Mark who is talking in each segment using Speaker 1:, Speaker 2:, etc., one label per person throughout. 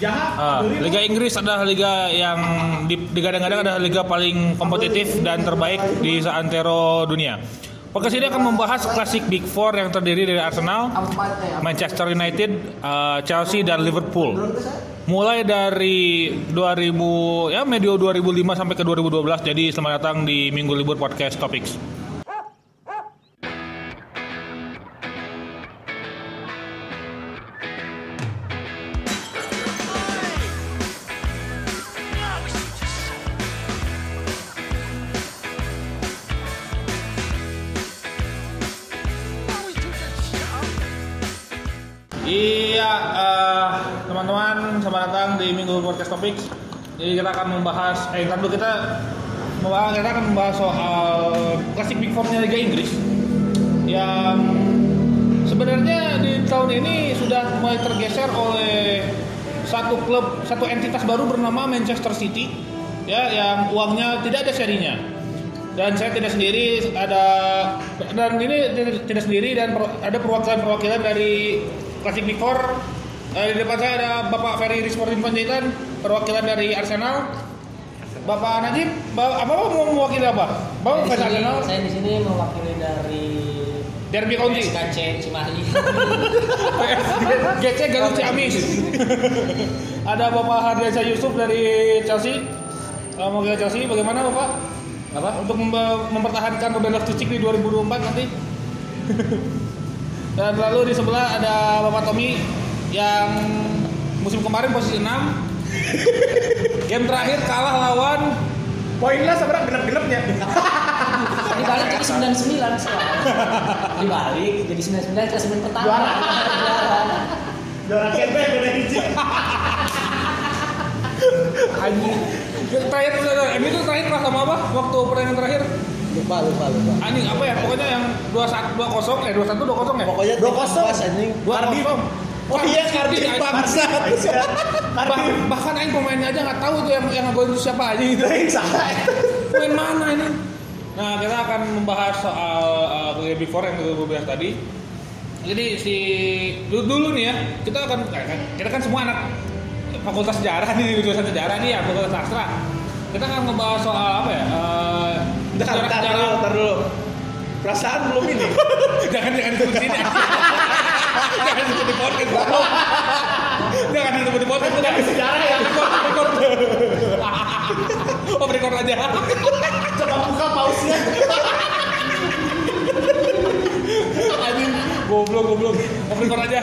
Speaker 1: jahat.
Speaker 2: Ah,
Speaker 1: Duri
Speaker 2: Liga Inggris adalah liga yang di digadang-gadang adalah liga paling kompetitif dan terbaik di seantero dunia. Podcast ini akan membahas klasik Big Four yang terdiri dari Arsenal, Manchester United, eh, Chelsea dan Liverpool. Mulai dari 2000 ya medio 2005 sampai ke 2012. Jadi selamat datang di Minggu Libur Podcast Topics. Iya, eh, teman-teman, selamat datang di Minggu Podcast Topics. Jadi kita akan membahas, eh ntar dulu kita membahas, kita akan membahas soal klasik Big Four-nya Liga Inggris yang sebenarnya di tahun ini sudah mulai tergeser oleh satu klub, satu entitas baru bernama Manchester City ya yang uangnya tidak ada serinya dan saya tidak sendiri ada dan ini tidak- tidak sendiri dan per- ada perwakilan-perwakilan dari Classic Big Four Eh, di depan saya ada Bapak Ferry Rizwardin Panjaitan perwakilan dari Arsenal Bapak Najib Bapak, apa Bapak mau mewakili apa Bapak fans
Speaker 3: Saya di sini-
Speaker 2: Arsenal
Speaker 3: Oh. Saya di sini mewakili dari
Speaker 2: Derby County
Speaker 3: SKC Cimahi.
Speaker 2: GC Galuh Ciamis. Ada Bapak Hardiansyah Yusuf dari Chelsea. Eh, Mau ke Chelsea bagaimana Bapak? Apa? Untuk membe- mempertahankan Roberto Cicik di 2024 nanti. Dan lalu di sebelah ada Bapak Tommy yang musim kemarin posisi 6. Game terakhir kalah lawan
Speaker 1: Poinnya sebenarnya genep-genepnya.
Speaker 3: Dibalik jadi 99 sekarang. Dibalik jadi 99 klasemen pertama.
Speaker 1: Juara.
Speaker 3: Juara.
Speaker 1: Juara kempe beda hiji.
Speaker 2: anjing. Game Terakhir ini tuh terakhir pas sama apa? Waktu pertandingan terakhir
Speaker 4: lupa lupa lupa
Speaker 2: anjing apa ya? Pokoknya yang 21 20 eh 21 20 ya.
Speaker 4: pokoknya
Speaker 1: Dua
Speaker 4: tim
Speaker 1: kosong.
Speaker 4: awas, anjing
Speaker 2: Dua
Speaker 4: Cardiff.
Speaker 2: kosong.
Speaker 4: oh iya
Speaker 2: Cardiff,
Speaker 4: Cardiff
Speaker 2: anjing.
Speaker 4: bangsa
Speaker 2: Bah, bahkan aing pemainnya aja nggak tahu tuh yang yang ngegolin itu siapa aja gitu.
Speaker 1: Aing salah.
Speaker 2: Pemain mana ini? Nah, kita akan membahas soal uh, Liga Big Four yang gue bahas tadi. Jadi si dulu, dulu nih ya, kita akan kita kan semua anak fakultas sejarah nih, jurusan sejarah nih ya, fakultas sastra. Kita akan ngebahas soal apa ya? eh,
Speaker 4: Ntar, ntar dulu,
Speaker 2: sejarah-sejarah
Speaker 4: ntar dulu. Perasaan belum ini.
Speaker 2: jangan jangan disebut di sini jangan disebut di podcast goblok. jangan disebut di podcast jangan sejarah ya record record oh record aja
Speaker 1: Coba buka pausnya.
Speaker 2: anjing goblok goblok off record aja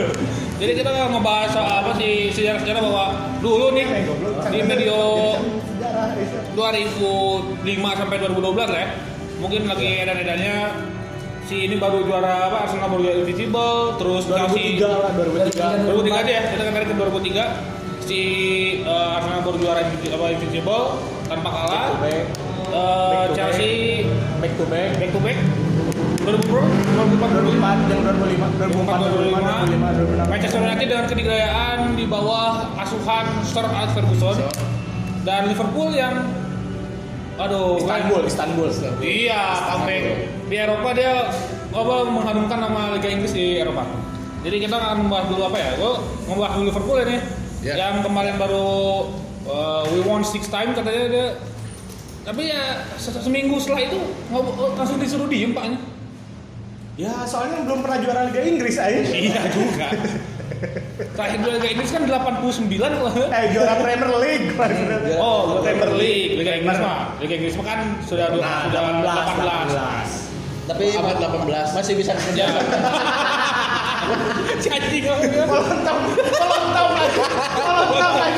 Speaker 2: jadi kita akan ngebahas soal apa sih sejarah-sejarah bahwa dulu nih
Speaker 4: Eh,
Speaker 2: di medio 2005 sampai 2012 lah ya mungkin lagi
Speaker 4: Iya.
Speaker 2: edan-edannya si ini baru juara apa Arsenal baru juara Invisible terus Chelsea
Speaker 4: 2003 lah, 2003.
Speaker 2: 2003 aja ya kita kan tarik ke 2003 si eh, Arsenal baru juara Invi- apa, Invincible tanpa kalah
Speaker 4: Back,
Speaker 2: Eh,
Speaker 4: Back to
Speaker 2: Chelsea
Speaker 4: back to back.
Speaker 2: back to back 2004
Speaker 4: 2004 yang 2005,
Speaker 2: 2005
Speaker 4: 2004, 2005,
Speaker 2: Manchester
Speaker 4: 2005, 2006.
Speaker 2: United dengan kedigayaan di bawah asuhan Sir Alex Ferguson dan Liverpool yang aduh
Speaker 4: Istanbul,
Speaker 2: kan-
Speaker 4: Istanbul. Istanbul.
Speaker 2: iya comeback di Eropa dia apa mengharumkan nama Liga Inggris di Eropa jadi kita akan membahas dulu apa ya gue membahas dulu Liverpool ini
Speaker 4: Ya.
Speaker 2: yang kemarin baru uh, we won six time katanya dia tapi ya se- seminggu setelah itu ngob- oh, langsung disuruh diem paknya
Speaker 4: Ya, soalnya belum pernah juara Liga Inggris aja.
Speaker 2: Iya juga. Terakhir dua Liga Inggris kan 89 kalau nggak.
Speaker 1: Eh juara Premier League.
Speaker 4: Iya.
Speaker 2: Oh, Premier League, Liga Inggris mah. Liga Inggris mah kan sudah dua,
Speaker 4: Nah,
Speaker 2: sudah 18.
Speaker 4: 18.
Speaker 5: Tapi abad 18 masih bisa kerja.
Speaker 2: Ya. Jadi kalau
Speaker 1: Lontong, lontong lagi.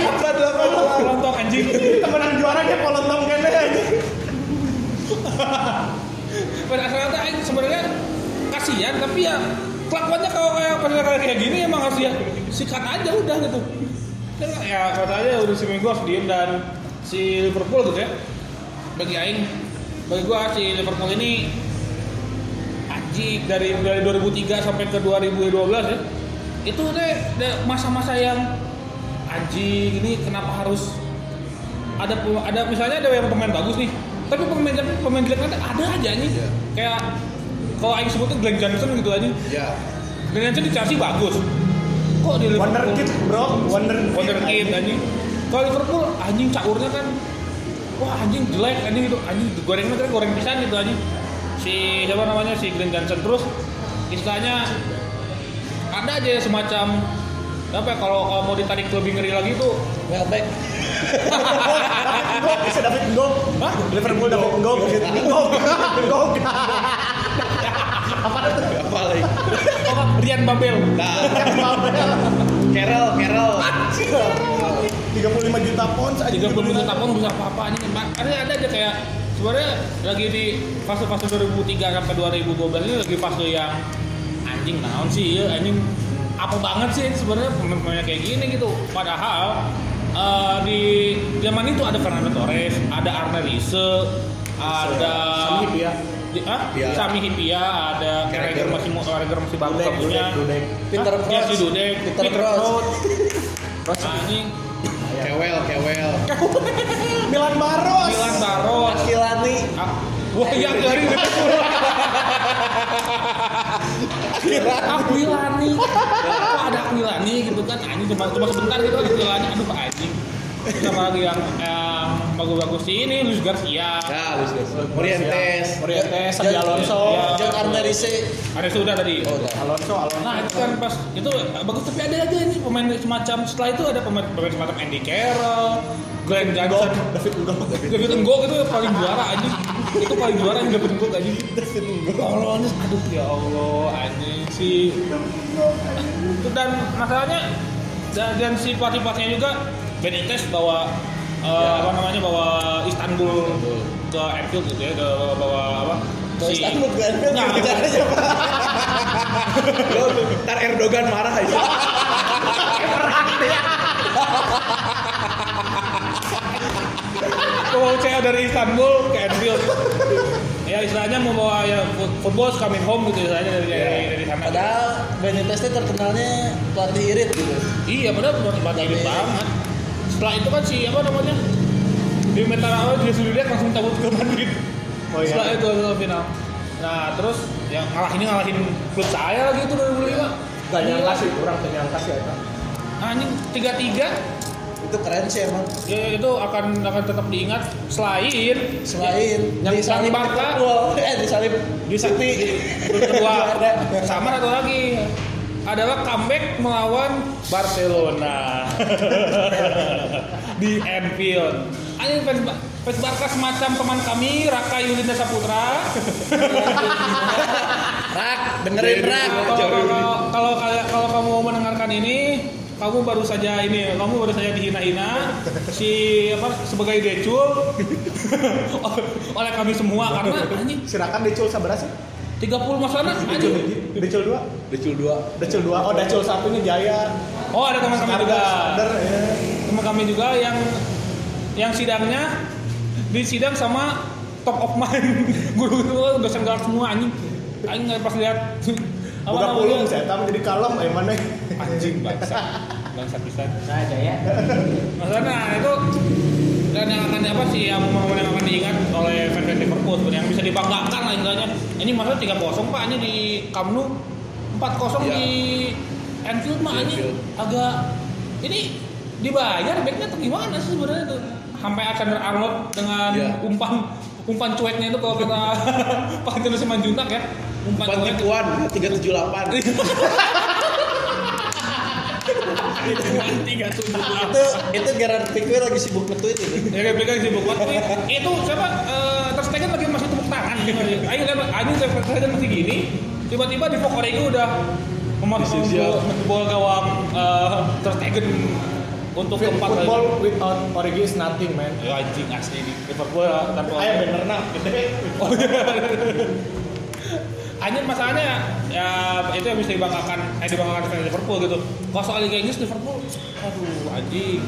Speaker 1: Lontong lagi.
Speaker 2: lontong anjing.
Speaker 1: Temenan juaranya polontong kene aja.
Speaker 2: Pada asalnya tuh, anjing, sebenarnya kasihan tapi ya kelakuannya kalau kayak pada kayak gini emang harus ya sikat aja udah gitu. Dan ya katanya udah seminggu harus diem dan si Liverpool gitu ya. Bagi aing bagi gua si Liverpool ini anjing dari dari 2003 sampai ke 2012 ya itu deh deh, masa-masa yang anjing ini kenapa harus ada pe- ada misalnya ada yang pemain bagus nih tapi pemain tapi pemain jelek nanti ada aja nih kayak kalau Aing sebutnya Glenn Johnson gitu aja
Speaker 5: Ya.
Speaker 2: Glenn Johnson di Chelsea bagus kok kok di Liverpool.
Speaker 4: Wonderkid bro, Wonderkid.
Speaker 2: Wonderkid anjing. Kalau Liverpool anjing caurnya kan wah anjing jelek anjing gitu anjing gorengnya kan goreng pisan gitu anjing. Si siapa namanya si Glenn Johnson terus istilahnya ada aja semacam apa ya, kalau kalau mau ditarik lebih ngeri lagi tuh
Speaker 5: Welbeck.
Speaker 4: Gok, bisa David Gok.
Speaker 2: Hah?
Speaker 4: Liverpool David Gok. Gok. Gok.
Speaker 5: Apa lagi?
Speaker 2: apa Rian Babel
Speaker 5: Nah, Carol, Carol.
Speaker 4: 35 juta pounds aja.
Speaker 2: 30 juta pun bisa apa-apa anjing. Makanya ada aja kayak sebenarnya lagi di fase-fase 2003 sampai 2012 ini lagi fase yang anjing naon sih ya anjing apa banget sih ini sebenarnya pemain-pemainnya kayak gini gitu. Padahal eh, di zaman itu ada Fernando Torres, ada Arne Riese, ada
Speaker 4: Sami Hipia.
Speaker 2: Di- ah?
Speaker 5: Hipia.
Speaker 2: Sami Hipia, ada Carragher
Speaker 5: Carragher.
Speaker 2: masih mu- Carragher masih bagus
Speaker 4: Dudek,
Speaker 2: bagusnya.
Speaker 4: Dudek, Dudek.
Speaker 5: Peter
Speaker 2: Hah?
Speaker 5: Crouch.
Speaker 2: Ya, si Dudek,
Speaker 5: Peter
Speaker 2: Crouch.
Speaker 5: Crouch.
Speaker 2: Anjing,
Speaker 5: Kewel, Kewel.
Speaker 4: Milan Baros.
Speaker 2: Milan Baros.
Speaker 5: Kilani.
Speaker 2: Ah, Wah, yang dari Liverpool. Aquilani. Kok ada Aquilani gitu kan? Anjing cuma cuma sebentar gitu Aquilani. Aduh, Pak anjing. Sama lagi yang yang bagus-bagus ini Luis Garcia.
Speaker 5: Nah, Luis Garcia. Morientes.
Speaker 4: Morientes, Xabi
Speaker 5: Jan-
Speaker 4: Alonso.
Speaker 5: Ya. John Arnerice.
Speaker 2: Ada sudah tadi.
Speaker 5: Oh, udah.
Speaker 4: Alonso, Alonso.
Speaker 2: Nah itu kan pas itu bagus tapi ada aja ini pemain semacam setelah itu ada pemain, pemain semacam Andy Carroll, Glenn
Speaker 4: Gok.
Speaker 2: Johnson,
Speaker 4: David Gok.
Speaker 2: David Ngok itu paling juara anjing. Itu paling juara yang David Ngok anjing. David Ngok. Allah anjing. aduh ya Allah anjing si. Itu dan masalahnya dan, dan si pelatih-pelatihnya juga Benitez bawa eh,
Speaker 5: Ya.
Speaker 2: apa namanya bawa Istanbul ke Anfield gitu ya ke bawa apa
Speaker 5: Kalau Istanbul bukan Anfield,
Speaker 2: Nah,
Speaker 5: bicaranya siapa? Lo, oh, ntar Erdogan marah ya. aja.
Speaker 2: Bawa CEO dari Istanbul ke Anfield. ya istilahnya mau bawa ya fut- football is coming home gitu istilahnya dari dari, dari sana.
Speaker 5: Ya. Padahal Benitez itu terkenalnya pelatih irit gitu.
Speaker 2: Iya padahal benar tempat ini
Speaker 5: Tapi-
Speaker 2: banget. Setelah itu kan si apa namanya? Di Metarawa dia sudah lihat langsung cabut ke Madrid.
Speaker 4: Oh, iya.
Speaker 2: Setelah itu ke final. Nah terus yang ngalah ini ngalahin klub saya lagi itu 2005.
Speaker 4: Gak nyangka
Speaker 2: Iya.
Speaker 4: sih, kurang gak nyangka sih. Eta.
Speaker 2: Anjing tiga tiga
Speaker 5: Itu keren sih emang.
Speaker 2: ya itu akan akan tetap diingat selain
Speaker 5: Selain
Speaker 2: Yang
Speaker 5: disalib
Speaker 2: Bangka.
Speaker 5: Liverpool, eh disalib
Speaker 2: di City kedua
Speaker 5: Juara.
Speaker 2: sama satu lagi adalah comeback melawan Barcelona di Anfield. Ini fans, Ba- fans Barca semacam teman kami Raka Yulinda Saputra.
Speaker 5: Rak, dengerin Rak.
Speaker 2: Kalau- Kalau kalau kalian- kalau kamu mendengarkan ini, kamu baru saja ini, kamu baru saja dihina-hina si apa sebagai decul oleh kami semua karena anjing
Speaker 4: Silakan Decul sabara sih.
Speaker 2: 30 masalah
Speaker 4: Decul
Speaker 2: anjing.
Speaker 4: hiji, Decul dua,
Speaker 5: Decul 2.
Speaker 4: Decul dua. Oh, Decul satunya Jaya.
Speaker 2: Oh, ada teman kami juga.
Speaker 4: Standar, ya.
Speaker 2: teman kami juga yang yang sidangnya di sidang sama top of mind guru-guru dosen galak semua anjing anjing nggak pas lihat apa
Speaker 4: Buka
Speaker 2: namanya?
Speaker 4: pulung saya tahu jadi kalem eh mana.
Speaker 2: anjing bangsa bangsa pisan
Speaker 3: Nah, Jaya.
Speaker 2: maksudnya nah, itu dan yang akan apa sih yang momen yang akan diingat oleh fans Liverpool sebenarnya, yang bisa dibanggakan lah istilahnya ini maksudnya tiga kosong pak ini di Camp Nou empat kosong
Speaker 5: Iya.
Speaker 2: di Anfield mah ini
Speaker 5: Anfield.
Speaker 2: agak ini dibayar backnya tuh gimana sih sebenarnya tuh sampai Alexander Arnold dengan
Speaker 5: Iya.
Speaker 2: umpan umpan cueknya itu kalau kata Pak Tino Simanjuntak ya umpan,
Speaker 5: Empat
Speaker 2: cuek
Speaker 5: tikuan, 378.
Speaker 2: umpan tiga tujuh
Speaker 5: itu itu Gerard Pique lagi sibuk nge-tweet ini.
Speaker 2: Ya kayak pegang sibuk banget Wih, Itu siapa? eh, Ter Stegen lagi masih tepuk tangan. Ayo lihat, anjing Ter Stegen masih gini. Tiba-tiba di Pokorego udah memotong
Speaker 5: Disiap.
Speaker 2: bola- bola gawang eh, Ter Stegen untuk keempat kali.
Speaker 4: Football without Origi is nothing, man.
Speaker 2: Ya anjing asli di Liverpool ya, tanpa
Speaker 4: Ayo bener nah, gede.
Speaker 2: Oh, iya. Anjir masalahnya ya itu yang bisa dibanggakan eh dibanggakan fans Liverpool gitu. Kalau soal Liga Inggris Liverpool, aduh anjing.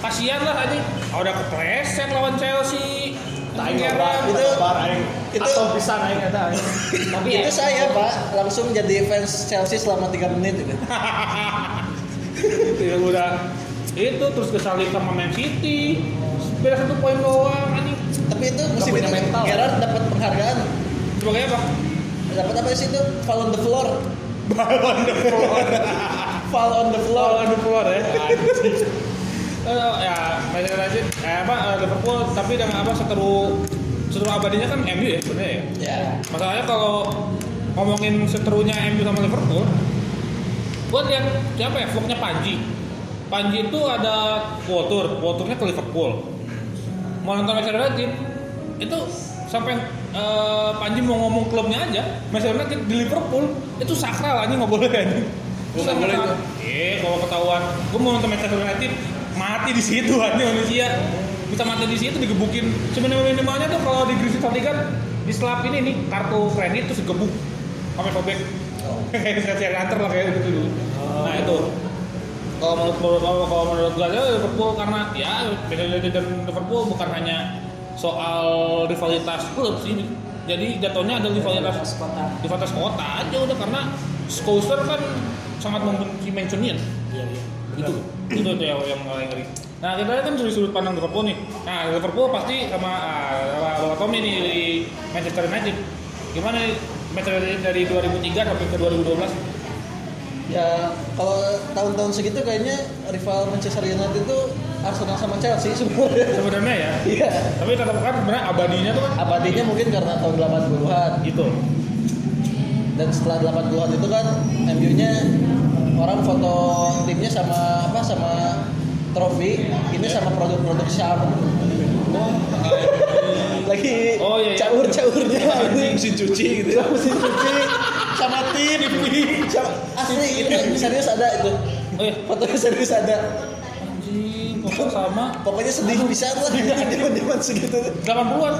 Speaker 2: Kasihan lah anjing. Udah kepleset lawan Chelsea. gitu.
Speaker 4: Aing
Speaker 2: Keren.
Speaker 4: ngobrol,
Speaker 5: Itu-
Speaker 4: kabar aing.
Speaker 5: itu-
Speaker 4: Atau bisa aing eta aing.
Speaker 3: Tapi ya.
Speaker 5: itu saya pak langsung jadi fans Chelsea selama 3 menit gitu.
Speaker 2: ya udah itu terus kesalip sama Man City beda satu poin doang anjing
Speaker 5: tapi itu musim
Speaker 4: punya
Speaker 5: itu
Speaker 4: mental.
Speaker 5: Gerard dapat penghargaan
Speaker 2: sebagai apa
Speaker 5: dapat apa sih itu Ballon d'Or
Speaker 4: Balon the floor.
Speaker 5: Fall on the floor.
Speaker 2: Kalau ada keluar ya. Eh, ya Manchester United eh, apa eh, Liverpool tapi dengan apa seteru seteru abadinya kan MU ya sebenarnya ya.
Speaker 5: Ya.
Speaker 2: Masalahnya kalau ngomongin seterunya MU sama Liverpool, gue lihat siapa ya vlognya Panji. Panji itu ada world tour, world tournya ke Liverpool. Mau nonton Manchester United itu sampai eh, Panji mau ngomong klubnya aja, Manchester United di Liverpool itu sakral aja nggak boleh anjing. Terus
Speaker 5: Oh, nggak boleh
Speaker 2: sama-
Speaker 5: itu.
Speaker 2: Eh, kalau ketahuan, gue mau nonton Manchester United mati di situ aja manusia bisa mati di situ digebukin sebenarnya minimalnya tuh kalau di Gresik tadi kan di selap ini nih kartu kredit terus digebuk sama sobek
Speaker 5: Oh.
Speaker 2: kayak saya antar lah kayak gitu dulu nah itu kalau menurut kalau- kalau kalau menurut gue ya Liverpool karena ya Manchester United dan Liverpool bukan hanya soal rivalitas klub sih jadi jatuhnya ada rivalitas
Speaker 3: Pas kota.
Speaker 2: di batas kota aja udah karena Scouser kan sangat membenci Mancunian
Speaker 3: Iya, iya.
Speaker 2: itu itu tuh yang yang paling ngeri nah kita kan dari sudut pandang Liverpool nih nah Liverpool pasti sama ah, sama Tommy nih di Manchester United gimana nih Manchester United dari 2003 sampai ke 2012
Speaker 6: Ya kalau tahun-tahun segitu kayaknya rival Manchester United itu Arsenal sama Chelsea sebenarnya.
Speaker 2: sebenarnya ya
Speaker 6: Iya.
Speaker 2: tapi tetap kan sebenarnya abadinya tuh kan
Speaker 6: Abadinya mungkin karena tahun 80-an
Speaker 2: gitu
Speaker 6: dan setelah 80-an itu kan MU-nya orang foto timnya sama apa sama trofi ini sama produk-produk Syam lagi
Speaker 2: Oh, iya, iya.
Speaker 6: caur-caurnya anjing
Speaker 5: Mesin cuci gitu.
Speaker 6: Sama mesin cuci sama tim sama asli itu serius ada itu
Speaker 2: oh ya
Speaker 6: fotonya serius ada
Speaker 2: anjing kok sama
Speaker 6: pokoknya sedih bisa lah zaman-zaman segitu
Speaker 2: 80-an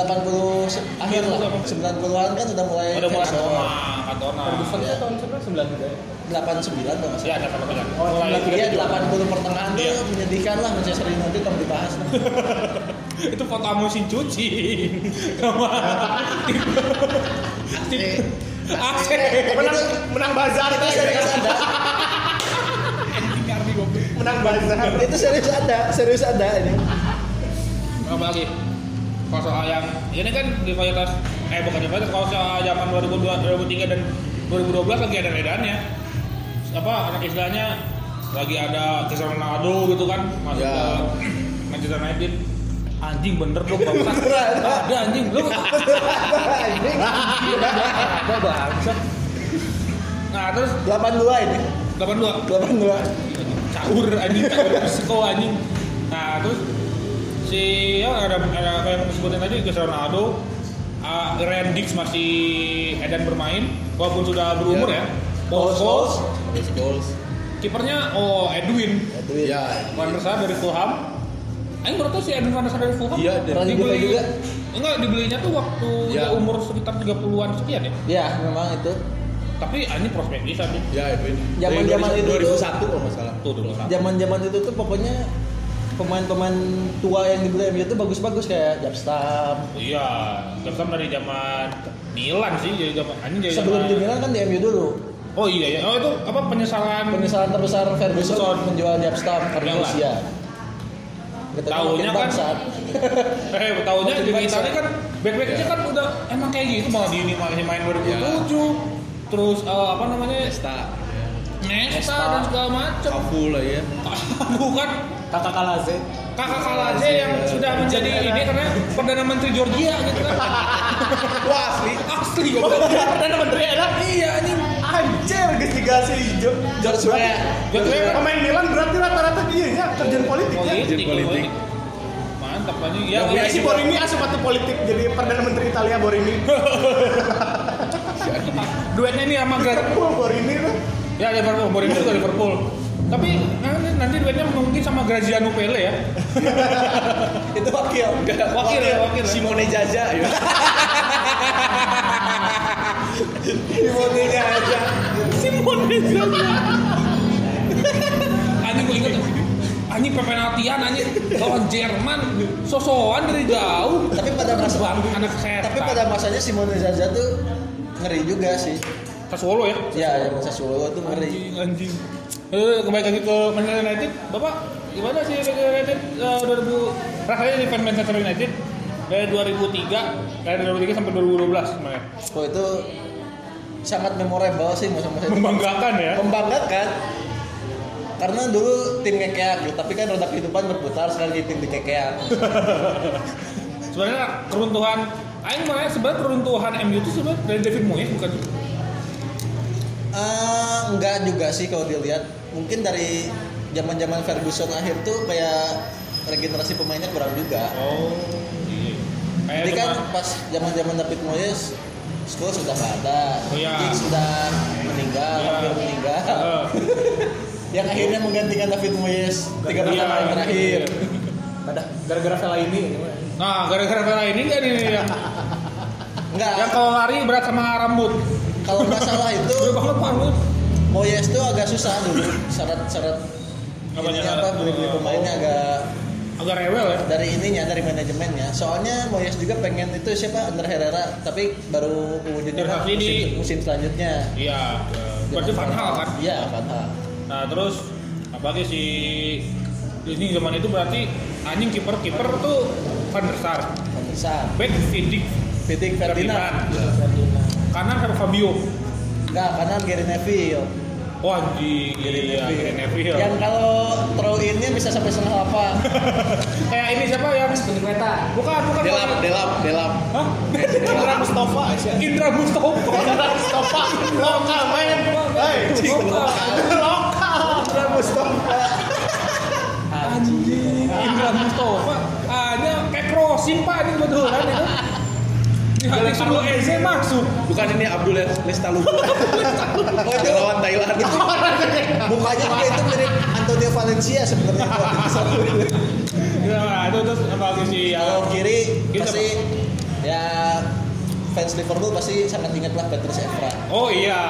Speaker 6: 80 se- akhir lah 90-an kan sudah mulai gitu.
Speaker 2: udah mulai Iya.
Speaker 6: kacau.
Speaker 2: Cantona Cantona
Speaker 4: Ferguson itu tahun sebenarnya sembilan tiga ya.
Speaker 6: 89 kalau nggak
Speaker 2: ya ada Cantona
Speaker 4: Oh,
Speaker 2: mulai gitu.
Speaker 6: Iya 80 pertengahan tuh
Speaker 2: Iya.
Speaker 6: menyedihkan lah Manchester United kalau dibahas.
Speaker 2: itu foto sama mesin cuci sama tim AC
Speaker 4: Menang menang bazar
Speaker 6: itu
Speaker 4: itu
Speaker 6: serius ada,
Speaker 4: menang bazar.
Speaker 6: itu serius ada, serius ada ini.
Speaker 2: apa lagi kalau soal yang ini kan rivalitas eh bukan rivalitas kalau soal zaman 2002 2003 dan 2012 lagi ada medannya apa anak istilahnya lagi ada Cristiano Ronaldo gitu kan masuk
Speaker 5: Ya.
Speaker 2: ke Manchester United anjing bener dong bangsat ada anjing lu ada bangsat nah terus
Speaker 6: 82 ini,
Speaker 2: 82
Speaker 6: 82.
Speaker 2: caur anjing caur psiko anjing nah terus si ya ada ada apa yang disebutin tadi Cristiano Ronaldo uh, Ryan Giggs masih edan bermain walaupun sudah berumur ya Paul Scholes
Speaker 5: Goals.
Speaker 2: kipernya oh Edwin
Speaker 6: Iya.
Speaker 5: Ya.
Speaker 2: Van der Sar dari Fulham Aing baru tau si Edwin Van der Sar dari Fulham
Speaker 5: Iya, dan-
Speaker 6: Pernah dijual juga.
Speaker 2: Enggak, dibelinya tuh waktu
Speaker 5: Iya.
Speaker 2: dia umur sekitar 30-an sekian ya
Speaker 6: Ya memang itu.
Speaker 2: Tapi anjing prospek bisa nih
Speaker 5: Ya, Edwin.
Speaker 6: Zaman-zaman
Speaker 5: Dari
Speaker 6: itu
Speaker 5: 2001 kalau nggak salah.
Speaker 2: Tuh dulu kan
Speaker 6: Zaman-zaman itu tuh pokoknya pemain-pemain tua yang dibeli MU itu bagus-bagus kayak Japstam.
Speaker 2: Iya, Jepsen dari zaman Milan sih, jadi zaman anjing jadi
Speaker 6: Sebelum
Speaker 2: zaman-
Speaker 6: di Milan kan di MU dulu.
Speaker 2: Oh iya ya. Oh itu apa penyesalan
Speaker 6: Penyesalan terbesar Ferguson
Speaker 2: Ferguson.
Speaker 6: menjual Japstam karena
Speaker 2: Milan.
Speaker 6: usia. Kita kan
Speaker 2: Taunya
Speaker 6: makin
Speaker 2: kan-
Speaker 6: bangsat.
Speaker 2: eh tahunnya di Italia kan back-back aja
Speaker 5: Ya.
Speaker 2: kan udah emang kayak gitu malah di ini malah main 2007. Terus eh, apa namanya?
Speaker 5: Nesta.
Speaker 2: Nesta
Speaker 3: Nesta.
Speaker 2: dan segala macam.
Speaker 5: Kafu lah ya.
Speaker 2: Bukan
Speaker 3: Kakak Kalaze.
Speaker 2: kakak kalah aja yang sudah menjadi ini karena perdana menteri Georgia gitu kan.
Speaker 4: Wah asli.
Speaker 2: Asli
Speaker 5: Oh,
Speaker 2: gue. perdana menteri
Speaker 5: ya,
Speaker 2: ada. Iya anjing.
Speaker 4: Anjir guys tiga sih hijau.
Speaker 6: George Weah.
Speaker 2: Georgia kan
Speaker 4: Pemain Milan berarti rata-rata dia ya kerjaan politik ya.
Speaker 2: politik.
Speaker 5: politik.
Speaker 2: politik. Mantap anjing. Ya,
Speaker 5: Yang
Speaker 2: iya,
Speaker 4: Ya si
Speaker 2: iya.
Speaker 4: Borini asup satu politik jadi perdana menteri Italia Borini.
Speaker 2: Duetnya ini sama Gra-
Speaker 4: Liverpool Oh, Borini tuh.
Speaker 2: Ya Liverpool, Mourinho juga Liverpool. Tapi nanti, nanti duetnya mungkin sama Graziano Pele ya.
Speaker 6: Itu wakil.
Speaker 2: Wakil ya, wakil. ya.
Speaker 5: Simone Jaja ya.
Speaker 6: Timoninya aja.
Speaker 2: Anjing gue inget tuh. Anjing pepenaltian anjing lawan Jerman sosokan dari jauh.
Speaker 6: Tapi pada masa
Speaker 2: Bang, anak setan.
Speaker 6: Tapi pada masanya Simone Zaza tuh ngeri juga sih.
Speaker 2: Sassuolo ya.
Speaker 6: Ya, ya masa Solo tuh ngeri.
Speaker 2: Anjing anjing. Eh kembali lagi ke Manchester United. Bapak gimana sih Manchester United eh, 2000 rasanya di fan Manchester United dari 2003 dari 2003 sampai 2012 sebenarnya.
Speaker 6: Oh itu sangat memorable sih musim-musim itu.
Speaker 2: Membanggakan ya.
Speaker 6: Membanggakan karena dulu tim kekeak gitu, tapi kan roda kehidupan berputar sekarang jadi tim di kekeak.
Speaker 2: Sebenarnya keruntuhan aing mah ya, sebenarnya keruntuhan MU itu sebenarnya dari David Moyes bukan
Speaker 6: Eh, enggak juga sih kalau dilihat. Mungkin dari zaman-zaman Ferguson akhir tuh kayak regenerasi pemainnya kurang juga.
Speaker 2: Oh. Iya. Kayak
Speaker 6: Jadi
Speaker 2: cuma
Speaker 6: kan pas zaman-zaman David Moyes Scholes sudah nggak ada,
Speaker 2: Oh, iya.
Speaker 6: Giggs sudah meninggal,
Speaker 2: Iya.
Speaker 6: hampir meninggal.
Speaker 2: Heeh.
Speaker 6: Yang akhirnya menggantikan David Moyes tiga pertandingan
Speaker 2: Iya.
Speaker 6: terakhir.
Speaker 4: Gara-gara Vela ini.
Speaker 2: Nah, gara-gara Vela ini kan ini ya.
Speaker 6: Enggak,
Speaker 2: Yang kalau lari berat sama rambut.
Speaker 6: kalau nggak salah itu
Speaker 2: Berat banget rambut.
Speaker 6: Moyes tuh agak susah dulu syarat-syarat
Speaker 2: Apanya?
Speaker 6: ininya apa beli-beli pemainnya agak
Speaker 2: Agak rewel ya.
Speaker 6: dari ininya dari manajemennya soalnya Moyes juga pengen itu siapa Under Herrera tapi baru wujudnya
Speaker 2: Under
Speaker 6: musim,
Speaker 2: Herrera ini.
Speaker 6: musim selanjutnya
Speaker 2: Iya. eh, Berarti Van Hal kan.
Speaker 6: iya Van Hal
Speaker 2: Nah, terus apalagi si ini zaman itu berarti anjing kiper kiper tuh Van der Sar,
Speaker 6: Van der Sar
Speaker 2: back Vidic,
Speaker 6: Vidic Ferdinand
Speaker 2: iya. kanan Fer Fabio.
Speaker 6: enggak kanan Gary Neville
Speaker 2: Wah, di iya, Gary Neville.
Speaker 6: yang kalau throw innya bisa sampai setengah lapangan
Speaker 2: Kayak ini siapa yang
Speaker 3: Spinigueta.
Speaker 2: bukan bukan
Speaker 5: Delap,
Speaker 2: bukan.
Speaker 5: delap, delap.
Speaker 2: Hah?
Speaker 4: Gara-gara Mustafa Aisyah.
Speaker 2: Indra Mustopo.
Speaker 4: Gara-gara Mustafa. Lokal men. Hei,
Speaker 2: Cing, lokal.
Speaker 4: lokal. Gara-gara Mustafa.
Speaker 2: Anjing. Indra Mustopo. Hanya kayak crossing pak ini kebetulan itu. Ini hanya sebelum EZ masuk.
Speaker 5: Bukan ini Abdul Lestaluhu. Lawan Thailand.
Speaker 6: mukanya dia itu mirip Antonio Valencia sebenarnya
Speaker 2: Nah, itu terus apalagi si
Speaker 6: kalau kiri
Speaker 2: Gitu,
Speaker 6: pasti ya fans Liverpool pasti sangat ingatlah Petrus Evra
Speaker 2: Oh iya,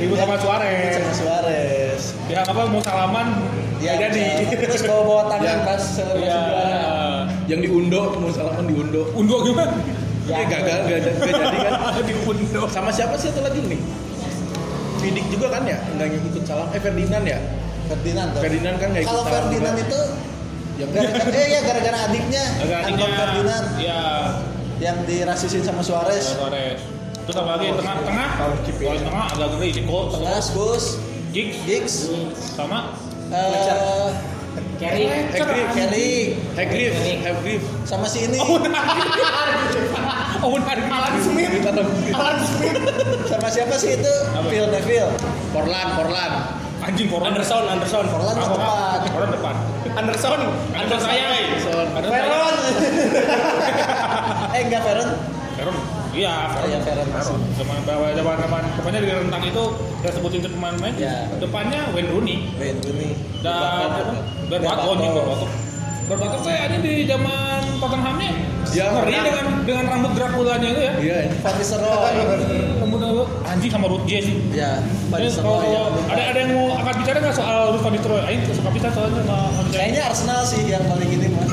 Speaker 2: ibu sama Suarez.
Speaker 6: sama Suarez
Speaker 2: Ya apa mau salaman?
Speaker 6: Ya,
Speaker 2: nggak jadi.
Speaker 6: terus bawa bawa tangan
Speaker 5: Ya.
Speaker 6: pas selebrasi
Speaker 2: Iya.
Speaker 6: juara.
Speaker 5: Yang diundo, mau salaman diundo.
Speaker 2: Unduh gimana?
Speaker 5: Ya, gagal, gak, gak jadi kan.
Speaker 2: Diunduh.
Speaker 5: Sama siapa sih itu lagi nih? Vidic juga kan ya? Nggak ikut salam. Eh, Ferdinand ya?
Speaker 6: Ferdinand tuh.
Speaker 5: Ferdinand kan nggak ikut
Speaker 6: Kalau
Speaker 5: salam.
Speaker 6: Ferdinand itu
Speaker 5: Yang
Speaker 6: gara-gara eh ya gara-gara adiknya,
Speaker 2: Agak
Speaker 6: Anton
Speaker 2: adiknya.
Speaker 6: Kan Ferdinand
Speaker 2: Iya.
Speaker 6: yang dirasisin sama Suarez.
Speaker 2: Suarez. Terus apa lagi tengah tengah? Kalau tengah agak ngeri sih kok.
Speaker 6: Tengah Bus,
Speaker 2: Gigs
Speaker 6: Giggs,
Speaker 2: sama
Speaker 6: eh
Speaker 3: Carry.
Speaker 5: Eh, Hagrid.
Speaker 6: Kelly
Speaker 5: Hagrid. Hagrid.
Speaker 6: sama si ini,
Speaker 2: Oh. Owen Hargreaves.
Speaker 5: Smith. Atau
Speaker 6: sama siapa sih itu? Phil Neville.
Speaker 5: Porlan, Porlan.
Speaker 2: Anjing Koran
Speaker 4: Anderson, Anderson.
Speaker 6: Forlan tuh tepat.
Speaker 2: Koran depan.
Speaker 4: Anderson.
Speaker 2: Ada saya. Ada saya.
Speaker 6: Veron. eh enggak Veron.
Speaker 2: Veron. Iya, Veron.
Speaker 6: Iya, Veron.
Speaker 2: Veron. Zaman bawah zaman zaman pokoknya di rentang itu kita sebutin ke pemain-pemain.
Speaker 6: Iya.
Speaker 2: Depannya Wayne Rooney.
Speaker 6: Wayne Rooney.
Speaker 2: dan dan Watford nih Watford Berbakat saya ini di zaman Tottenhamnya
Speaker 5: Iya,
Speaker 2: ngeri
Speaker 5: menang.
Speaker 2: dengan dengan rambut Draculanya itu ya.
Speaker 5: Iya.
Speaker 6: Van Nistelrooy.
Speaker 2: Rambut rambut anjing sama Ruth Jay sih.
Speaker 3: Iya,
Speaker 6: Ya, Van
Speaker 2: Ini
Speaker 6: Nistelrooy. yang
Speaker 2: kalau
Speaker 6: lupa.
Speaker 2: ada ada yang mau akan bicara nggak soal Ruth Van Nistelrooy? Ayo suka bicara soalnya sama sama bicara.
Speaker 6: Kayaknya Arsenal sih yang paling ini mah.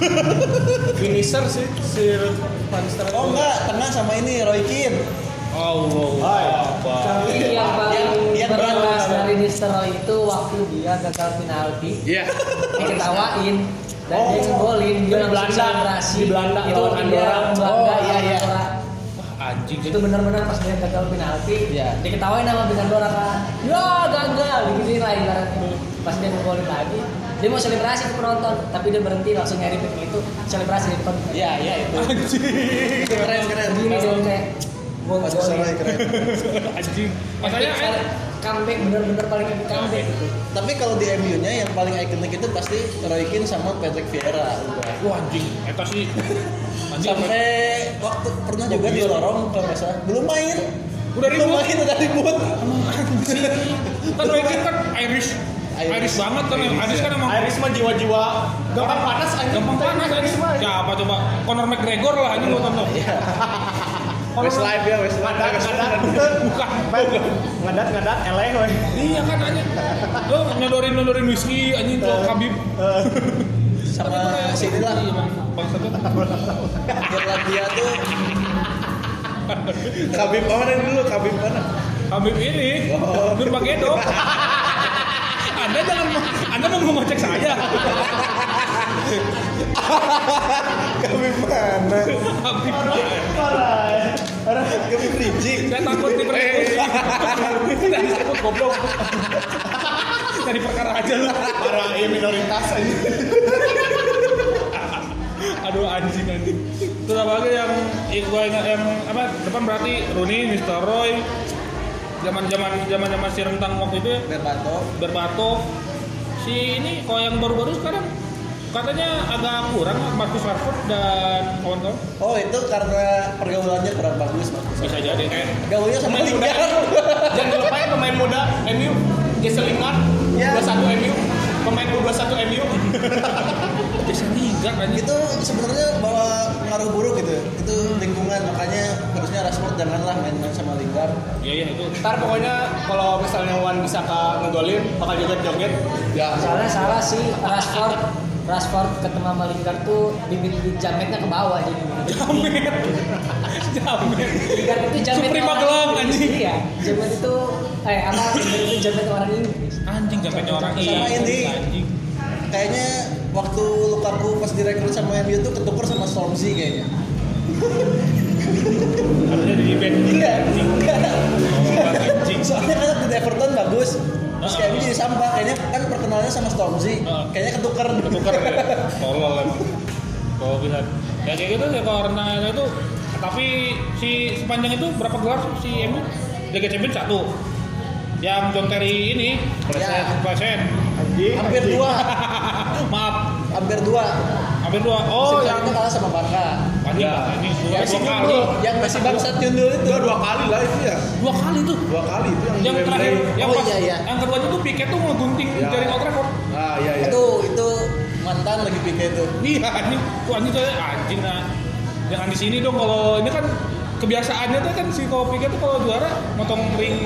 Speaker 4: Finisher sih. Si Van Nistelrooy.
Speaker 6: Oh enggak, tengah sama ini Roy Keane. Iya,
Speaker 2: Allah.
Speaker 4: Hai.
Speaker 2: Apa?
Speaker 3: Ini yang paling
Speaker 6: Yang- yang
Speaker 3: berkelas
Speaker 6: berkelas.
Speaker 3: dari Nistelrooy itu waktu dia gagal penalti
Speaker 5: Iya.
Speaker 3: diketawain dan
Speaker 4: Oh.
Speaker 3: dia ngegolin dia
Speaker 4: Dari
Speaker 3: langsung
Speaker 4: Belanda.
Speaker 3: selebrasi
Speaker 4: Di Belanda
Speaker 3: itu
Speaker 4: lawan
Speaker 3: dia
Speaker 4: Andorra.
Speaker 3: Belanda
Speaker 6: Oh,
Speaker 3: iya
Speaker 6: iya.
Speaker 3: iya
Speaker 2: Wah, anjing
Speaker 3: itu benar-benar pas dia gagal penalti
Speaker 6: Iya.
Speaker 3: diketawain sama bintang Andorra kan ya gagal digituin lah ibaratnya pas dia ngegolin lagi dia mau selebrasi ke penonton tapi dia berhenti langsung nyari pick itu selebrasi di depan
Speaker 6: Iya, iya itu. Itu keren keren.
Speaker 3: gini dia kayak gua
Speaker 6: Mas Nistelrooy
Speaker 3: ngegolin
Speaker 6: keren.
Speaker 2: anjing. Makanya ayo.
Speaker 3: Epic sekali. comeback bener-bener paling epic comeback gitu
Speaker 6: Tapi kalau di MU-nya yang paling ikonik itu pasti Roy Keane sama Patrick Vieira.
Speaker 2: Wah anjing. Eta sih. Anjing.
Speaker 6: Sampai waktu pernah juga di lorong kalau nggak salah. Belum main.
Speaker 2: Udah
Speaker 6: Belum
Speaker 2: ribut.
Speaker 6: main udah ribut.
Speaker 2: Kan Roykin kan Irish.
Speaker 6: Irish.
Speaker 2: Irish banget kan. Irish kan emang
Speaker 4: Iris mah jiwa-jiwa. Gampang panas. anjing.
Speaker 2: gampang panas Irish. Iya. Siapa ya, coba? Conor McGregor lah anjing gua tonton.
Speaker 5: Westlife ya, Westlife.
Speaker 4: Ngadat, ngadat.
Speaker 2: Bukan.
Speaker 4: Ngadat, ngadat. Eleh, weh.
Speaker 2: Iya kan anjing. Lo nyodorin nyodorin whisky anjing tuh Habib.
Speaker 6: Sama si inilah
Speaker 2: Bangsa tuh.
Speaker 6: Irlandia tuh
Speaker 5: Kabib mana dulu? Kabib mana?
Speaker 2: Habib ini Nurmagedon. Anda jangan Anda mau ngocek saya.
Speaker 5: Kabib mana?
Speaker 2: Habib.
Speaker 4: Parah.
Speaker 5: orang Kevin Rijik.
Speaker 2: Saya takut
Speaker 6: Eh.
Speaker 2: diperkuat. Saya takut goblok. Tadi perkara aja lu.
Speaker 4: Para minoritas aja.
Speaker 2: Aduh anjing anjing. Terus apa lagi yang yang gua ingat yang apa depan berarti Rooney, Mr. Roy. Zaman-zaman zaman-zaman si rentang waktu itu ya,
Speaker 6: Berbato.
Speaker 2: Berbatov. Si ini kalau yang baru-baru sekarang katanya agak kurang Marcus Rashford dan kawan-kawan
Speaker 6: Oh itu karena pergaulannya kurang bagus Marcus.
Speaker 2: bisa jadi kan? kayak
Speaker 6: Gaulnya sama
Speaker 2: Pemain muda.
Speaker 6: Lingard.
Speaker 1: Jangan dilupain pemain muda MU, Jesse Lingard,
Speaker 6: Ya.
Speaker 1: 21 MU, pemain U21 MU.
Speaker 2: Jason Lingard anjing
Speaker 6: itu sebenarnya bawa pengaruh buruk gitu. Itu lingkungan makanya harusnya Rashford janganlah main-main sama Lingard.
Speaker 2: iya iya itu
Speaker 1: Ntar pokoknya kalau misalnya Wan bisa ke ngegolin, bakal joget-joget.
Speaker 5: Ya.
Speaker 3: Soalnya salah sih Rashford Rashford ketemu sama Lingard tuh bibit bibit jametnya ke bawah jadi.
Speaker 2: jamet jamet
Speaker 3: Lingard itu jamet
Speaker 2: Suprema
Speaker 3: orang
Speaker 2: gelang,
Speaker 3: Inggris.
Speaker 2: anjing.
Speaker 3: Iya, jamet itu eh apa Lingard itu jamet orang Inggris.
Speaker 2: anjing jametnya orang Iya,
Speaker 6: Sama ini.
Speaker 2: anjing
Speaker 6: Kayaknya waktu Lukaku pas direkrut sama MU itu ketuker sama Stormzy kayaknya.
Speaker 2: harusnya di event
Speaker 6: Iya.
Speaker 2: anjing Ah.
Speaker 6: Soalnya kan di Everton bagus. Terus kayak MU jadi sampah kayaknya kan perkenalannya sama Stormzy.
Speaker 2: Heeh.
Speaker 6: Kayaknya ketuker.
Speaker 2: ketukar Ah. ya tolol emang kalau bisa ya kayak gitu ya kalau renang itu tapi si sepanjang itu berapa gelar sih si MU Liga Champions satu yang John Terry ini
Speaker 6: Ya.
Speaker 2: pleset pleset
Speaker 6: Hampir dua.
Speaker 2: maaf
Speaker 6: Hampir dua.
Speaker 2: hampir dua oh
Speaker 6: Musim
Speaker 2: yang
Speaker 6: kemarin kalah sama Barca.
Speaker 2: anjing anjing dua
Speaker 6: Yang si
Speaker 2: dua kali
Speaker 6: Nyundul, yang masih bangsat Nyundul itu.
Speaker 5: Dua dua kali lah itu ya.
Speaker 2: dua kali tuh
Speaker 5: Dua kali itu yang,
Speaker 2: yang
Speaker 5: di Wembley.
Speaker 2: terakhir yang
Speaker 6: Oh,
Speaker 2: pas
Speaker 6: iya, iya.
Speaker 2: yang keduanya tuh Piquet tuh ngegunting
Speaker 5: Ya.
Speaker 2: jaring Old Trafford
Speaker 5: Ah iya iya.
Speaker 6: Itu itu mantan lagi pikir itu.
Speaker 2: iya anjing tuh anjing tuh anjing nah jangan di sini dong kalau ini kan kebiasaannya tuh kan si kalau Piquet tuh kalau juara motong ring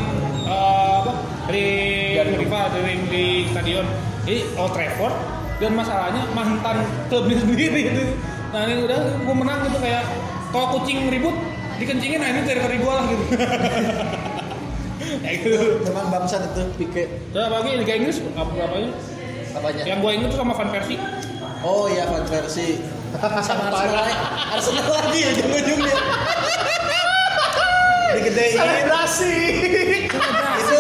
Speaker 2: eh, apa ring rival di ring di stadion jadi Old Trafford dan masalahnya mantan klubnya sendiri itu nah ini udah gue menang gitu kayak kalau kucing ribut dikencingin nah ini teritori gue lah gitu kayak gitu
Speaker 6: Memang bangsat itu pikir
Speaker 2: Terus apa lagi Liga Inggris apa apanya?
Speaker 6: apanya?
Speaker 2: Yang gue inget tuh sama Van Persie.
Speaker 6: Oh iya fan versi sama Arsenal lagi. Arsenal lagi ya, ujung-ujungnya. Digedein
Speaker 4: Selebrasi.
Speaker 6: itu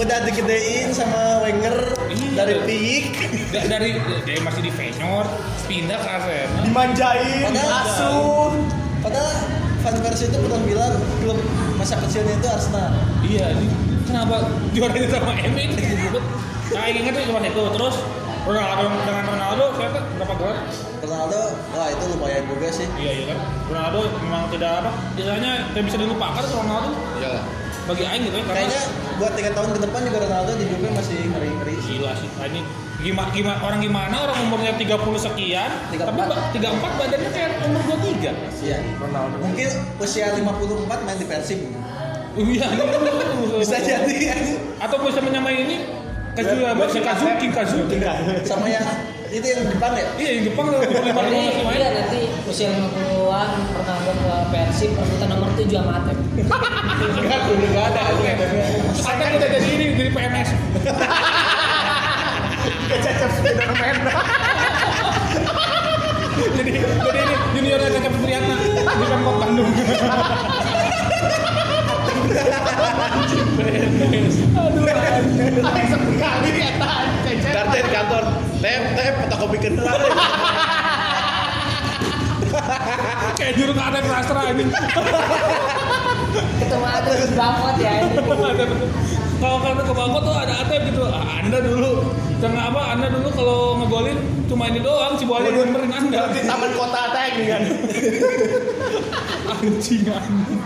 Speaker 6: udah digedein sama Wenger
Speaker 2: Iya.
Speaker 6: dari Piik.
Speaker 2: Da- dari dia masih di Feyenoord pindah ke Arsenal.
Speaker 4: Dimanjain,
Speaker 6: Padahal-
Speaker 4: asuh.
Speaker 6: Padahal fan versi itu pernah bilang klub masa kecilnya itu Arsenal.
Speaker 2: Iya, ini kenapa juaranya sama MU itu ribut? Nah, yang inget tuh cuma itu. Terus Ronaldo dengan Ronaldo saya tuh berapa gelar?
Speaker 6: Ronaldo, wah itu lumayan juga sih.
Speaker 2: Iya iya kan. Ronaldo memang tidak apa, biasanya tidak bisa dilupakan tuh Ronaldo
Speaker 5: Iyalah.
Speaker 2: bagi Aing gitu ya karena
Speaker 6: Iya. Kayaknya buat tiga tahun ke depan juga Ronaldo di Juve masih ngeri-ngeri.
Speaker 2: gila sih Nah, ini gimana, gimana orang gimana orang umurnya 30 sekian
Speaker 6: 34.
Speaker 2: tapi ba- 34 badannya kayak umur 23
Speaker 6: Iya.
Speaker 5: Ronaldo.
Speaker 6: Mungkin usia 54 main di Persib.
Speaker 2: iya
Speaker 6: Bisa jadi
Speaker 2: atau bisa menyamai ini Kazu apa si Kazu King Kazu
Speaker 6: sama yang itu yang Jepang ya.
Speaker 2: iya yang Jepang udah 25 tahun
Speaker 3: Ini
Speaker 2: masih main
Speaker 3: iya nanti usia 50-an pernah gua ke Persib perebutan nomor 7 sama Atep.
Speaker 5: Enggak, udah enggak ada.
Speaker 2: terus ada kita jadi ini jadi PNS
Speaker 4: Kececep Spiderman.
Speaker 2: jadi jadi ini juniornya Cecep Supriyatna di Pemkot Bandung PNS aduh anjing.
Speaker 1: Tapi sekali ya tahan cecep.
Speaker 5: Darten kantor. Tep tep fotokopi kendaraan.
Speaker 2: kayak juru ke Atep Sastra ini
Speaker 3: Ketemu Atep di Bangkot ya ini.
Speaker 2: kalau kalian ke Bangkot tuh ada Atep gitu Ah, anda dulu karena apa anda dulu kalau ngegolin cuma ini doang si Bola benerin anda
Speaker 4: Di taman kota tank kan.
Speaker 2: anjing anjing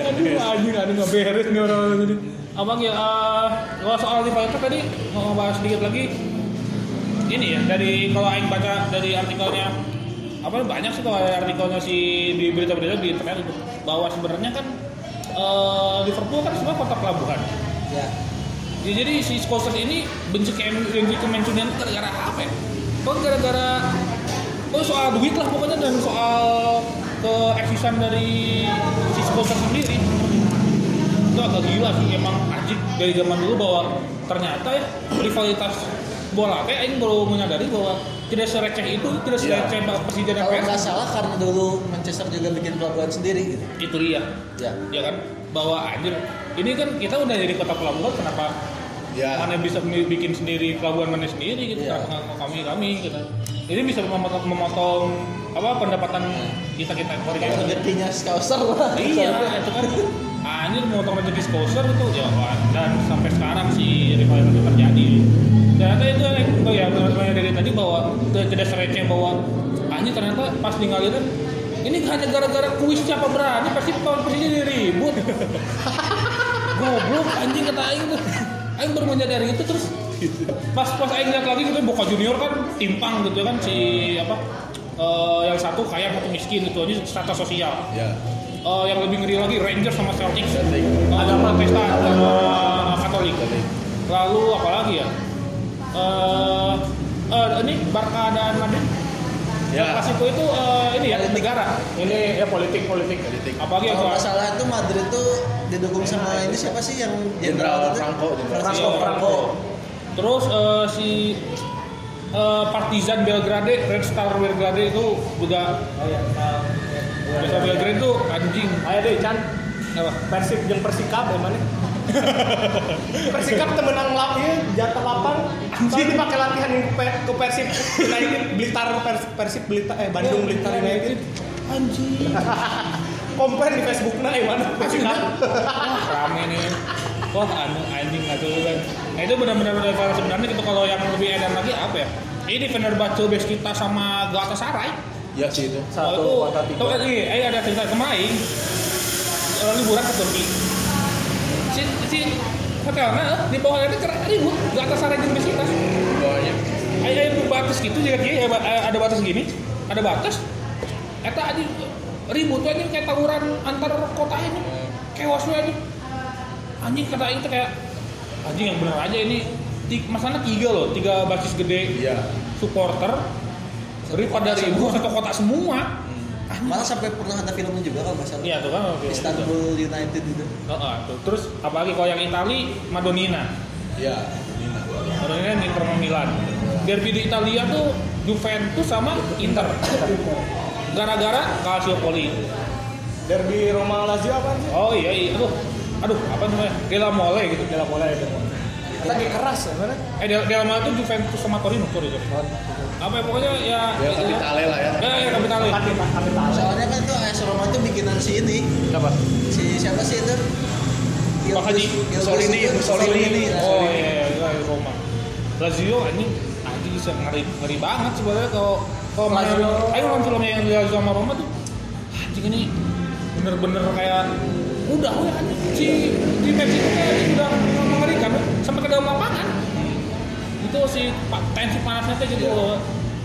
Speaker 2: aduh anjing aduh nggak beres nih orang orang tadi abang ya eh, kalau soal Liverpool tadi mau bahas sedikit lagi ini ya dari kalau Aing baca dari artikelnya apa banyak sih kalau ada artikelnya si di berita-berita di internet itu bahwa sebenarnya kan eh, Liverpool kan sebenarnya kota pelabuhan
Speaker 6: Ya.
Speaker 2: Ya, jadi si Scorsese ini benci ke benci ke Mancunian itu gara-gara apa ya? Oh gara-gara oh soal duit lah pokoknya dan soal ke eksisan dari si Scorsese sendiri itu agak gila sih emang ajib dari zaman dulu bahwa ternyata ya rivalitas bola kayak ini baru menyadari bahwa tidak sereceh itu tidak sereceh Persija dan
Speaker 6: Iya. Kalau
Speaker 2: PS
Speaker 6: nggak salah karena dulu Manchester juga bikin pelabuhan sendiri gitu.
Speaker 2: itu dia
Speaker 6: Ya.
Speaker 2: ya kan bahwa anjir ini kan kita udah jadi kota pelabuhan kenapa
Speaker 5: Ya.
Speaker 2: mana bisa mi- bikin sendiri pelabuhan mana sendiri gitu
Speaker 6: Iya.
Speaker 2: kenapa nggak kami kami gitu ini bisa memotong, memotong apa pendapatan kita kita warga itu.
Speaker 6: Kalau rezekinya skauser lah.
Speaker 2: iya itu kan anjir memotong rezeki skoser itu ya wah, dan sampai sekarang si rival itu terjadi ternyata itu yang oh ya benar-benar dari tadi bahwa ke- tidak seretnya bahwa anjir ternyata pas ninggalin ini hanya gara-gara kuis siapa berani pasti lawan persija jadi ribut goblok anjing kata aing tuh aing baru menyadari itu terus pas pas aing lihat lagi gitu Boca Junior kan timpang gitu kan si apa eh, yang satu kaya satu miskin itu aja strata sosial
Speaker 5: Ya.
Speaker 2: Eh, yang lebih ngeri lagi Rangers sama Celtics
Speaker 5: Celtic.
Speaker 2: ada Protestan sama Katolik lalu apa lagi ya Eh, eh, ini Barca dan Madrid
Speaker 5: Ya.
Speaker 2: pas itu itu eh, ini ya
Speaker 6: Politik.
Speaker 2: negara
Speaker 4: Ini ya politik politik.
Speaker 5: Politik.
Speaker 2: apalagi yang
Speaker 6: Kalau nggak
Speaker 2: soal
Speaker 6: salah itu Madrid tuh didukung sama ini siapa sih yang jenderal
Speaker 5: Jenderal
Speaker 6: itu?
Speaker 5: Franco, Jenderal
Speaker 6: Franco,
Speaker 2: Franco.
Speaker 6: Franco.
Speaker 2: Terus eh, si eh, Partizan Belgrade, Red Star Belgrade itu juga
Speaker 4: Oh iya.
Speaker 2: Red Star Belgrade itu anjing.
Speaker 4: Ayo deh Chan.
Speaker 2: Apa?
Speaker 4: Persib jeung Persikab ya mana? Persikab teu menang lap ieu jatah lapan. Soalnya dipakai latihan yang pe- ke Persib United Blitar Pers- Persib Blitar eh Bandung Blitar United.
Speaker 2: Anjing.
Speaker 4: Komplain di Facebookna eh mana Persikab.
Speaker 2: Rame nih. Wah, anu anjing atau kan. Nah, itu benar-benar level sebenarnya itu kalau yang lebih edan lagi apa ya? Ini Fenerbahce base kita sama Galatasaray.
Speaker 5: Ya sih itu.
Speaker 2: Satu kota tiga. Iya, eh, ada cerita kemarin eh, liburan ke Turki. Si si hotelnya eh, di bawah itu keren ribut Galatasaray jeung base kita.
Speaker 5: Bawahnya.
Speaker 2: Ayo ayo batas gitu jadi dia ada batas gini, ada batas. Eta aja ribut aja kayak tawuran antar kota ini, kewas we aja. Anjing kata itu kayak anjing yang bener aja ini ti- masalah tiga loh, tiga basis gede
Speaker 5: Iya.
Speaker 2: supporter daripada ribut satu kota semua.
Speaker 6: Malah sampai pernah ada filmnya juga kalau nggak salah.
Speaker 2: Iya tuh kan. oke.
Speaker 6: Istanbul United itu.
Speaker 2: Heeh, tuh. Terus apalagi kalau yang Itali Madonnina.
Speaker 5: Ya.
Speaker 2: Madonnina yang Inter sama Milan. Derby di Italia tuh Juventus sama Inter. Gara-gara Calciopoli.
Speaker 4: Derby Roma Lazio apa sih?
Speaker 2: Oh iya, iya. aduh, aduh apa namanya? Della Mole gitu.
Speaker 4: Dela bola ya Dela. Lagi keras ya mana?
Speaker 2: Eh Della, Della Mole itu Juventus sama Torino, sorry, sorry. Apa ya, pokoknya ya
Speaker 5: Ya
Speaker 2: itu
Speaker 5: kita
Speaker 2: ya.
Speaker 5: ale lah ya.
Speaker 2: Ya, ya Capitale.
Speaker 4: Tapi tapi tahu.
Speaker 6: Soalnya kan itu AS Roma tuh bikinan si ini.
Speaker 4: Apa?
Speaker 6: Si siapa sih itu?
Speaker 2: Pak Haji.
Speaker 6: Gilbert-
Speaker 5: Mussolini,
Speaker 6: Gilbert-
Speaker 5: Mussolini.
Speaker 6: nah.
Speaker 2: Oh iya, iya, iya, Roma. Lazio anjing anjing bisa ngeri ngeri banget sebenarnya kalau kalau main
Speaker 6: Lazio.
Speaker 2: ayo nonton filmnya yang Lazio sama Roma tuh anjing ini bener-bener kayak udah ya anjing si di match itu kayak udah mengerikan sampai ke dalam lapangan itu si pa- tensi panasnya tuh gitu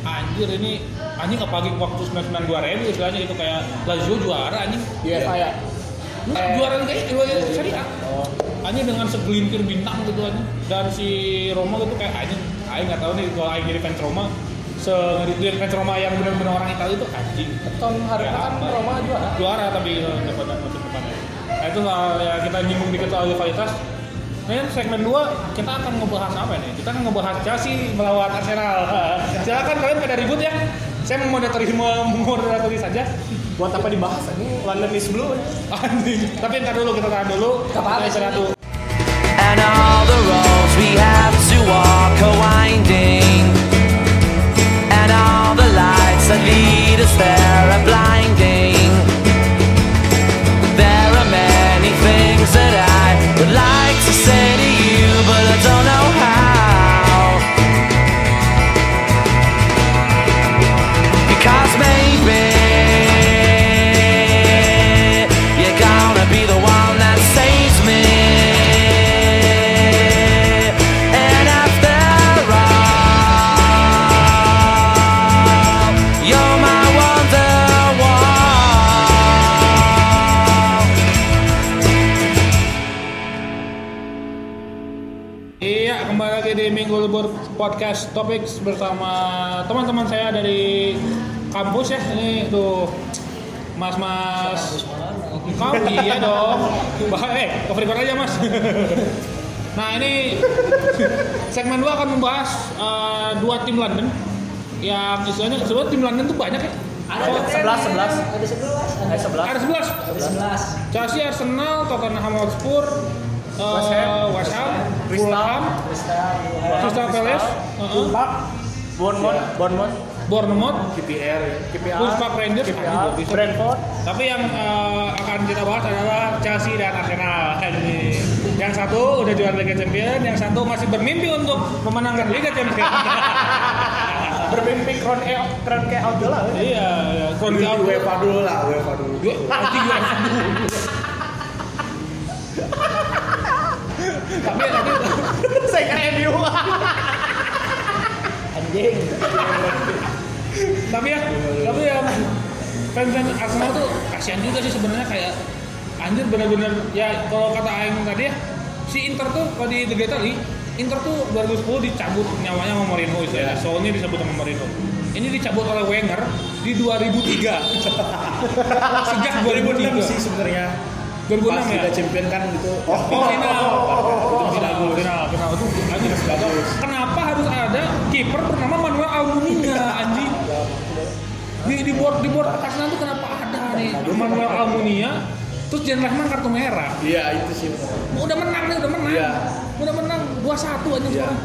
Speaker 2: anjir ini anjing apalagi waktu 99 juara itu istilahnya gitu kayak Lazio juara anjing
Speaker 4: UEFA ya.
Speaker 2: Enggak,
Speaker 4: Eh.
Speaker 2: juara kayak gitu juara syariah. Oh. Hanya dengan segelintir bintang gitu aja. Dan si Roma itu kayak anjing, aing nggak tahu nih kalau aing jadi fans Roma. Se dia fans Roma yang benar-benar orang Italia itu anjing.
Speaker 4: Tahun harga kan
Speaker 2: apa?
Speaker 4: Roma juara.
Speaker 2: Juara tapi eh, dapat musim depannya. Nah, itu soal ya, kita nyinggung dikit soal rivalitas. Nah, yang segmen 2 kita akan ngebahas apa nih? Kita akan ngebahas Chelsea melawan Arsenal. Silakan kalian pada ribut ya. Saya memoderatori memoderatori saja.
Speaker 4: Buat apa dibahas ini? London is blue. Ya.
Speaker 2: Anjing. Tapi ntar dulu kita tahan dulu.
Speaker 3: Gak
Speaker 2: Kita
Speaker 3: apa-apa.
Speaker 2: istirahat dulu.
Speaker 7: And all the roads we have to walk are winding. And all the lights that lead us there are blinding. There are many things that I would like to say to you, but I don't know how. Because maybe you're gonna be the one that saves me. And after all, you're my wonderwall.
Speaker 2: Iya, kembali lagi di Minggu Libur Podcast Topics bersama teman-teman saya dari kampus ya. Ini tuh mas-mas. Kamu iya dong. Bah, eh, cover aja mas. Nah ini segmen 2 akan membahas eh, dua tim London yang istilahnya sebenarnya tim London tuh banyak ya.
Speaker 3: sebelas sebelas ada sebelas ada sebelas
Speaker 2: Ada 11.
Speaker 3: ada sebelas
Speaker 2: Chelsea, Arsenal, Tottenham Hotspur, eh, West Ham, Fulham,
Speaker 3: Crystal
Speaker 2: Crystal Palace, eh, heeh,
Speaker 1: Bournemouth, Bournemouth,
Speaker 2: Bournemouth,
Speaker 1: KPR, ya. KPR,
Speaker 2: Wolves Park Rangers,
Speaker 1: KPR,
Speaker 2: aduh, bisa.
Speaker 1: Brentford,
Speaker 2: Tapi yang eh, akan kita bahas adalah Chelsea dan Arsenal. Ini. Yang satu udah juara Liga Champions, yang satu masih bermimpi untuk memenangkan Liga Champions.
Speaker 1: bermimpi crown E, crown ke out lah.
Speaker 2: iya, iya. Konti out.
Speaker 5: UEFA dulu lah, UEFA dulu.
Speaker 2: Yo, nanti gue dulu. Tapi nanti
Speaker 1: Saya kira MU.
Speaker 3: anjing
Speaker 2: tapi ya tapi ya fans fans Arsenal tuh kasihan juga sih sebenarnya kayak anjir benar-benar ya kalau kata Aing tadi ya si Inter tuh kalau di Liga Itali Inter tuh 2010 dicabut nyawanya sama Mourinho istilahnya soalnya disebut sama Mourinho ini dicabut oleh Wenger di 2003 sejak 2003
Speaker 5: sih sebenarnya.
Speaker 2: 2006
Speaker 5: Pas
Speaker 2: ya
Speaker 5: Liga Champion kan gitu.
Speaker 2: oh, final final
Speaker 5: Itu final
Speaker 2: final
Speaker 5: bagus.
Speaker 2: final itu anjir
Speaker 5: Bagus.
Speaker 2: kenapa harus ada kiper bernama Manuel Almunia anjing di di board di board Arsenal tuh kenapa ada nih Manuel Almunia terus Jan Rahman kartu merah
Speaker 5: Iya, itu sih.
Speaker 4: Eh,
Speaker 2: udah menang nih udah menang
Speaker 5: Iya.
Speaker 2: udah menang 2-1 anjing
Speaker 5: Iya.
Speaker 2: sekarang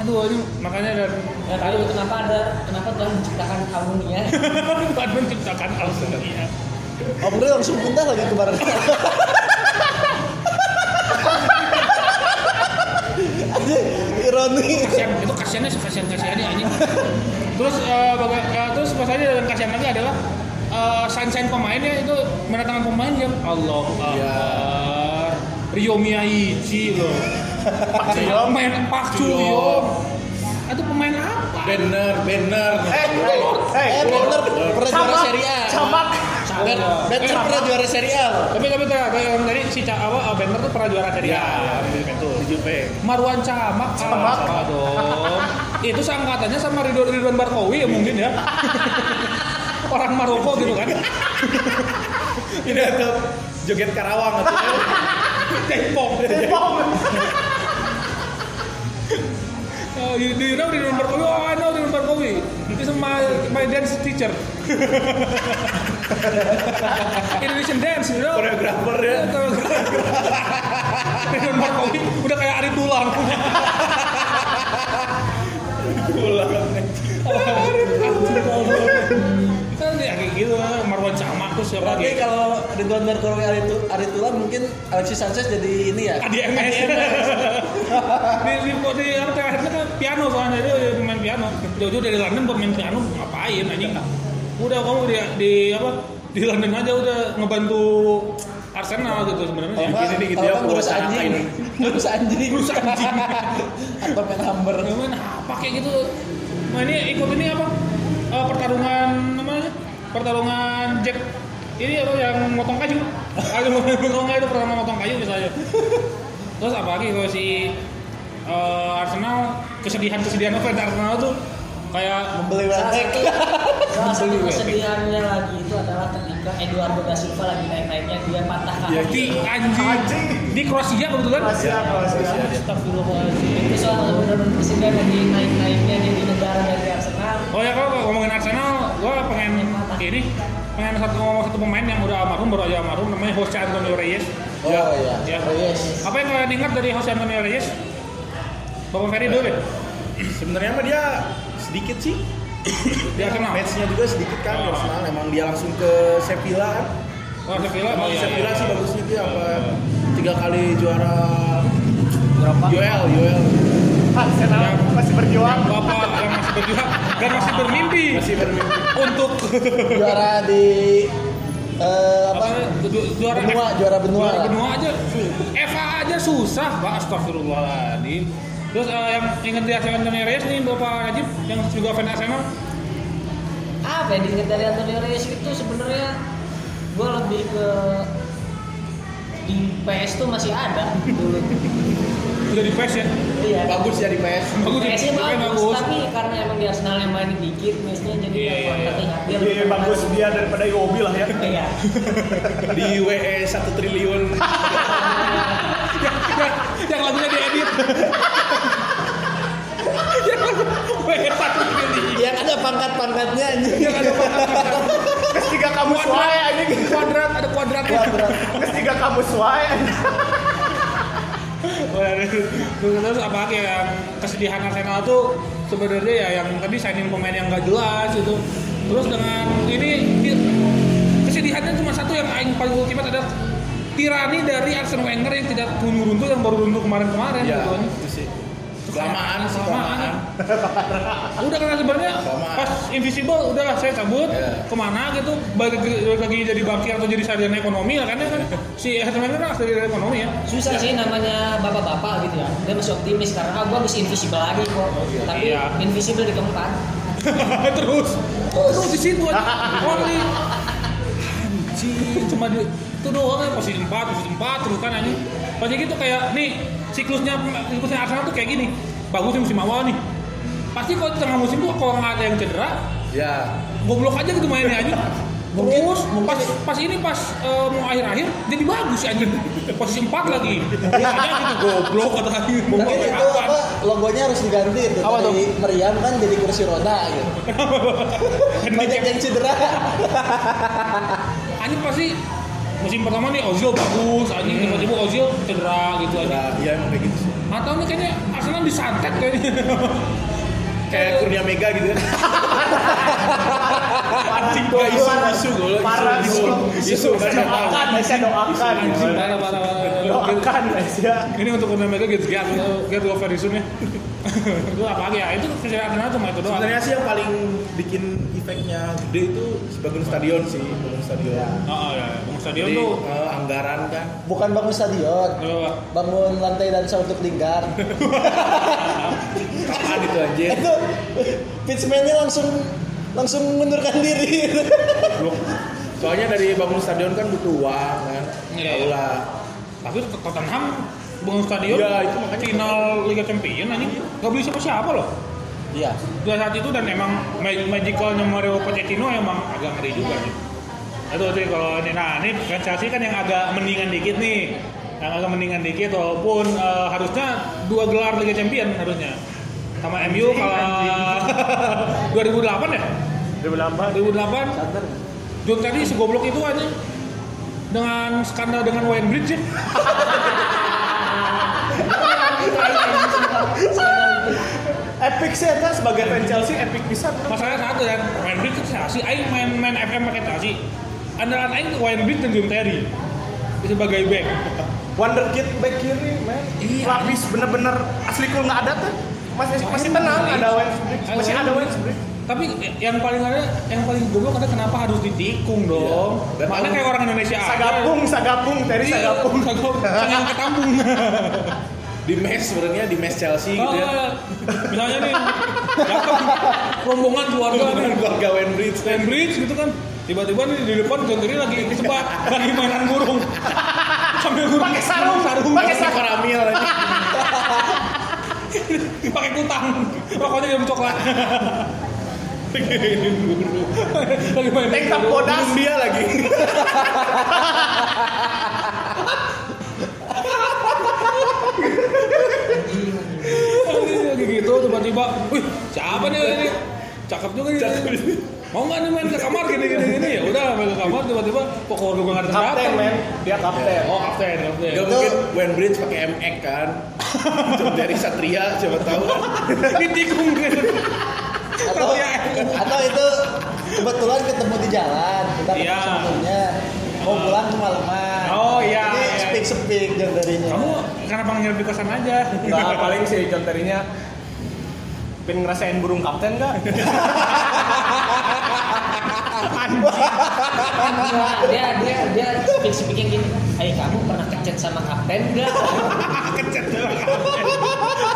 Speaker 2: aduh anjing makanya dan
Speaker 3: nggak tahu Ya, kenapa ada kenapa Tuhan menciptakan ya? harmonia
Speaker 2: Tuhan menciptakan Almunia
Speaker 6: Om Ril langsung pindah lagi ke Barang. Anjing, Ironi.
Speaker 2: kasihan itu kasihannya sekasihan kasihannya anjing terus eh, baga- eh, terus pasalnya dalam kasihan lagi adalah eh, sign sign pemainnya ya, itu mendatangkan pemain yang Allah
Speaker 5: Iya.
Speaker 2: Akbar Rio Miyaichi loh Pak Cuyom main Pak Cuyom itu pemain apa
Speaker 5: Banner, banner.
Speaker 1: Eh, eh, eh,
Speaker 6: Eh, Benner pernah juara
Speaker 1: Camat,
Speaker 6: Serie A.
Speaker 1: camat.
Speaker 6: Ben- Benner pernah juara Serie A. loh.
Speaker 2: Iya. Eh, tapi tapi tadi tadi- tadi si Ca- apa eh, Bender tuh pernah juara
Speaker 5: Iya,
Speaker 2: Serie A
Speaker 5: Di Juve.
Speaker 2: Marwan Camak
Speaker 1: Camak.
Speaker 2: ah, dong itu seangkatannya sama Ridwan Ridwan Barkowi ya mungkin ya orang Maroko gitu kan
Speaker 5: Ini ada joget Karawang atau Depok.
Speaker 2: Oh, you, do you know Ridwan Barkowi? Oh, I know Ridwan Barkowi. He's my my dance teacher. Indonesian dance, you know?
Speaker 5: Koreografer ya.
Speaker 2: Ridwan Barkowi udah kayak Ari Tulang. Kan dia kayak gitu, Marwan Camak tuh siapa
Speaker 6: Berarti
Speaker 2: lagi?
Speaker 6: kalau Ridwan Mercury Aritu, Aritula mungkin Alexis Sanchez jadi ini ya.
Speaker 2: Adi MS. di di di apa terakhirnya kan piano soalnya dia udah main piano. Jauh-jauh dari London buat main piano ngapain anjing? Udah kamu di, di apa di London aja udah ngebantu Arsenal gitu sebenarnya. ya.
Speaker 4: Eh,
Speaker 6: Kalau nggak-
Speaker 5: Gini nih gitu
Speaker 6: kalau
Speaker 5: ya,
Speaker 6: nggak ngurus
Speaker 5: pengusaha
Speaker 6: kan anjing,
Speaker 5: ini.
Speaker 6: ngurus anjing,
Speaker 2: Ngurus anjing.
Speaker 6: atau main hammer.
Speaker 2: Cuman apa kayak gitu? Nah ini ikut ini apa? Eh, pertarungan namanya? Pertarungan Jack ini apa yang motong kayu? Ada motong kayu itu pertarungan motong kayu misalnya. Terus apa lagi kalau si eh, Arsenal kesedihan kesedihan fans Arsenal tuh kayak
Speaker 6: Beli
Speaker 3: salah
Speaker 6: warteg.
Speaker 3: satu salah satu kesedihannya lagi itu adalah ketika Eduardo da Silva lagi naik-naiknya dia patah kaki
Speaker 5: Iya.
Speaker 2: di Iya, anjing di Kroasia kebetulan.
Speaker 1: Kroasia, Kroasia.
Speaker 2: Astagfirullahaladzim.
Speaker 3: itu soal benar-benar kesedihan lagi naik-naiknya dia di negara dari Arsenal
Speaker 2: Oh ya kalau ngomongin Arsenal, gua pengen ini pengen satu ngomong satu pemain yang udah almarhum baru aja almarhum namanya Jose Antonio Reyes.
Speaker 6: Oh iya,
Speaker 2: Ya.
Speaker 6: Oh, yes.
Speaker 2: Apa yang kalian ingat dari Jose Antonio Reyes? Bapak Ferry dulu deh.
Speaker 5: Sebenarnya mah dia sedikit sih.
Speaker 2: Dia kenal.
Speaker 5: Matchnya juga sedikit kan
Speaker 2: Oh.
Speaker 5: Arsenal. Emang dia langsung ke Sevilla kan.
Speaker 2: Wah, Sevilla.
Speaker 5: Emang
Speaker 2: Oh, iya,
Speaker 5: Sevilla
Speaker 2: iya.
Speaker 5: sih bagusnya dia apa tiga kali juara UL UL
Speaker 1: Arsenal masih berjuang.
Speaker 2: Bapak yang masih berjuang dan masih bermimpi
Speaker 5: masih bermimpi.
Speaker 2: untuk
Speaker 6: Juara di eh, apa?
Speaker 2: Ju- ju- juara
Speaker 6: Benua, juara benua.
Speaker 2: Juara benua aja. su- FA aja susah, Pak. Astagfirullahaladzim. Terus eh, yang ingat di Arsenal Antonio Reyes nih Bapak Najib yang juga fan Arsenal.
Speaker 3: apa yang diingat dari Antonio Reyes itu sebenarnya gue lebih ke di PS tuh masih ada dulu
Speaker 2: Udah di PES ya.
Speaker 3: iya
Speaker 5: Bagus ya di PS.
Speaker 2: Bagus di
Speaker 3: PS-nya
Speaker 2: PES
Speaker 3: bagus, Iya, tapi karena emang di Arsenal yang main dikit matchnya jadi
Speaker 2: Iya, iya, iya.
Speaker 3: terlihat dia
Speaker 1: Iya,
Speaker 3: lebih
Speaker 1: bagus dia daripada Iwobi lah ya.
Speaker 3: iya
Speaker 5: Di WE 1 triliun.
Speaker 2: yang, yang lagunya diedit. yang lagu WR satu ini.
Speaker 6: Yang ada pangkat-pangkatnya anjing.
Speaker 2: Yang ada pangkat-pangkat.
Speaker 4: Terus tiga kamu suai anjing.
Speaker 2: kuadrat, ada kuadratnya.
Speaker 4: Terus tiga kamu suai anjing.
Speaker 2: Waduh, Oh, iya, terus apa lagi ya, yang kesedihan Arsenal tuh sebenarnya ya yang tadi signing pemain yang gak jelas itu. Terus dengan ini di- kesedihannya cuma satu yang aing paling ultimate adalah tirani dari Arsene Wenger yang tidak runtuh-runtuh yang baru runtuh kemarin-kemarin
Speaker 5: Iya,
Speaker 2: sebetulnya.
Speaker 5: itu sih. Kelamaan sih,
Speaker 2: Kelamaan.
Speaker 5: kelamaan.
Speaker 2: udah karena sebenarnya
Speaker 5: Kelamaan.
Speaker 2: pas invisible udahlah saya cabut
Speaker 5: Iya.
Speaker 2: kemana gitu balik lagi, balik lagi jadi bakti atau jadi sarjana ekonomi lah karena kan si Arsene Wenger kan sarjana ekonomi ya
Speaker 3: susah sih namanya bapak-bapak gitu ya dia masih optimis karena ah gua bisa invisible lagi kok tapi
Speaker 2: Iya.
Speaker 3: invisible di keempat
Speaker 2: terus terus di situ aja only anjing cuma di itu doang ya posisi empat posisi empat terus kan anjing pas gitu kayak nih siklusnya siklusnya Arsenal tuh kayak gini bagus di musim awal nih pasti kalau di tengah musim tuh kalau nggak ada yang cedera
Speaker 5: Ya,
Speaker 2: goblok aja gitu mainnya anjing
Speaker 6: Mungkin-
Speaker 2: terus
Speaker 6: mungkin-
Speaker 2: pas pas ini pas eh, mau akhir-akhir jadi bagus sih anjing posisi empat lagi ada gitu goblok kata anjing mau
Speaker 6: Mungkin
Speaker 2: sampai
Speaker 6: itu
Speaker 2: kapan?
Speaker 6: apa logonya harus diganti itu
Speaker 2: Apa
Speaker 6: dari meriam kan jadi kursi roda gitu.
Speaker 2: Kan
Speaker 6: Banyak yang cedera.
Speaker 2: anjing pasti musim pertama nih Ozil bagus
Speaker 5: Hmm.
Speaker 2: anjing tiba-tiba Ozil cedera gitu aja
Speaker 5: ya, ya emang kayak gitu sih.
Speaker 2: atau nih kayaknya Arsenal disantet kayaknya
Speaker 5: Kayak Kurnia Mega gitu ya. Anjing gak isu isu gue lo
Speaker 4: Parah
Speaker 5: isu isu isu gak ada apa-apa.
Speaker 4: Doakan, saya doakan.
Speaker 2: anjing parah parah parah
Speaker 5: kan.
Speaker 4: Doakan, ya. Aisyah.
Speaker 2: ini untuk Kurnia Mega gitu get get over it soon ya itu apa lagi ya itu kecelakaan Arsenal cuma itu doang
Speaker 5: Sebenarnya sih yang paling bikin efeknya gede itu sebagian stadion sih, bangun stadion.
Speaker 2: oh ya Bung Stadion
Speaker 5: Jadi
Speaker 2: tuh
Speaker 5: eh, anggaran kan.
Speaker 6: Bukan bangun stadion,
Speaker 2: apa
Speaker 6: bangun lantai dansa untuk lingkar.
Speaker 5: Kapan itu anjir?
Speaker 6: itu pitchman-nya langsung langsung mengundurkan diri.
Speaker 5: Goblok. Soalnya dari bangun stadion kan butuh uang kan.
Speaker 2: Iya,
Speaker 5: Tahu
Speaker 2: iya.
Speaker 5: lah.
Speaker 2: tapi Tottenham Bung Stadion
Speaker 5: Iya, itu makanya.
Speaker 2: final Liga Champion anjing nggak beli siapa-siapa loh
Speaker 6: Iya.
Speaker 2: dua saat itu dan emang ma- magicalnya Mario Pochettino emang agak ngeri juga nih. Itu tuh kalau ini nah ini kan Chelsea kan yang agak mendingan dikit nih. Yang agak mendingan dikit walaupun eh, harusnya dua gelar Liga Champion harusnya. Sama MU kalah 2008 ya?
Speaker 4: 2008.
Speaker 2: 2008 John tadi segoblok itu aja dengan skandal dengan Wayne Bridge ya.
Speaker 4: Epic sih eta sebagai fan Chelsea epic pisan.
Speaker 2: Masalahnya satu kan, Wayne Bridge itu Chelsea. Aing main main FM pakai Chelsea. Andalan Aing Wayne Bridge dan John Terry sebagai back.
Speaker 4: Wonder Kid back kiri, man.
Speaker 2: Iya.
Speaker 4: Lapis bener-bener asli kul nggak ada tuh. Masih masih tenang, ada Wayne Smith. Masih ada Wayne Smith.
Speaker 2: Tapi yang paling ada, yang paling goblok ada kenapa harus ditikung dong?
Speaker 5: Dan
Speaker 2: Mana
Speaker 5: tahu-
Speaker 2: kayak orang Indonesia
Speaker 4: Sagapung, sagapung, Terry
Speaker 2: Iya,
Speaker 4: sagapung.
Speaker 2: sagapung. Sangat ketampung.
Speaker 5: Di mes sebenarnya di mes Chelsea
Speaker 2: Oh,
Speaker 5: gitu ya.
Speaker 2: misalnya nih, datang rombongan keluarga nih,
Speaker 5: Keluarga Wenbridge kan.
Speaker 2: Cambridge gitu kan. Tiba-tiba nih di depan John Terry lagi sebat, lagi mainan burung. Sambil burung
Speaker 4: Pakai sarung,
Speaker 2: sarung,
Speaker 4: pakai
Speaker 2: pakai
Speaker 4: sarung.
Speaker 5: Ramil aja.
Speaker 2: pakai kutang. Rokoknya dalam coklat. lagi main
Speaker 4: Tank top bodas.
Speaker 5: dia lagi.
Speaker 2: Lagi gitu tiba-tiba, wih siapa nih ini? Cakep juga nih. Mau nggak nih main ke kamar gini gini gini ya udah main ke kamar tiba-tiba kok keluarga gue nggak ada yang
Speaker 4: Kapten,
Speaker 2: datang.
Speaker 4: man. Dia kapten.
Speaker 5: Iya.
Speaker 2: Oh kapten kapten.
Speaker 5: Gak mungkin Wenbridge pakai MX kan. Dari Satria siapa tahu.
Speaker 4: kan.
Speaker 2: Ditikung gitu.
Speaker 6: Atau
Speaker 2: Tapi ya,
Speaker 6: atau itu kebetulan ketemu di jalan, kita ketemu
Speaker 2: Iya.
Speaker 6: sebelumnya. Mau pulang kemalaman.
Speaker 2: Oh, iya,
Speaker 6: Jadi
Speaker 2: iya. Oh.
Speaker 6: speak speak jam darinya.
Speaker 2: Kamu kenapa nginep di kosan aja?
Speaker 4: Nah, paling si John Terry-nya pengen ngerasain burung kapten nggak?
Speaker 2: Ah,
Speaker 3: Enggak, dia dia dia speak speaking gini hey kamu pernah kecet sama kapten enggak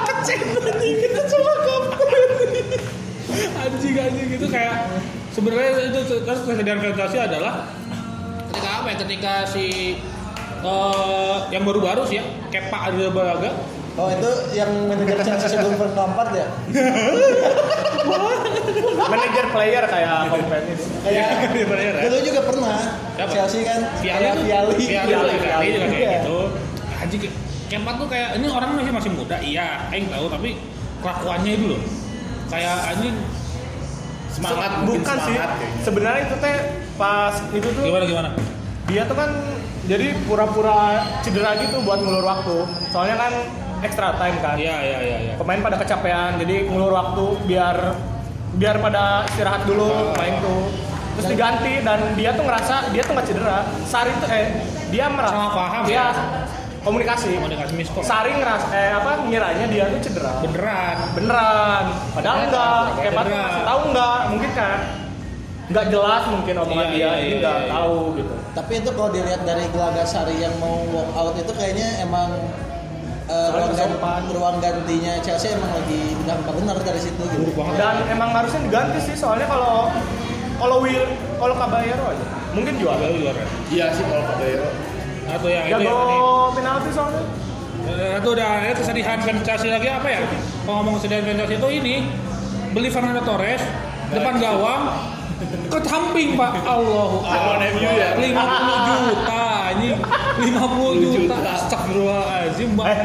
Speaker 2: Kecet
Speaker 6: kita cuma
Speaker 2: anjing anjing gitu kayak sebenarnya itu terus kesedihan fantasi adalah ketika apa ya ketika si eh, yang baru-baru sih ya Kepa Arrizabalaga
Speaker 6: Oh itu yang manajer Chelsea sebelum Frank Lampard ya?
Speaker 4: Manager player kayak kapten itu.
Speaker 2: Iya,
Speaker 5: Iya.
Speaker 6: Kayak dulu juga pernah
Speaker 2: Siapa?
Speaker 6: Chelsea kan
Speaker 2: Viali
Speaker 6: kayak
Speaker 2: tuh-
Speaker 6: Viali.
Speaker 2: Viali juga
Speaker 6: Iya.
Speaker 2: kayak gitu anjing keempat tuh kayak ini orang masih masih muda iya aing tahu tapi kelakuannya itu loh kayak anjing
Speaker 4: semangat bukan sih sebenarnya itu teh pas itu tuh
Speaker 2: gimana gimana
Speaker 4: dia tuh kan jadi pura-pura cedera gitu buat ngulur waktu soalnya kan extra time kan
Speaker 2: iya iya iya iya
Speaker 4: pemain pada kecapean jadi ngulur waktu biar biar pada istirahat dulu main tuh terus diganti dan dia tuh ngerasa dia tuh nggak cedera Sari tuh eh dia merasa
Speaker 2: Salah paham
Speaker 4: dia
Speaker 2: ya?
Speaker 4: komunikasi
Speaker 2: komunikasi miskom
Speaker 4: Sari ngerasa eh apa ngiranya dia tuh cedera
Speaker 2: beneran
Speaker 4: beneran padahal
Speaker 2: Iya,
Speaker 4: enggak kayak Pak
Speaker 2: Beneran.
Speaker 4: kasih tahu enggak mungkin kan nggak jelas mungkin omongan
Speaker 2: Iya,
Speaker 4: dia
Speaker 2: iya,
Speaker 4: jadi
Speaker 2: iya,
Speaker 4: nggak
Speaker 2: iya.
Speaker 4: tahu gitu
Speaker 6: Tapi itu kalau dilihat dari Gelaga Sari yang mau walk out itu kayaknya emang eh, ruang, gan-
Speaker 4: kesopan.
Speaker 6: ruang gantinya Chelsea emang lagi udah nggak benar dari situ gitu.
Speaker 4: dan emang harusnya diganti sih soalnya kalau kalau Will kalau Caballero aja mungkin juara
Speaker 2: Baru juara
Speaker 5: Iya sih kalau Caballero.
Speaker 2: atau yang itu ya,
Speaker 5: ya,
Speaker 4: jago
Speaker 2: yang tadi
Speaker 4: penalti soalnya
Speaker 2: Eh, itu udah ada kesedihan fantasi lagi apa ya kalau ngomong kesedihan fantasi itu ini beli Fernando Torres depan gawang ke samping pak Allahu
Speaker 5: Lawan MU ya?
Speaker 2: 50 juta anjing 50 juta astagfirullahaladzim Mbak.
Speaker 4: Eh.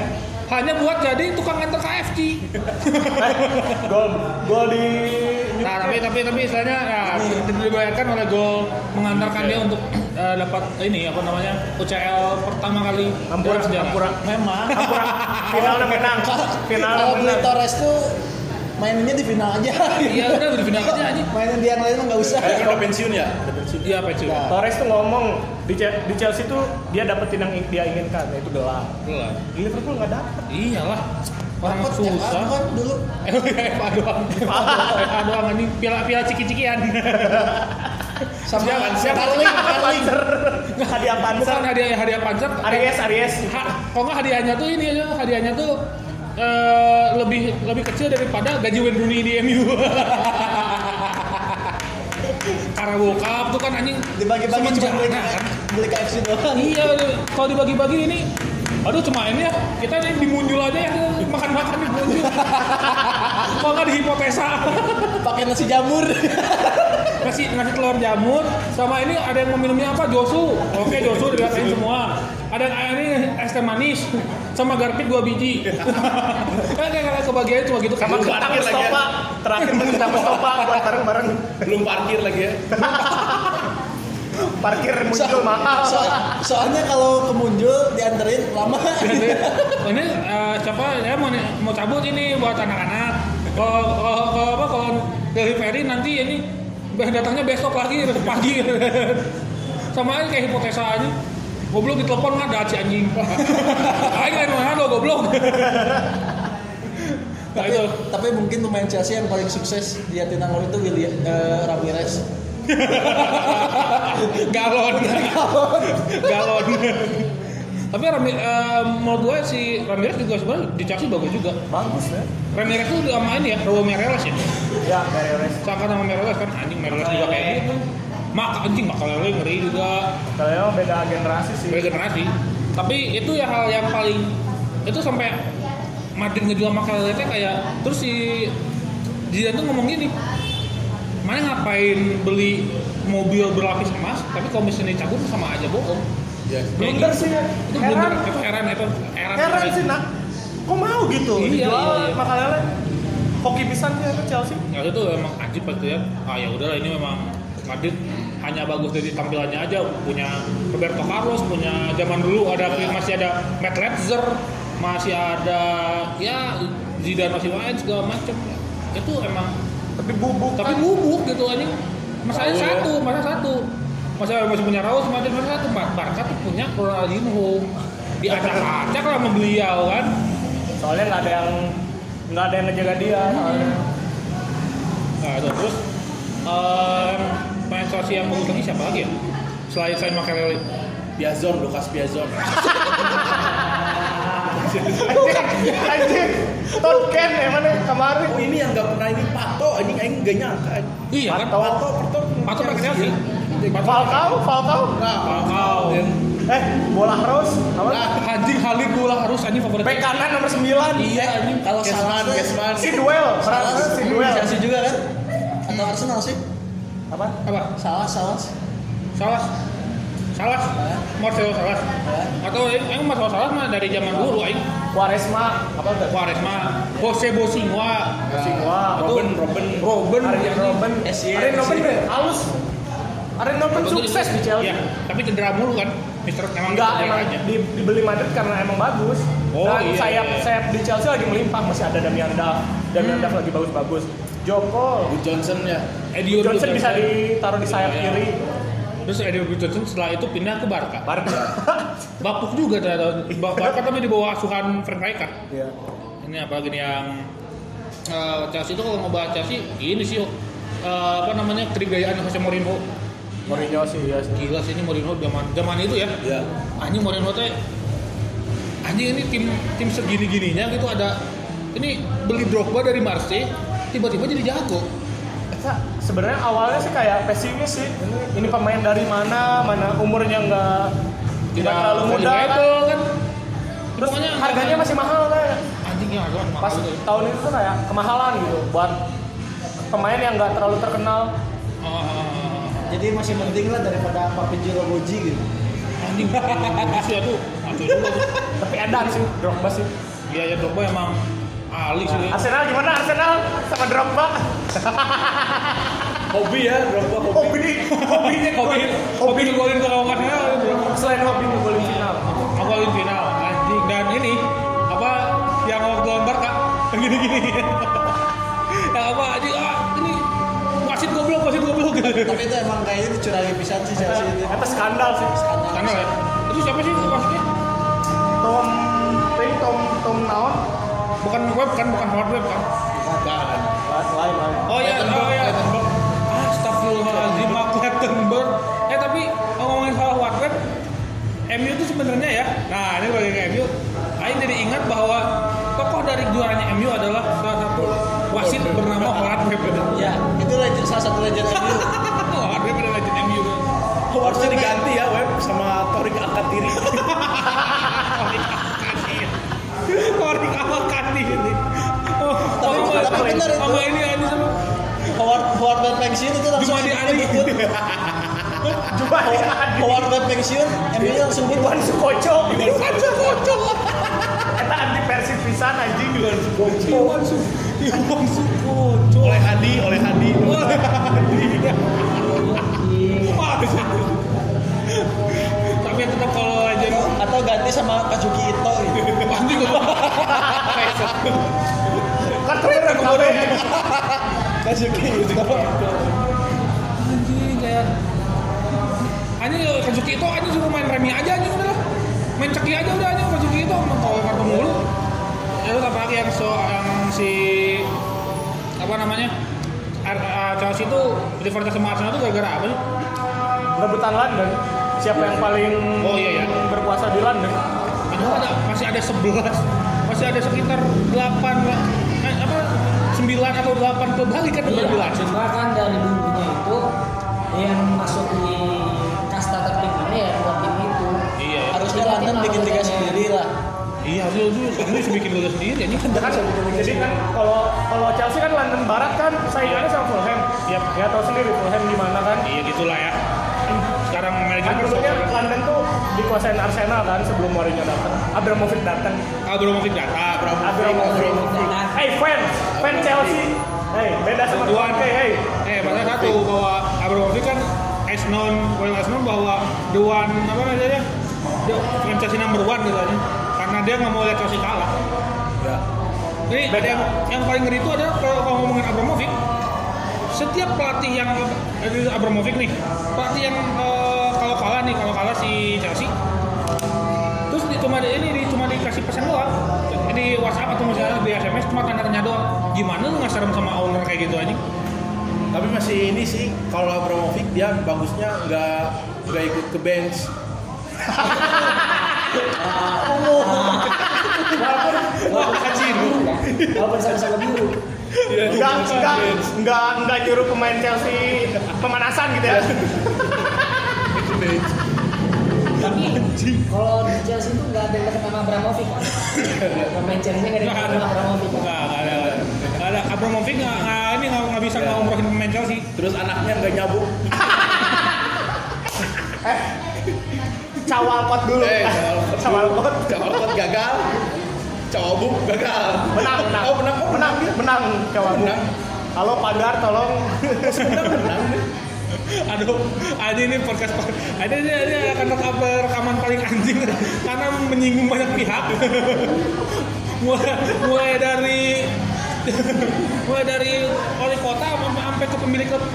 Speaker 2: hanya buat jadi tukang antar KFC
Speaker 4: gol gol di
Speaker 2: nah tapi tapi tapi istilahnya ya, tidak dibayarkan oleh gol mengantarkan dia untuk eh, dapat ini apa namanya UCL pertama kali
Speaker 4: Ampura,
Speaker 2: dalam sejarah.
Speaker 4: ampura.
Speaker 2: memang
Speaker 4: Ampura. finalnya menang
Speaker 5: Oh, iya.
Speaker 4: finalnya
Speaker 6: Kalau beli
Speaker 4: menang
Speaker 6: Torres tuh maininnya di final aja.
Speaker 2: iya udah di final aja anjing
Speaker 6: Mainin di yang lain mah nggak usah.
Speaker 5: Kayaknya kan udah pensiun ya? Udah pensiun.
Speaker 2: Iya apa cuy?
Speaker 6: Nah,
Speaker 4: Torres tuh ngomong di, Ce- di Chelsea tuh dia dapetin yang dia inginkan yaitu gelar
Speaker 2: Lah.
Speaker 4: di Liverpool nggak dapet
Speaker 2: Iyalah. Orang
Speaker 6: Dapat check
Speaker 2: susah.
Speaker 6: up kan dulu.
Speaker 2: Eh, FA doang. FA doang ini piala-piala ciki-cikian.
Speaker 6: Sama
Speaker 2: Jangan, siapa?
Speaker 5: Oh, iya,
Speaker 6: Carling, Carling.
Speaker 4: Panzer hadiah Panzer
Speaker 2: Bukan hadiah hadiah pancer.
Speaker 4: Aries Aries
Speaker 2: Ha, kok nggak hadiahnya tuh ini aja, hadiahnya tuh eh, lebih lebih kecil daripada gaji Wayne Rooney di MU. Karena bokap tuh kan anjing
Speaker 6: Dibagi-bagi cuma beli,
Speaker 2: semenjana, kan?
Speaker 6: beli KFC doang.
Speaker 2: Iya, aduh, kalau dibagi-bagi ini, aduh cuma ini ya, kita ini dimunjul aja ya, makan-makan dimunjul. Kok nggak dihipotesa?
Speaker 6: Pakai nasi jamur.
Speaker 2: nasi, nasi telur jamur, sama ini ada yang mau minumnya apa? Josu. Oke, Josu dilihatin semua. Ada yang ini es teh manis, sama garpit dua biji. Kan kayak kayak kebagian cuma gitu.
Speaker 4: sama
Speaker 2: Sama
Speaker 4: kita
Speaker 5: terakhir lagi ya.
Speaker 4: Mustafa terakhir kita Mustafa buat bareng bareng
Speaker 5: Belum parkir lagi ya?
Speaker 4: parkir muncul mahal
Speaker 6: So- soalnya kalau kemunjul dianterin lama.
Speaker 2: Iya, ini eh, siapa ya mau mau cabut ini buat anak-anak. Kalau kalau- kalau apa kalau delivery nanti ini be- datangnya besok lagi besok pagi. Sama aja kayak hipotesa aja. Goblok ditelepon nggak ada si anjing. Aing lain mana lo goblok. Nah,
Speaker 6: tapi,
Speaker 2: itu.
Speaker 6: tapi mungkin pemain Chelsea yang paling sukses di Atenangor itu William eh, Ramirez.
Speaker 2: Galon. Galon. Tapi Rami, eh, menurut gue si Ramirez juga sebenarnya di Chelsea bagus juga.
Speaker 4: bagus ya
Speaker 2: Ramirez tuh udah main ya, Raul Mereles ya.
Speaker 4: ya dari Aries
Speaker 2: Sangka sama Mereles kan anjing Mereles juga kayak gitu. Mak anjing makalele ngeri juga
Speaker 4: kalau beda generasi sih
Speaker 5: Iya,
Speaker 2: regenerasi. Tapi itu ya hal yang paling itu sampai Madrid ngejual makalele teh kayak terus si Zidane tuh ngomong gini. Mana ngapain beli mobil berlapis emas, tapi kalau misalnya dicabut sama aja bohong.
Speaker 5: Iya.
Speaker 4: blunder
Speaker 2: gitu.
Speaker 4: sih ya.
Speaker 2: Itu blunder,
Speaker 4: heran
Speaker 2: itu heran, itu heran.
Speaker 4: heran sih nak kok mau gitu
Speaker 2: Iya, iya,
Speaker 4: dijual
Speaker 2: iya.
Speaker 4: makalele hoki pisan sih ke Chelsea
Speaker 2: Ya itu emang ajib pasti ya. Ah ya udahlah ini memang Madrid hanya bagus dari tampilannya aja punya Roberto Carlos punya zaman dulu ada masih ada Matt Letzer masih ada ya Zidane masih main segala macem itu emang
Speaker 4: tapi bubuk
Speaker 2: tapi bubuk gitu anjing masalahnya
Speaker 5: Tahu ya.
Speaker 2: satu masa satu masa masih punya Raul Madrid masa satu Bar- Barca tuh punya Ronaldinho diacak-acak lah sama beliau kan
Speaker 4: soalnya nggak ada yang nggak ada yang ngejaga dia soalnya.
Speaker 2: Nah, itu. terus em pemain Chelsea yang bagus lagi siapa lagi ya? Selain selain Makelele.
Speaker 5: Piazon, Lukas Piazon.
Speaker 4: anjing anjing Ton Ken emangnya ya, kemarin
Speaker 5: Oh ini yang nggak pernah ini Pato, anjing aing nggak nyangka.
Speaker 2: Iya kan?
Speaker 4: Atau-
Speaker 5: Pato, Pato.
Speaker 2: Pato pakai Chelsea.
Speaker 4: Falcao Falcao
Speaker 5: Iya kan? Nah,
Speaker 2: Falcao.
Speaker 4: eh bola Rose apa
Speaker 2: Nah, anjing Halik bola harus anjing favorit.
Speaker 4: bek kanan nomor 9
Speaker 2: Iya anjing.
Speaker 6: Kalau
Speaker 5: Kesman,
Speaker 6: salah
Speaker 5: Kesman.
Speaker 4: si duel
Speaker 6: Salah
Speaker 4: si duel
Speaker 6: Chelsea juga kan? Atau Arsenal sih?
Speaker 4: apa
Speaker 2: Apa?
Speaker 6: Salah, salah.
Speaker 2: Salah. Salah. Marcelo Salah. Atau aing aing Marcelo Salah mah dari zaman dulu aing.
Speaker 4: Quaresma apa enggak?
Speaker 2: Suarez mah Jose Bosingwa.
Speaker 4: Wah,
Speaker 5: Robin, Robin.
Speaker 4: Robin, Arjen Robin,
Speaker 5: SY.
Speaker 4: Arjen Robin deh, halus. Arjen Robin
Speaker 2: Itu
Speaker 4: sukses
Speaker 2: juga-
Speaker 4: di Chelsea.
Speaker 2: Iya, tapi cedera mulu kan. Mister emang
Speaker 4: Enggak,
Speaker 2: cedera
Speaker 4: emang
Speaker 2: aja.
Speaker 4: di- dibeli Madrid karena emang bagus.
Speaker 2: Oh,
Speaker 4: Dan
Speaker 2: iya,
Speaker 4: sayap
Speaker 2: iya.
Speaker 4: sayap di Chelsea lagi melimpah, masih ada Damian Duff. Damian Duff lagi bagus-bagus. Joko,
Speaker 5: Wood Johnson ya.
Speaker 2: Eddie
Speaker 4: Johnson bisa ditaruh di sayap
Speaker 2: Iya, iya.
Speaker 4: kiri.
Speaker 2: Terus Eddie Johnson setelah itu pindah ke Barca.
Speaker 4: Barca.
Speaker 2: Bapuk juga ternyata. Ba- Barca tapi di bawah asuhan Frank Rijkaard.
Speaker 4: Iya.
Speaker 2: Ini apalagi nih yang eh, Chelsea itu kalau ngebahas Chelsea ini sih eh, apa namanya kerigayaan Jose Mourinho.
Speaker 4: Mourinho sih ya.
Speaker 2: Gila sih ini Mourinho zaman zaman itu ya.
Speaker 5: Ya.
Speaker 2: Anjing Mourinho teh anjing ini tim tim segini-gininya gitu ada ini beli Drogba dari Marseille tiba-tiba jadi jago.
Speaker 4: Kita sebenarnya awalnya sih kayak pesimis sih. Ini, ini pemain dari mana? Mana umurnya enggak tidak terlalu muda kan.
Speaker 2: valuable kan.
Speaker 4: Terus
Speaker 2: Pokoknya nggak-
Speaker 4: harganya masih mahal kan.
Speaker 2: anjing ya harga mahal
Speaker 4: Pas
Speaker 2: gitu ya.
Speaker 4: tahun itu tuh kayak kemahalan gitu buat pemain yang enggak terlalu terkenal.
Speaker 2: Oh, oh, oh, oh.
Speaker 6: Jadi masih penting lah daripada Papi Jiro Boji gitu.
Speaker 2: ah. anjing Rusia tuh ngaco juga tuh.
Speaker 4: Tapi edan sih Drogba sih.
Speaker 2: Iya ya Drogba emang ahli sih. ya.
Speaker 4: Arsenal gimana Arsenal sama Drogba?
Speaker 5: Hobi ya, Drogba hobi.
Speaker 4: Hobi, hobinya
Speaker 2: Hobi hobi ngegolin ke ya, lawan Arsenal.
Speaker 4: Selain hobi ngegolin final.
Speaker 2: Ngegolin final nah, anjing dan ini apa yang waktu lawan Barca yang gini-gini. yang apa anjing ah ini wasit goblok wasit goblok gitu.
Speaker 6: Tapi itu emang kayaknya dicurangi pisan sih Chelsea itu.
Speaker 4: Itu skandal sih.
Speaker 2: Karena ya. Itu siapa sih wasitnya?
Speaker 4: Tom Ting Tom Tom Naon.
Speaker 2: Bukan web kan, bukan hard web kan?
Speaker 5: Bukan.
Speaker 4: Lain lain.
Speaker 2: Oh iya, oh iya. Astagfirullahaladzim, Mark Lettenberg. Eh tapi ngomongin soal Watford, MU itu sebenarnya ya. Nah ini bagi ke MU, Aing jadi ingat bahwa tokoh dari juaranya MU adalah salah satu wasit bernama Howard Webb.
Speaker 6: Ya, itu legend, salah satu legend MU.
Speaker 2: Howard Webb adalah legend MU.
Speaker 5: Harusnya diganti ya web sama Torik angkat diri.
Speaker 2: Howard apa kan ini? Oh,
Speaker 6: Tapi
Speaker 2: sama-
Speaker 6: tapi benar itu.
Speaker 2: sama ini ini sama
Speaker 6: Howard Howard Van pensiun itu langsung
Speaker 2: Jumadi
Speaker 6: semuanya
Speaker 2: Ali.
Speaker 6: ikut.
Speaker 4: Coba lihat.
Speaker 6: Howard Van pensiun, MU nya langsung ikut.
Speaker 4: Iwan Sukoco.
Speaker 2: Bukan sekocok.
Speaker 4: Eta anti persib pisan anjing. Iwan
Speaker 2: Iwan Su, Iwan Sukoco.
Speaker 5: oleh Hadi, oleh Hadi.
Speaker 2: Wah, bisa. Tapi tetap kalau aja
Speaker 6: atau ganti sama Kazuki Ito gitu.
Speaker 2: pasti gue
Speaker 4: Kan terakhir kemarin.
Speaker 6: Kazuki Ito.
Speaker 2: anjing kayak anjing Kazuki itu anjing suruh main remi aja anjing udah lah main ceki aja udah anjing Kazuki itu emang kalau kartu mulu ya lu apa lagi yang so yang si apa namanya Ar- ah, Chelsea itu rivalitas sama Arsenal itu gara-gara apa sih?
Speaker 4: Rebutan London. Siapa yang paling
Speaker 2: Oh, iya, iya.
Speaker 4: berkuasa di London?
Speaker 2: Padahal ada, masih ada 11 masih ada sekitar 8 eh, apa 9 atau 8 klub lagi kan
Speaker 3: Iya,
Speaker 2: udah bilang
Speaker 3: cuma kan dari dulunya itu yang masuk di kasta tertingginya ya buat tim itu.
Speaker 2: iya ya.
Speaker 6: Harusnya London bikin liga sendiri lah.
Speaker 2: iya lu lu lu bisa bikin liga sendiri anjing
Speaker 4: Kan jadi kan kalau kalau Chelsea kan London Barat kan saingannya sama Fulham.
Speaker 2: Yap.
Speaker 4: Ya tahu sendiri Fulham di mana kan.
Speaker 2: Iya gitulah ya. Sekarang manajer
Speaker 4: Kan dulunya London tuh dikuasain Arsenal kan sebelum Mourinho datang. Abramovich datang.
Speaker 2: Abramovich data.
Speaker 3: Iya,
Speaker 4: Abramovich.
Speaker 2: Iya,
Speaker 4: Hey fans, fans Chelsea. Hey, beda sama
Speaker 2: Tuan.
Speaker 4: Conte, hey.
Speaker 2: Eh, pada satu bahwa Abramovich kan as known, well as known bahwa the one apa namanya? The franchise number one gitu aja. Karena dia nggak mau lihat Chelsea kalah. Jadi
Speaker 4: Beda.
Speaker 2: yang, yang paling ngeri itu adalah kalau, kalau ngomongin Abramovich, setiap pelatih yang dari Abramovich nih, pelatih yang eh, kalau kalah nih, kalau kalah si Chelsea, terus di, cuma di- ini di- cuma dikasih pesan doang di WhatsApp atau misalnya di SMS cuma tanda tanya doang. Gimana lu nggak serem sama owner kayak gitu anjing?
Speaker 5: Tapi masih ini sih kalau Abramovich dia bagusnya nggak nggak ikut ke bench.
Speaker 2: Wah, kacir.
Speaker 6: Walaupun sama-sama biru.
Speaker 4: Enggak, enggak, enggak, enggak nyuruh pemain Chelsea pemanasan gitu ya.
Speaker 3: Tapi kalau di Chelsea itu nggak ada yang deket sama Abramovich kan. Pemain Chelsea nggak ada yang deket sama Abramovich kan.
Speaker 2: Nggak, nggak ada. Nggak ada. Abramovich nggak nggak ini nggak nggak bisa ngomongin pemain Chelsea.
Speaker 5: Terus anaknya nggak nyabuk.
Speaker 4: Cawalkot dulu.
Speaker 5: Eh,
Speaker 4: Cawalkot.
Speaker 5: Cawalkot gagal. Cawabuk gagal.
Speaker 4: Menang, menang.
Speaker 5: Oh, menang. Oh,
Speaker 4: menang, menang Cawalkot.
Speaker 5: Menang.
Speaker 4: Halo Pagar, tolong.
Speaker 2: Aduh, aja ini podcast ada ini ini akan rekam rekaman paling anjing karena menyinggung banyak pihak. mulai, mulai dari mulai dari wali kota sampai sampai ke pemilik ke-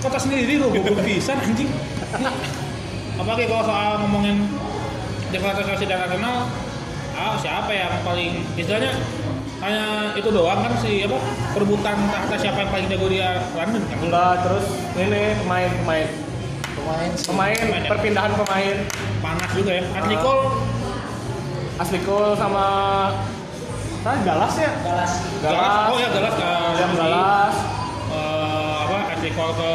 Speaker 2: kota sendiri loh goblok pisan anjing. Apalagi kalau soal ngomongin deklarasi dan nasional, ah, siapa yang paling istilahnya hanya itu doang kan si apa perebutan tahta siapa yang paling jago dia London kan
Speaker 4: Enggak, terus ini pemain pemain
Speaker 6: pemain sih.
Speaker 4: pemain perpindahan pemain
Speaker 2: panas juga ya.
Speaker 4: Ah,
Speaker 2: Atlikol
Speaker 4: Aslikul sama ah, Galas ya
Speaker 3: Galas.
Speaker 2: Galas. Oh
Speaker 4: Galas
Speaker 2: ya Galas ke
Speaker 4: William
Speaker 2: Chelsea.
Speaker 4: Galas
Speaker 2: Eh, apa Atlikol ke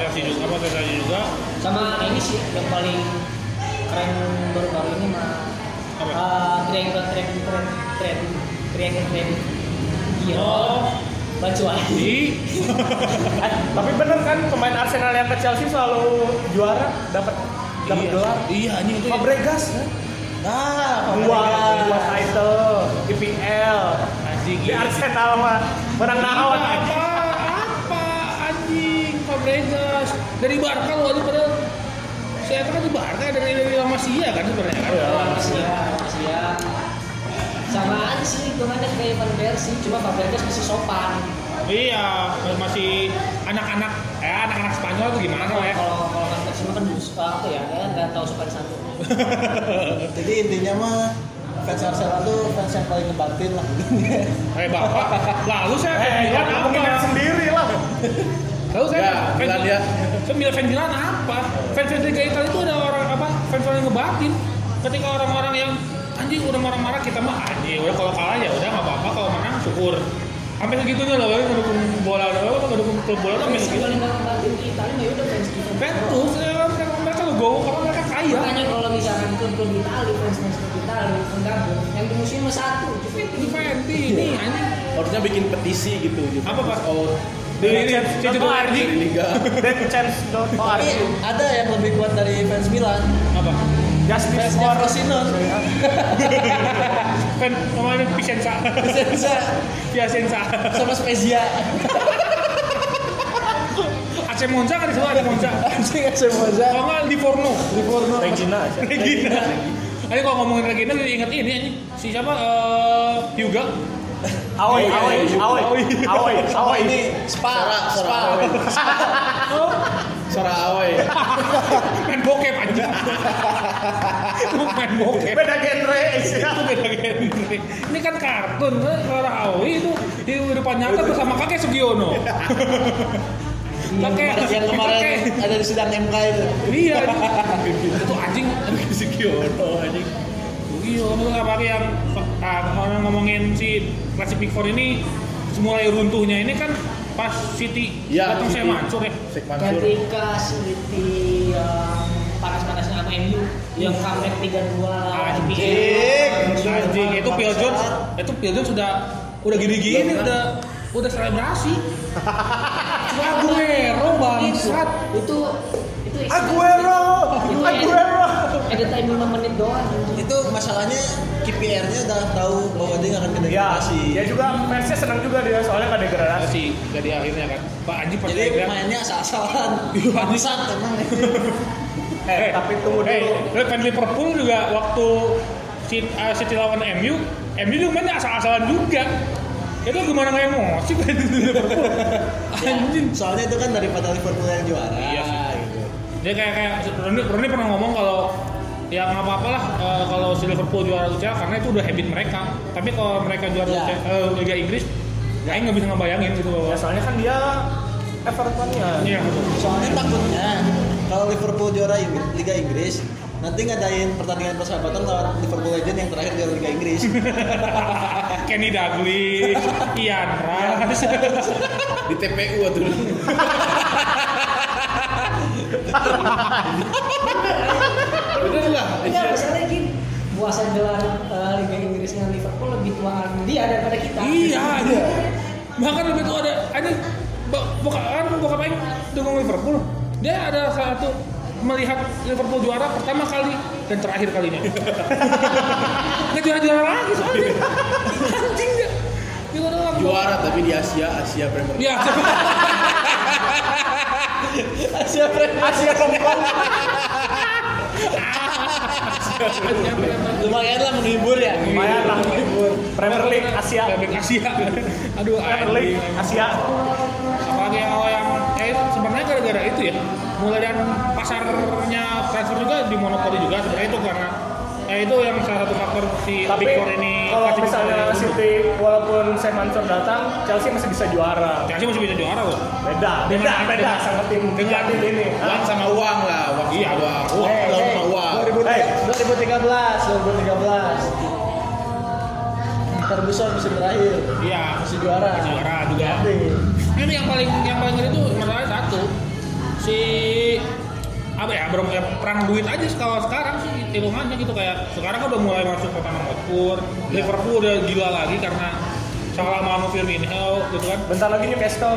Speaker 2: Chelsea juga apa ke Chelsea juga.
Speaker 3: Sama ini sih yang paling keren baru-baru ini mah
Speaker 2: Apa?
Speaker 3: ah, triangle triangle triangle triangle triangle triangle. Iya.
Speaker 2: Oh.
Speaker 3: Bacuai.
Speaker 2: Di
Speaker 4: Eh, tapi bener kan pemain Arsenal yang ke Chelsea selalu juara dapat dapat
Speaker 2: Iya.
Speaker 4: gelar
Speaker 2: Iya anjing itu. ya.
Speaker 4: Fabregas
Speaker 6: Nah,
Speaker 4: dua dua title IPL
Speaker 2: Anjing.
Speaker 4: di
Speaker 2: iya.
Speaker 4: Arsenal mah menang
Speaker 2: Apa
Speaker 4: naon
Speaker 2: apa apa anjing Fabregas dari Barca loh anjing padahal saya kan di Barca dari dari La Masia kan sebenarnya kan.
Speaker 3: Malaysia, Malaysia. Iya, Sama aja sih hitungannya kayak Van Der sih, cuma Fabregas masih sopan.
Speaker 2: Iya, masih anak-anak eh anak-anak Spanyol tuh gimana lah ya.
Speaker 3: Kalau kalau nggak semua kan bus apa ya, ya nggak tahu sopan santun.
Speaker 6: jadi intinya mah fans Arsenal tuh fans yang paling ngebatin lah.
Speaker 2: Eh bapak, lalu saya
Speaker 4: eh
Speaker 2: eh,
Speaker 4: ya mungkin
Speaker 2: apa?
Speaker 4: sendiri lah
Speaker 2: Lalu saya
Speaker 5: Ya,
Speaker 2: fans-
Speaker 5: Milan ya.
Speaker 2: Saya bilang fans Milan apa? Fans fans Liga Italia itu ada orang apa? Fans fans yang ngebatin. Ketika orang-orang yang anjing udah marah-marah kita mah anjing udah kalau kalah ya udah nggak apa-apa kalau menang syukur. Sampai segitunya loh, kalau ngedukung bola doang, kalau ngedukung klub bola sampai
Speaker 3: Kalau
Speaker 2: segitu.
Speaker 3: nggak ngebantuin kita, ini ya udah fans
Speaker 5: Iya.
Speaker 3: kita.
Speaker 2: Betul, saya mereka mereka legowo karena mereka kaya.
Speaker 3: Makanya kalau misalkan klub-klub Itali, fans-fans klub Itali, penggabung, yang di musim mah satu, Juventus.
Speaker 2: Juventus ini anjing
Speaker 5: Iya. Harusnya bikin petisi gitu. Juventus
Speaker 2: Apa, Pak?
Speaker 5: out
Speaker 2: di ini itu Ardi
Speaker 5: dari liga.
Speaker 4: backchance.org
Speaker 6: Tapi ada yang lebih kuat dari fans Milan,
Speaker 2: apa?
Speaker 4: justice
Speaker 6: fansnya
Speaker 4: for
Speaker 6: Frosinone.
Speaker 2: Fan namanya Pisensa,
Speaker 6: Bisa
Speaker 2: Piasensa.
Speaker 6: sama Spezia.
Speaker 2: AC Monza kan di sana ada Monza.
Speaker 6: Anjing AC Monza,
Speaker 2: Kalau nggak di Forno.
Speaker 6: Livorno.
Speaker 4: Regina aja
Speaker 2: Regina. Ayo kalau ngomongin Regina jadi inget ini anjing. Si siapa? Eh Hyuga.
Speaker 4: Aoi, Aoi, Aoi, Aoi,
Speaker 6: Oh
Speaker 4: Aoi
Speaker 6: ini Spa,
Speaker 5: Sora
Speaker 6: Spa.
Speaker 5: Awe. Sora Awe.
Speaker 2: Main bokep anjing. Lu main bokep.
Speaker 4: beda genre Asia.
Speaker 2: Itu beda genre. Ini kan kartun, kan? Suara Aoi itu di depan nyata bersama kakek Sugiono. kakek
Speaker 6: Yang kemarin
Speaker 2: kakek.
Speaker 6: ada di sidang MK itu.
Speaker 2: Iya. anjing. Itu anjing
Speaker 5: Sikiono anjing.
Speaker 2: Sugiono tuh apa yang ah, orang ngomongin si Classic Big Four ini mulai runtuhnya ini kan pas City
Speaker 5: Ya,
Speaker 2: datang saya
Speaker 5: City.
Speaker 2: mancur ya.
Speaker 5: Sek Mansur.
Speaker 3: Ketika City yang panas-panasnya sama MU, yang comeback 3-2 lawan
Speaker 2: Anjing.
Speaker 3: IPL.
Speaker 2: Anjing Ah, itu Phil Jones, itu Phil Jones sudah udah gini-gini udah udah selebrasi. Aguero bangsat.
Speaker 3: Itu itu
Speaker 4: Aguero,
Speaker 3: Itu
Speaker 4: Aguero.
Speaker 3: ada time 5 menit doang.
Speaker 6: Itu masalahnya KPR-nya udah tahu bahwa dia nggak akan ke
Speaker 4: Ya,
Speaker 6: degradasi.
Speaker 4: dia juga fansnya senang juga dia soalnya pada degradasi.
Speaker 2: Masih jadi akhirnya kan. Pak Anjing pas
Speaker 6: Jadi
Speaker 2: saya bilang,
Speaker 6: mainnya asal-asalan.
Speaker 2: Iya, anjing.
Speaker 6: Bangsat emang. ya.
Speaker 4: Eh,
Speaker 2: eh,
Speaker 4: tapi tunggu
Speaker 2: eh,
Speaker 4: dulu.
Speaker 2: eh, fan Liverpool juga waktu City, eh, City lawan MU, MU juga mainnya asal-asalan juga. Itu gimana nggak emosi fan Liverpool? Anjing.
Speaker 6: Soalnya itu kan daripada Liverpool yang juara.
Speaker 2: Iya sih.
Speaker 6: gitu.
Speaker 2: Dia kayak kayak Rooney, Rooney pernah ngomong kalau ya nggak apa-apa lah eh, kalau si Liverpool juara UCL karena itu udah habit mereka. Tapi kalau mereka juara
Speaker 6: Ya.
Speaker 2: UCL, eh, Liga Inggris, ya nggak bisa ngebayangin gitu bahwa.
Speaker 4: Ya, soalnya kan dia Everton ya.
Speaker 2: Iya.
Speaker 6: Soalnya takutnya kalau Liverpool juara Ing- Liga Inggris nanti ngadain pertandingan persahabatan lawan Liverpool Legend yang terakhir juara Liga Inggris.
Speaker 2: Ah, Kenny Dalglish,
Speaker 4: Ya,
Speaker 2: Ian Rush,
Speaker 5: Di TPU tuh. Bener lah.
Speaker 3: Enggak, Iya, misalnya gini, puasa gelar eh, Liga Inggrisnya Liverpool lebih tuaan dia daripada kita.
Speaker 2: iya. anjing. Bahkan lebih itu ada ada bo- bokap kan bokap Aing dukung Liverpool. Dia ada satu melihat Liverpool juara pertama kali dan terakhir kalinya. Nggak juara-juara lagi soalnya. Anjing dia. Juara lagi.
Speaker 5: Juara tapi di Asia, Asia Premier League.
Speaker 4: Iya,
Speaker 2: Ya,
Speaker 6: Asia Premier Asia keempat lumayan lah menghibur ya
Speaker 4: Lumayan lah libur. Premier League Asia.
Speaker 2: Bebek Asia. Aduh,
Speaker 4: Premier League
Speaker 2: anjing.
Speaker 4: Asia.
Speaker 2: apalagi yang awal yang eh sebenarnya gara-gara itu ya mulai dan pasarnya transfer juga dimonopoli juga sebenarnya itu karena eh itu yang salah satu faktor si
Speaker 4: Tapi
Speaker 2: Big Four ini
Speaker 4: kalau
Speaker 2: kasih
Speaker 4: misalnya
Speaker 2: kesempatan untuk-
Speaker 4: City walaupun Sam Mansur datang, Chelsea masih bisa juara.
Speaker 2: Chelsea masih bisa juara loh
Speaker 4: Beda, beda,
Speaker 2: Dengan-
Speaker 4: beda
Speaker 2: dengan-
Speaker 4: sama tim
Speaker 2: dengan-
Speaker 4: tim ini.
Speaker 5: Uang sama uang lah, uang
Speaker 2: Iya. Eh,
Speaker 5: sama uang. Uang
Speaker 6: Hey,
Speaker 5: sama
Speaker 6: hey,
Speaker 5: uang.
Speaker 6: 2013 2013 Ferguson musim terakhir
Speaker 2: iya
Speaker 6: masih juara
Speaker 2: masih juara juga ini yang paling yang paling ngeri itu masalahnya satu si apa ya bro, ya, perang duit aja kalau sekarang sih hitungannya gitu kayak sekarang udah mulai masuk ke tanah Hotspur Liverpool udah gila lagi karena salah sama Firmino gitu kan
Speaker 4: Bentar lagi Newcastle.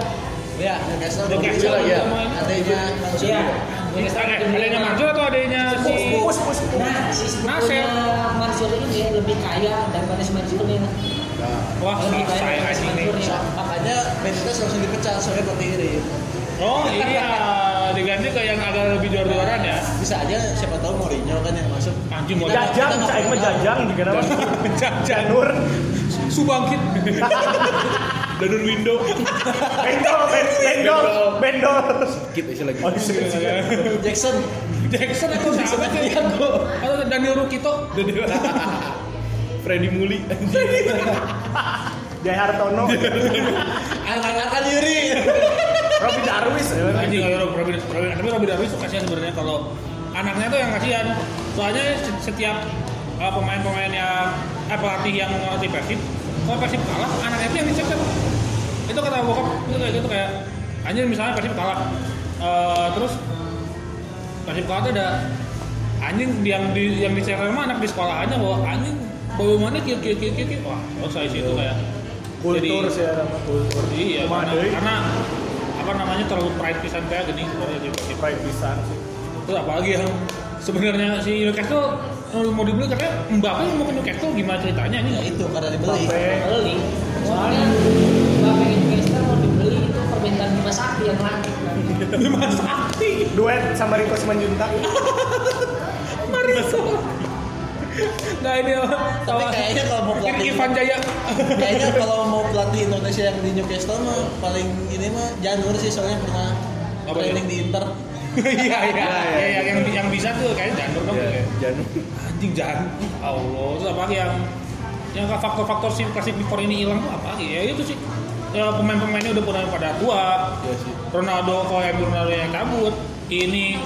Speaker 6: ya Newcastle
Speaker 2: Udah
Speaker 6: bagus
Speaker 2: kayak
Speaker 6: lagi ya
Speaker 2: sama ini.
Speaker 6: adanya Mansur
Speaker 3: Iya.
Speaker 2: Eh, adanya Mansur atau adanya si
Speaker 4: Pus, pus, pus.
Speaker 3: Nah, si
Speaker 2: Nasir.
Speaker 3: sebetulnya Mansur ini lebih kaya daripada si Mansur ini.
Speaker 2: Wah,
Speaker 3: Lebih kaya
Speaker 2: iya, saya
Speaker 3: daripada si
Speaker 2: anjing nih.
Speaker 3: Mansur ini.
Speaker 6: Iya. makanya Benitez langsung dipecat soalnya petir
Speaker 2: Oh iya, diganti ke yang agak lebih jor-joran ya.
Speaker 6: bisa aja siapa tahu Mourinho kan yang masuk
Speaker 2: Anjing mau
Speaker 6: Kita-
Speaker 4: Jajang,
Speaker 6: kita
Speaker 4: saya mah
Speaker 6: nggak
Speaker 4: jajang juga nama.
Speaker 2: jajan
Speaker 4: Janur.
Speaker 2: subangkit. Danur window.
Speaker 4: Bendol, ben- bendol, bendol.
Speaker 5: Skip aja lagi.
Speaker 4: Oh, iya, iya.
Speaker 6: Jackson
Speaker 2: Jackson atau siapa sih? Atau Daniel Rukito.
Speaker 5: Freddy Muli.
Speaker 4: Jai Hartono,
Speaker 6: angkat-angkat diri
Speaker 4: Robby Darwis.
Speaker 2: Anjing kalau Robin Robin tapi Robin Darwis tuh kasihan sebenarnya kalau anaknya tuh yang kasihan. Soalnya se- setiap uh, pemain-pemain yang eh, pelatih yang ngelatih Persib, kalau Persib kalah, anaknya itu yang dicecer. Itu kata bokap itu kayak gitu kayak anjir misalnya Persib kalah. Eh, terus Persib kalah tuh ada anjing yang di yang dicecer mah anak di sekolahannya bahwa anjing bawa mana kieu kieu kieu kieu. kieu. Wah, selesai sih itu kayak
Speaker 4: Kultur
Speaker 2: Jadi-
Speaker 4: sih ada mah, kultur.
Speaker 2: Iya,
Speaker 4: Cuma
Speaker 2: karena,
Speaker 4: deui.
Speaker 2: karena apa namanya terlalu pride pisan kayak gini sebenarnya di Persib.
Speaker 4: Pride pisan sih.
Speaker 2: Terus apalagi yang sebenarnya si Newcastle eh, mau dibeli katanya Mbappe mau ke Newcastle gimana ceritanya ini?
Speaker 6: ya itu karena dibeli
Speaker 4: Sampai
Speaker 3: Beli. Soalnya Mbappe Manchester mau dibeli itu permintaan Bima Sakti yang langit.
Speaker 2: Bima Sakti,
Speaker 4: duet sama Rico Simanjuntak.
Speaker 2: Mariso. Nah ini
Speaker 6: Iya. tapi kayaknya kalau mau
Speaker 2: mungkin
Speaker 6: pelatih
Speaker 2: Irfan Jaya.
Speaker 6: kayaknya kalau mau pelatih Indonesia yang di Newcastle mah paling ini mah Janur sih soalnya pernah
Speaker 2: Apa
Speaker 6: training
Speaker 2: ya?
Speaker 6: di Inter
Speaker 2: Iya iya iya iya, yang yang bisa tuh kayaknya ya. janur
Speaker 4: Iya.
Speaker 2: dong. kayak.
Speaker 5: Janur.
Speaker 2: Anjing janur. Allah, terus apalagi yang yang faktor-faktor si klasik before ini hilang tuh apa? Ya itu sih. Ya pemain-pemainnya udah pernah pada tua,
Speaker 5: Iya sih.
Speaker 2: Ronaldo kalau yang Ronaldo yang cabut ini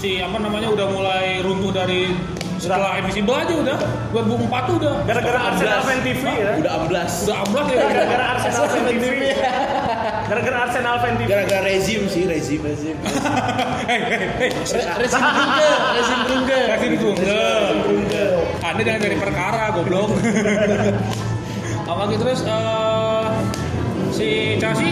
Speaker 2: si apa namanya udah mulai runtuh dari setelah Invisible aja udah 2004 tuh udah
Speaker 4: Gara-gara Arsenal
Speaker 5: Amblas.
Speaker 4: fan TV ya.
Speaker 5: Udah amblas.
Speaker 2: udah ablas ya
Speaker 4: Gara-gara Arsenal fan TV. Gara-gara Arsenal fan TV.
Speaker 5: Gara-gara rezim sih, rezim rezim.
Speaker 2: Hei, hei, hei.
Speaker 6: Re- Resim Brugge Resim Brugge
Speaker 2: Kasih ditunggu. Anda jangan dari perkara, goblok. Apalagi terus gitu, eh, si Chelsea,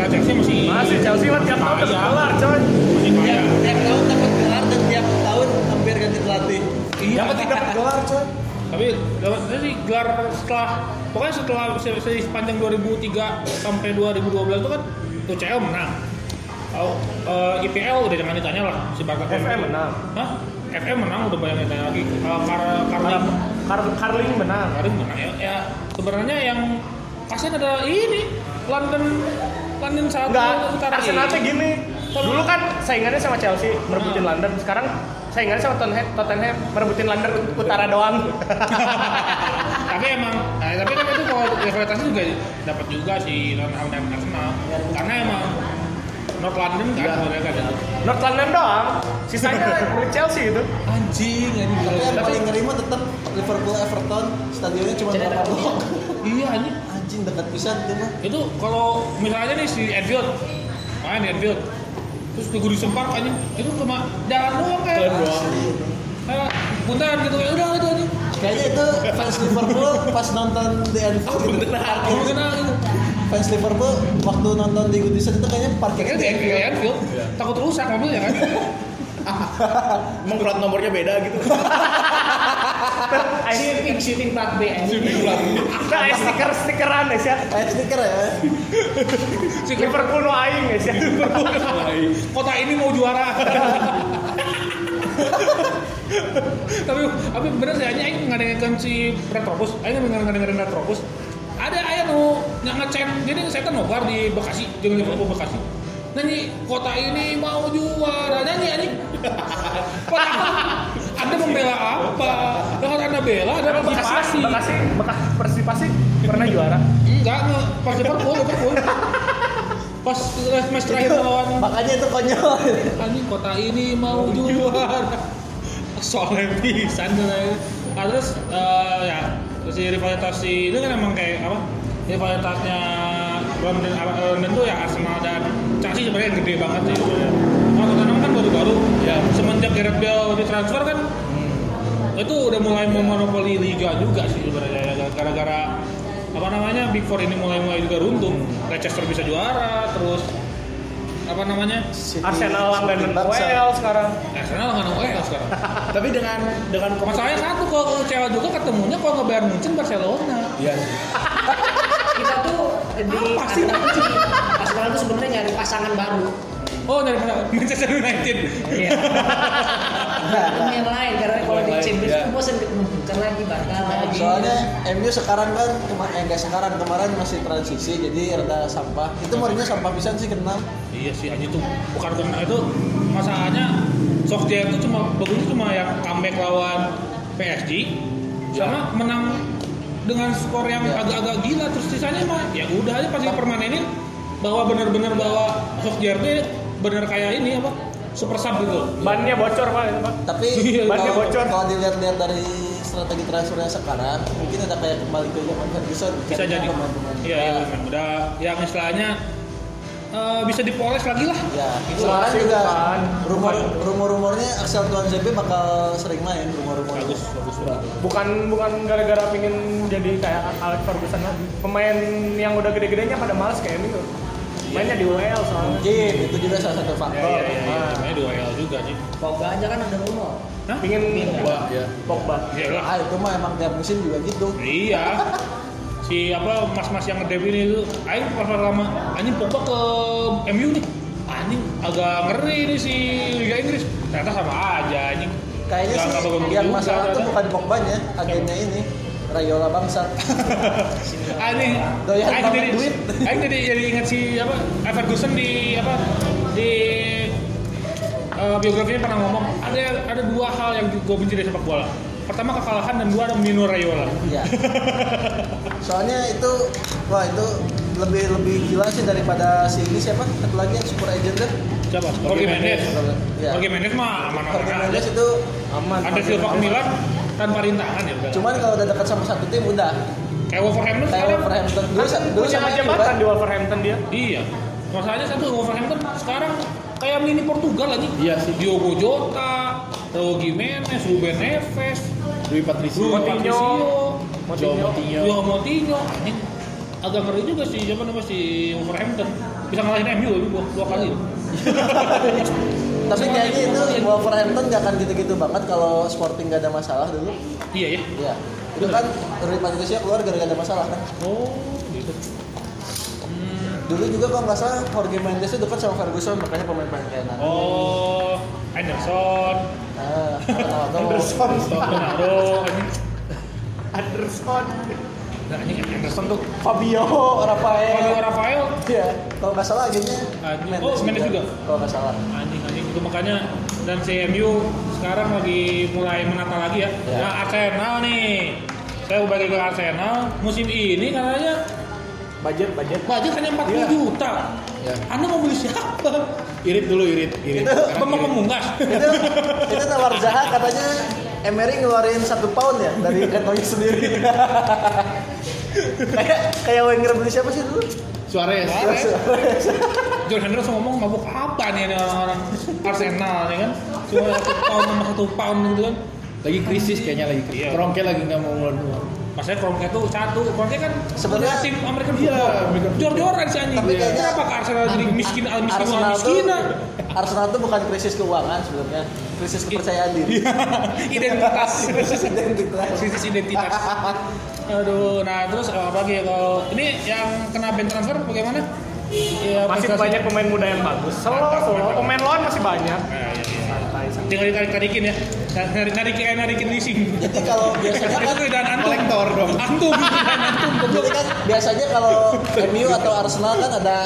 Speaker 2: nggak Chelsea masih Iya.
Speaker 4: Masih Chelsea mah tiap tahun udah gelar, coy.
Speaker 2: masih
Speaker 6: tiap,
Speaker 2: banyak.
Speaker 6: tiap tahun dapat gelar dan tiap tahun hampir ganti pelatih
Speaker 4: Yang penting dapat gelar, coy.
Speaker 2: tapi dapat jadi gelar setelah pokoknya setelah se- se- sepanjang 2003 sampai 2012 itu kan UCL menang oh, eh, IPL udah jangan ditanya lah si Barca
Speaker 4: FM menang.
Speaker 2: Hah? FM menang udah banyak yang ditanya lagi Eh, Kar Karlim
Speaker 4: Kar- Carling menang.
Speaker 2: Karim menang ya, ya sebenarnya yang kasihan ada ini London London satu
Speaker 4: Enggak,
Speaker 2: utara
Speaker 4: Arsenal tuh gini. Dulu kan saingannya sama Chelsea merebutin
Speaker 2: Hmm.
Speaker 4: London. Sekarang saingannya sama Tottenham, Tottenham merebutin London utara doang.
Speaker 2: tapi emang eh, tapi kan itu kalau rivalitasnya juga dapat juga si Tottenham dan Arsenal karena emang North London kan sebenarnya kan
Speaker 4: North London doang. Sisanya milik Chelsea gitu.
Speaker 2: anjing anjing
Speaker 6: tapi yang
Speaker 2: Tapi-
Speaker 6: paling ngeri mah tetap Liverpool Everton stadionnya cuma
Speaker 3: Jadi
Speaker 6: berapa
Speaker 3: ada
Speaker 6: blok
Speaker 2: iya anjing
Speaker 6: anjing dekat pisan itu mah
Speaker 2: itu kalau misalnya nih si Anfield main di Anfield terus ke Goodison Park anjing itu cuma jalan doang kayak kayak bundaran gitu ya udah itu aja
Speaker 6: kayaknya itu fans Liverpool pas nonton di Anfield
Speaker 2: Belum kenal gitu
Speaker 6: fans Liverpool waktu nonton di Goodison itu kayaknya parkirnya
Speaker 2: akhirnya di ya
Speaker 6: di
Speaker 2: Anfield, Anfield takut rusak mobilnya kan
Speaker 5: Emang plat nomornya beda gitu.
Speaker 4: Shooting shooting plat B. Shooting plat B. Nah, stiker stikeran ya sih.
Speaker 6: Kayak stiker ya.
Speaker 4: Liverpool no aing ya sih.
Speaker 2: Kota ini mau juara. tapi tapi bener sih hanya aing ngadengarkan si Retropus, aing ngadengarkan Retropus. Ada aya nu yang ngecen, jadi saya kan nobar di Bekasi, di Liverpool Bekasi. Nyanyi kota ini mau juara, nyanyi anjing. Padahal Anda membela apa? Dengan Anda bela ada
Speaker 4: Bekasi,
Speaker 2: partisipasi.
Speaker 4: Bekasi, Bekasi, Persipasi pernah juara.
Speaker 2: Enggak, nge- pas Liverpool, Liverpool. Pas eh, match terakhir lawan
Speaker 6: Makanya itu konyol.
Speaker 2: anjing Kan kota ini mau juara soalnya pisan katanya. nah, terus eh, ya si rivalitas si itu kan emang kayak apa rivalitasnya London London tuh ya Arsenal dan Chelsea sebenarnya yang gede banget sih sebenarnya. Nah, Tottenham kan baru-baru ya semenjak Gareth Bale ditransfer kan itu udah mulai memonopoli liga juga sih sebenarnya ya. gara-gara apa namanya Big Four ini mulai-mulai juga runtuh Leicester bisa juara terus apa namanya
Speaker 4: Arsenal langganan Well sekarang.
Speaker 2: Arsenal Eh, nggak nemu EL sekarang.
Speaker 5: Tapi dengan dengan
Speaker 2: Masalahnya satu kalau ke Cewek juga ketemunya kalau nggak Bayern Munchen Barcelona.
Speaker 5: Iya.
Speaker 3: kita tuh di
Speaker 2: Apa sih?
Speaker 3: Arsenal tuh sih, Arsenal tuh sebenarnya nyari pasangan baru
Speaker 2: Oh dari mana? Manchester United.
Speaker 3: Iya. Ini yang lain karena kalau di Champions tuh bosan ketemu karena lagi bakal lagi.
Speaker 6: Soalnya MU sekarang kan kemarin eh, enggak sekarang kemarin masih transisi jadi rada sampah. Itu Mourinho sampah pisan sih kenal.
Speaker 2: iya sih anjing tuh bukan karena itu masalahnya Sokjer itu cuma bagusnya cuma yang comeback lawan PSG sama menang dengan skor yang
Speaker 6: Ya.
Speaker 2: agak-agak gila terus sisanya mah ya udah aja pasti permanenin bahwa benar-benar bahwa Sokjer itu benar kayak ini apa super sub gitu.
Speaker 4: Bannya bocor pak, itu, Pak.
Speaker 6: Tapi
Speaker 4: Bannya
Speaker 6: kalau
Speaker 4: bocor.
Speaker 6: kalau dilihat-lihat dari strategi transfernya sekarang mungkin ada kayak kembali ke zaman Ferguson.
Speaker 2: bisa
Speaker 6: Karena
Speaker 2: jadi
Speaker 6: pemain-pemain.
Speaker 2: iya
Speaker 6: Ya.
Speaker 2: iya memang udah yang istilahnya eh, bisa dipoles lagi lah
Speaker 6: Ya,
Speaker 4: Itu
Speaker 6: sekarang
Speaker 4: masih
Speaker 6: juga
Speaker 4: bukan.
Speaker 6: rumor
Speaker 4: Bukan.
Speaker 6: rumor-rumornya Axel Tuan JP bakal sering main rumor-rumor.
Speaker 2: bagus bagus bagus
Speaker 4: Bukan bukan gara-gara pingin jadi kayak Alex Ferguson lagi. Pemain yang udah gede-gedenya pada males kayak ini. tuh. Mainnya di UEL soalnya.
Speaker 6: Mungkin itu juga salah satu
Speaker 2: ya
Speaker 6: faktor.
Speaker 2: ya ya, ya. namanya dua L juga nih
Speaker 3: Pogba aja kan ada rumor.
Speaker 2: Hah?
Speaker 4: Pingin
Speaker 6: Iya.
Speaker 5: ya.
Speaker 4: Pogba.
Speaker 2: ya lah
Speaker 6: Ah, itu mah emang tiap musim juga gitu.
Speaker 2: iya si apa mas-mas yang ngedev ini itu aing pas lama anjing pokok ke MU nih anjing agak ngeri nih si Liga Inggris ternyata sama aja anjing
Speaker 6: Kayaknya
Speaker 2: Nggak-
Speaker 6: sih
Speaker 2: nggak bagus
Speaker 6: yang
Speaker 2: juga
Speaker 6: masalah tuh
Speaker 2: ternyata.
Speaker 6: bukan Pogba-nya, agennya ini. Rayola bangsa.
Speaker 2: aneh
Speaker 6: Doyan
Speaker 2: Aing
Speaker 6: banget
Speaker 2: Ah, jadi
Speaker 6: duit.
Speaker 2: Aing jadi jadi ingat si apa eh, Ferguson di apa di eh, biografinya pernah ngomong ada ada dua hal yang gue benci dari sepak bola pertama kekalahan dan dua ada Mino Raiola
Speaker 6: Iya. Soalnya itu wah itu lebih lebih gila sih daripada si ini siapa? Satu lagi yang super agent kan? deh.
Speaker 2: siapa Jorge Mendes
Speaker 6: Ya.
Speaker 2: Jorge Mendes mah
Speaker 6: Jorge
Speaker 2: aman-aman
Speaker 6: Mendes
Speaker 2: aja
Speaker 6: itu
Speaker 4: Aman.
Speaker 2: ada Silva ke Milan tanpa rintangan ya udah
Speaker 6: cuman kalau udah dekat sama satu tim udah
Speaker 2: kayak Wolverhampton
Speaker 6: kayak
Speaker 2: sekarang
Speaker 6: Wolverhampton dulu
Speaker 4: Kan
Speaker 6: sa- dulu
Speaker 4: punya
Speaker 6: sama
Speaker 4: jabatan di
Speaker 6: Cuba.
Speaker 4: Wolverhampton dia.
Speaker 2: iya masalahnya satu Wolverhampton sekarang kayak mini Portugal aja
Speaker 5: Iya sih.
Speaker 2: Diogo Jota Raul Jimenez Ruben Neves
Speaker 5: Dwi Patricio.
Speaker 2: Bruno
Speaker 4: Coutinho.
Speaker 2: Patricio
Speaker 5: Joe Moutinho.
Speaker 2: Yo Moutinho anjing agak ngeri juga sih siapa namanya si Wolverhampton bisa ngalahin MU lebih dua, dua kali
Speaker 6: tapi kayaknya itu Wolverhampton gak akan gitu-gitu banget kalau Sporting gak ada masalah dulu
Speaker 2: iya ya
Speaker 6: Iya. itu kan dari Patricia keluar gara-gara ada masalah kan
Speaker 2: oh gitu
Speaker 6: dulu juga kalau nggak salah Jorge Mendes itu dekat sama Ferguson makanya pemain-pemain kayak Nani.
Speaker 2: oh Anderson
Speaker 6: nah atau
Speaker 4: Anderson.
Speaker 2: Ronaldo anjing
Speaker 4: Anderson.
Speaker 2: nah anjing Anderson tuh
Speaker 6: Fabio
Speaker 2: Fabio
Speaker 6: Rafael
Speaker 2: Rafael
Speaker 6: Iya, kalau nggak salah agennya
Speaker 2: Ah, iya. Oh, Mendes juga.
Speaker 6: Kalau nggak salah.
Speaker 2: anjing anjing itu makanya dan CMU sekarang lagi mulai menata lagi ya.
Speaker 6: Ya.
Speaker 2: Nah Arsenal nih, saya balik ke Arsenal musim ini katanya
Speaker 4: Budget, budget.
Speaker 2: budget hanya 40
Speaker 5: Iya.
Speaker 2: juta.
Speaker 5: Iya.
Speaker 2: Anda mau beli siapa?
Speaker 5: Irit dulu irit. Irit.
Speaker 2: Pemang pemungkas.
Speaker 6: Itu itu nawar Zaha katanya Emery ngeluarin satu pound ya dari kantongnya sendiri. kayak kayak Wenger beli siapa sih dulu?
Speaker 5: Suarez.
Speaker 2: John Henderson ngomong mabuk apa nih ini orang-orang Arsenal nih kan? Cuma satu pound sama satu pound gitu kan?
Speaker 5: Lagi krisis kayaknya lagi krisis.
Speaker 2: Iya.
Speaker 5: Kroenke lagi nggak mau ngeluarin uang.
Speaker 2: Maksudnya Kroenke tuh satu, Kroenke kan sebenarnya
Speaker 6: Sebenarnya-
Speaker 2: tim American
Speaker 5: Iya,
Speaker 2: football.
Speaker 5: American
Speaker 2: Jor-joran si anjing.
Speaker 6: Tapi kayaknya-
Speaker 2: Kenapa ke Arsenal jadi miskin al miskin al
Speaker 6: Arsenal tuh,
Speaker 2: miskin?
Speaker 6: Arsenal tuh bukan krisis keuangan sebenarnya, krisis kepercayaan
Speaker 2: Iya.
Speaker 6: diri.
Speaker 2: Identitas.
Speaker 6: Identitas.
Speaker 2: Krisis identitas. Aduh, nah terus eh, apa lagi ya kalau ini yang kena ban transfer bagaimana? Ya,
Speaker 4: Masih
Speaker 2: prestasi-
Speaker 4: banyak pemain muda yang bagus. Solo, solo. Pemain loan masih banyak.
Speaker 2: Nah, iya, iya.
Speaker 4: Santai, santai.
Speaker 2: Tinggal ditarik-tarikin ya. Narik- Narikin kayak narikin leasing.
Speaker 6: Jadi kalau biasanya kan
Speaker 2: Iya, Itu dan antum.
Speaker 4: Kolektor dong.
Speaker 2: Antum, dan antum.
Speaker 6: Jadi kan biasanya kalau MU atau Arsenal kan ada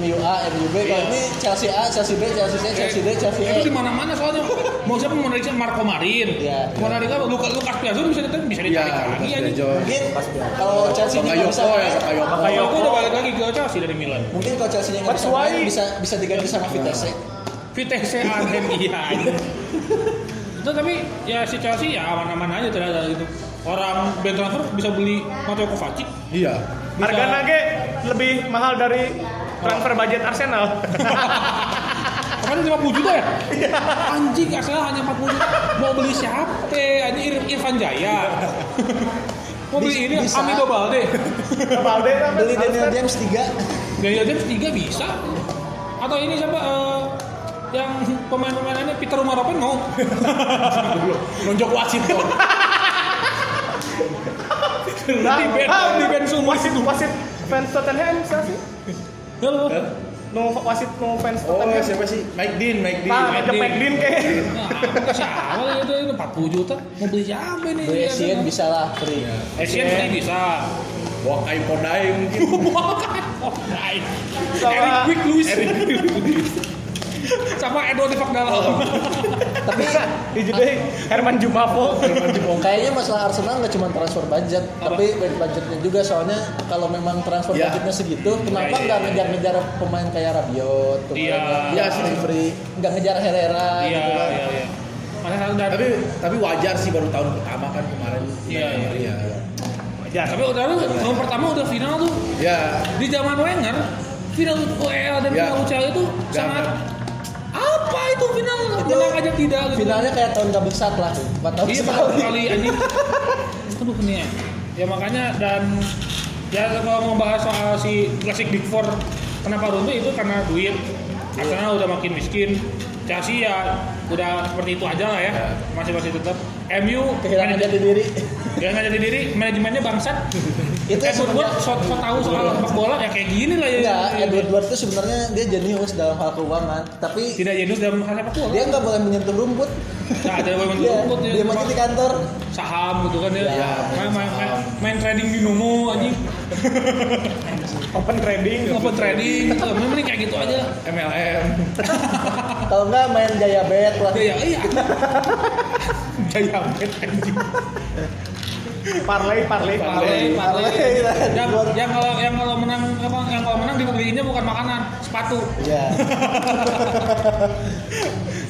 Speaker 6: MU A, MU B. Kalau ini Chelsea A, Chelsea B, Chelsea C, Chelsea D, Chelsea E.
Speaker 2: Itu Iya. di mana-mana soalnya. Mau siapa mau narik Marco Marin.
Speaker 6: Iya.
Speaker 2: Mau narik apa? Luka Lukas Piazon bisa ditarik, bisa
Speaker 5: Iya,
Speaker 2: ditarik lagi
Speaker 5: Lucas
Speaker 2: ya.
Speaker 5: Dejon.
Speaker 6: Mungkin kalau Chelsea nya nggak bisa
Speaker 2: oh,
Speaker 5: Bakayoko ya,
Speaker 6: main,
Speaker 5: Bakayoko.
Speaker 2: Bakayoko udah balik lagi ke Chelsea dari Milan.
Speaker 6: mungkin kalau Chelsea nya nggak bisa
Speaker 4: Batshuayi.
Speaker 6: main bisa bisa diganti sama Vitesse.
Speaker 2: Vitesse Arnhem iya. Itu tapi ya si Chelsea ya aman-aman aja ternyata gitu. Orang Ben transfer bisa beli Mateo Kovacic.
Speaker 5: Iya.
Speaker 4: Harga Nage lebih mahal dari transfer budget Arsenal.
Speaker 2: Kemarin 50 juta ya? Anjing Arsenal hanya 40 juta. Mau beli siapa? Anjing Ir- Irfan Jaya. Mau beli ini
Speaker 6: Bisa.
Speaker 2: Amido Balde.
Speaker 4: Balde kan
Speaker 6: Beli Daniel James 3
Speaker 2: Daniel James 3 bisa. Atau ini siapa eh, yang pemain-pemainannya Peter Umaropen mau. Nonjok wasit dong.
Speaker 4: Nah,
Speaker 2: di band,
Speaker 4: ah,
Speaker 2: di band semua
Speaker 4: wasit,
Speaker 2: itu.
Speaker 4: wasit fans Tottenham siapa sih?
Speaker 2: Ya lu.
Speaker 5: Hah?
Speaker 4: No wasit no fans
Speaker 5: Oh,
Speaker 4: Tottenham.
Speaker 5: siapa sih? Mike Dean, Mike Dean.
Speaker 4: Nah,
Speaker 2: Mike
Speaker 4: ada
Speaker 2: Dean.
Speaker 4: McDean kayaknya.
Speaker 2: Nah, apa siapa ya itu ini 40 juta mau beli siapa ini? Iya, kan?
Speaker 6: Beli Essien bisa lah free.
Speaker 2: Asian free bisa.
Speaker 5: Wakai Podai mungkin.
Speaker 2: Online.
Speaker 4: Sama-
Speaker 2: Eric Quick Lewis. Sama Edward Devak dalam.
Speaker 5: Oh,
Speaker 6: Tapi
Speaker 4: Dijudahi Herman Jumafo.
Speaker 6: kayaknya masalah Arsenal nggak cuma transfer budget,
Speaker 2: Apa?
Speaker 6: tapi bad budgetnya juga. Soalnya kalau memang transfer
Speaker 5: Ya.
Speaker 6: budgetnya segitu,
Speaker 2: Ya,
Speaker 6: kenapa
Speaker 2: ya,
Speaker 6: nggak
Speaker 2: ya.
Speaker 6: ngejar-ngejar pemain kayak Rabiot,
Speaker 2: Iya.
Speaker 6: kemudian ya,
Speaker 5: Iya, sih.
Speaker 6: free, nggak ngejar Herrera,
Speaker 2: Iya,
Speaker 6: gitu kan.
Speaker 2: iya, iya. Masa satu dan
Speaker 5: tapi tapi wajar sih baru tahun pertama kan kemarin.
Speaker 2: Iya, iya.
Speaker 5: iya.
Speaker 2: Ya, tapi udah lu tahun pertama udah final tuh.
Speaker 5: Ya,
Speaker 2: Di zaman Wenger, final UEL dan
Speaker 5: Ya.
Speaker 2: final UCL itu
Speaker 5: Gampang.
Speaker 2: sangat apa itu final
Speaker 6: Itu
Speaker 2: menang aja tidak gitu.
Speaker 6: Finalnya kayak tahun gabeksat lah, 4 tahun
Speaker 2: Iya
Speaker 6: Oh, sekali.
Speaker 2: beberapa kali anjing. Aduh nih ya. Ya makanya dan ya kalau mau bahas soal si klasik Big Four kenapa runtuh itu karena duit.
Speaker 6: Iya.
Speaker 2: Arsenal udah makin miskin. Chelsea ya udah seperti itu aja lah ya. Masih masih tetap. MU
Speaker 6: Iya. Kehilangan
Speaker 2: manajer-
Speaker 6: jati diri.
Speaker 2: ya nggak jadi diri manajemennya bangsat.
Speaker 6: Itu
Speaker 2: Eh buat buat
Speaker 6: sebenarnya-
Speaker 2: so, so tahu soal sepak bola ya kayak gini lah ya.
Speaker 6: Enggak, Edward Edward itu sebenarnya dia jenius dalam hal keuangan, tapi
Speaker 2: Tidak jenuh dalam hal sepak bola.
Speaker 6: dia nggak boleh menyentuh rumput.
Speaker 2: Nah, ada yang
Speaker 6: Dia,
Speaker 2: rumput ya.
Speaker 6: dia maju di kantor.
Speaker 2: saham gitu kan ya.
Speaker 6: Ya,
Speaker 2: main, main, main, main trading di Nomo anjing.
Speaker 4: Open trading.
Speaker 2: Open trading, eh, mending kayak gitu aja. MLM.
Speaker 6: Kalau nggak main gaya bet lah.
Speaker 2: Gaya, iya. Gaya banget anjing.
Speaker 4: Parley, parley,
Speaker 2: Parley.
Speaker 4: parley.
Speaker 6: Parley lah.
Speaker 2: Yang, yang kalau yang kalau menang apa yang kalau menang dibeliinnya bukan makanan, sepatu.
Speaker 6: Iya.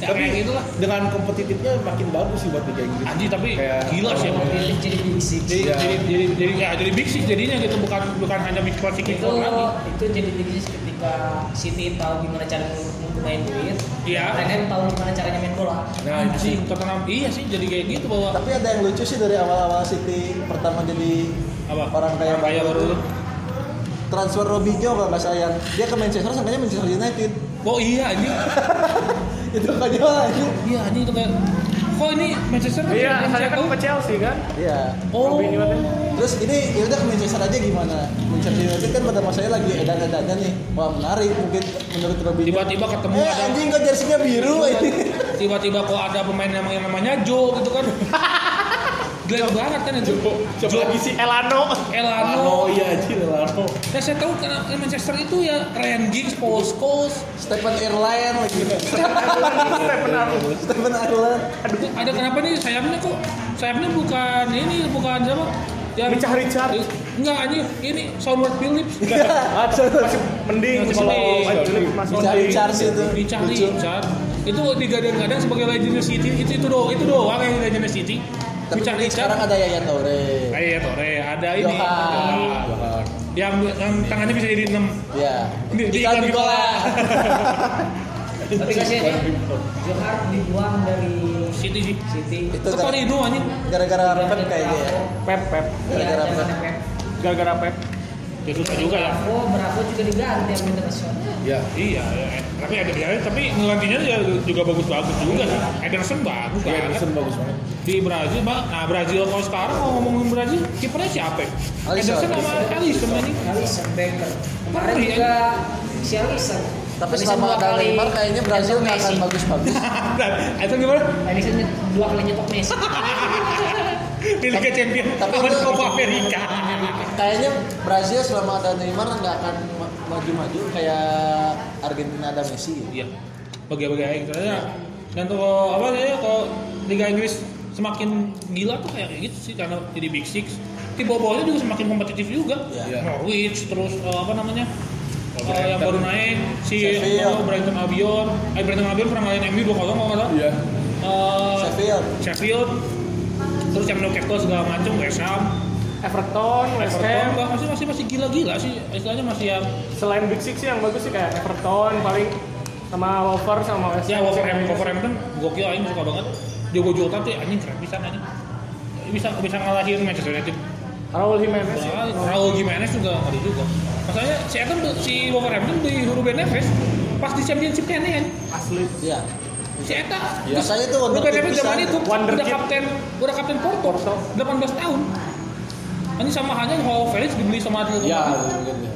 Speaker 2: Ya, kayak gitu lah.
Speaker 5: dengan kompetitifnya makin bagus sih buat Liga Inggris.
Speaker 2: Anjing tapi
Speaker 5: Kayak-
Speaker 2: gila sih emang.
Speaker 3: Jadi jadi divisi.
Speaker 2: Jadi,
Speaker 5: Iya.
Speaker 2: jadi, jadi, jadi, ya, jadi big six jadinya gitu bukan bukan hanya big four big
Speaker 3: itu
Speaker 2: four gitu lagi.
Speaker 3: itu jadi divisi ketika City tahu gimana cara main duit,
Speaker 2: Iya.
Speaker 3: Tottenham tahu gimana caranya main bola.
Speaker 2: Nah, anjing Tottenham iya sih jadi kayak gitu bahwa
Speaker 6: Tapi ada yang lucu sih dari awal-awal City pertama jadi
Speaker 2: apa
Speaker 6: orang kaya
Speaker 2: kaya
Speaker 6: baru
Speaker 2: baru.
Speaker 6: itu. transfer Robinho kalau nggak sayang dia ke Manchester sangkanya Manchester United
Speaker 2: Oh iya anjing.
Speaker 6: itu konyol aja
Speaker 2: Iya anjing itu kayak kok ini Manchester
Speaker 4: Iya,
Speaker 2: Manchester
Speaker 4: saya kan
Speaker 2: tahu?
Speaker 4: ke Chelsea kan.
Speaker 6: iya
Speaker 2: Oh.
Speaker 4: Robinho katanya.
Speaker 6: terus ini ya udah ke Manchester aja gimana Manchester United kan pada masanya lagi edan-edannya nih wah menarik mungkin menurut Robinho
Speaker 2: Tiba-tiba ketemu
Speaker 6: eh
Speaker 2: ada
Speaker 6: anjing kok jersinya biru ini
Speaker 2: tiba-tiba kok ada pemain yang yang namanya Jo gitu kan. Gila banget kan itu. Jo
Speaker 4: Coba lagi si Elano.
Speaker 2: Elano.
Speaker 5: Lano iya anjir Lano.
Speaker 2: Nah, saya tahu karena Manchester itu ya Ryan Giggs, Paul Scholes,
Speaker 6: Stephen Airline lagi
Speaker 4: Stephen Arnold.
Speaker 6: Stephen Airline
Speaker 2: Aduh, ada kenapa nih sayapnya kok? Sayapnya bukan ini, bukan siapa? Yang
Speaker 4: Richard Richard.
Speaker 2: Eh, Enggak anjir, ini Soundward Phillips.
Speaker 4: Masih mending
Speaker 2: Masih
Speaker 4: kalau
Speaker 2: mending.
Speaker 4: Angelik masih
Speaker 6: Bisa
Speaker 4: mending.
Speaker 6: Richards itu
Speaker 2: Richard
Speaker 6: lucu
Speaker 2: Richard. Itu digadang-gadang sebagai legend City. Itu itu doang, itu doang yang legend City. Richard
Speaker 6: tapi mungkin
Speaker 2: Richard.
Speaker 6: sekarang ada Yaya Toure
Speaker 2: Kayak Eh, Tore, ada ini.
Speaker 6: Johan.
Speaker 2: Ada. Yang, yang tangannya bisa jadi 6.
Speaker 6: ya
Speaker 2: Di- di
Speaker 6: Ikan
Speaker 2: iklan
Speaker 6: Nicola.
Speaker 2: Nicola.
Speaker 3: Tapi kasihan ya. Johar dibuang dari
Speaker 2: City sih.
Speaker 3: City.
Speaker 6: Itu
Speaker 2: Itu kali
Speaker 6: gara-
Speaker 2: itu anjing.
Speaker 6: gara-gara Pep kayaknya ya.
Speaker 2: Pep Pep.
Speaker 3: Iya,
Speaker 6: Gara-gara
Speaker 3: gara
Speaker 6: Pep.
Speaker 3: Pep.
Speaker 2: Gara-gara Pep. Ya susah juga ya.
Speaker 3: Oh, Bravo juga diganti yang internasional.
Speaker 5: Ya.
Speaker 2: Iya, ya. tapi ada biaya, tapi ngelantinya juga, juga bagus-bagus juga sih. Ederson bagus kan.
Speaker 5: Iya, Ederson bagus banget.
Speaker 2: Di Brazil, Bang. Nah, Brazil kalau sekarang mau ngomongin Brazil, kipernya siapa? ya?
Speaker 6: Alisson.
Speaker 2: Ederson sama Alisson anjing.
Speaker 3: Alisson Becker. Kemarin
Speaker 2: Ngeri,
Speaker 3: juga si Alisson.
Speaker 6: Tapi
Speaker 3: Alisson
Speaker 6: selama
Speaker 3: dua
Speaker 6: ada
Speaker 3: kali
Speaker 6: Neymar kayaknya Brazil
Speaker 3: nyetok
Speaker 6: nggak akan
Speaker 3: Messi.
Speaker 6: bagus-bagus.
Speaker 2: Nah, itu gimana?
Speaker 3: Alisson dua kali nyetok Messi.
Speaker 2: Di Liga Champions
Speaker 6: tapi
Speaker 2: lawan
Speaker 6: itu-
Speaker 2: Copa America.
Speaker 6: kayaknya Brazil selama ada Neymar nggak akan ma- maju-maju kayak Argentina ada Messi. gitu.
Speaker 2: Iya. Bagi-bagi aja soalnya. Dan kalau apa ya kalau Liga Inggris semakin gila tuh kayak gitu sih karena jadi Big Six. Di bawah-bawahnya juga semakin kompetitif juga.
Speaker 6: Iya.
Speaker 2: Norwich terus eh, apa namanya? Eh, yang baru naik si oh,
Speaker 6: Sheffield.
Speaker 2: Brighton Albion. Eh Brighton Albion pernah ngalahin MU 2-0 kalau nggak salah.
Speaker 5: Iya.
Speaker 2: Eh,
Speaker 6: Sheffield.
Speaker 2: Sheffield. Terus yang Newcastle segala macam West Ham.
Speaker 1: Everton, West
Speaker 2: Everton
Speaker 1: Ham,
Speaker 2: bah, masih masih masih gila-gila sih istilahnya masih yang
Speaker 1: selain Big Six sih yang bagus sih kayak Everton paling sama Wolver sama West
Speaker 2: Ya
Speaker 1: Ham.
Speaker 2: Wolverhampton, Wolverhampton gokil anjing suka banget. Jogo Jota tuh anjing keren pisan anjing. Bisa bisa ngalahin Manchester United.
Speaker 1: Raul Jimenez.
Speaker 2: Wah, Raul Jimenez juga ada juga. Masalahnya si Ethan tuh- si Wolverhampton di Ruben Neves pas di championship kan ya.
Speaker 1: Asli.
Speaker 6: Iya.
Speaker 2: Si Eta
Speaker 6: Iya. Biasanya tuh wonder
Speaker 2: Ruben
Speaker 6: kid
Speaker 2: Neves zaman
Speaker 6: pisan.
Speaker 2: itu
Speaker 1: Wonder
Speaker 2: udah
Speaker 1: kid.
Speaker 2: kapten udah kapten Porto 18 tahun. Ini sama hanya Joao Felix dibeli sama Atletico
Speaker 6: Iya.
Speaker 2: Madrid.
Speaker 6: mungkin ya.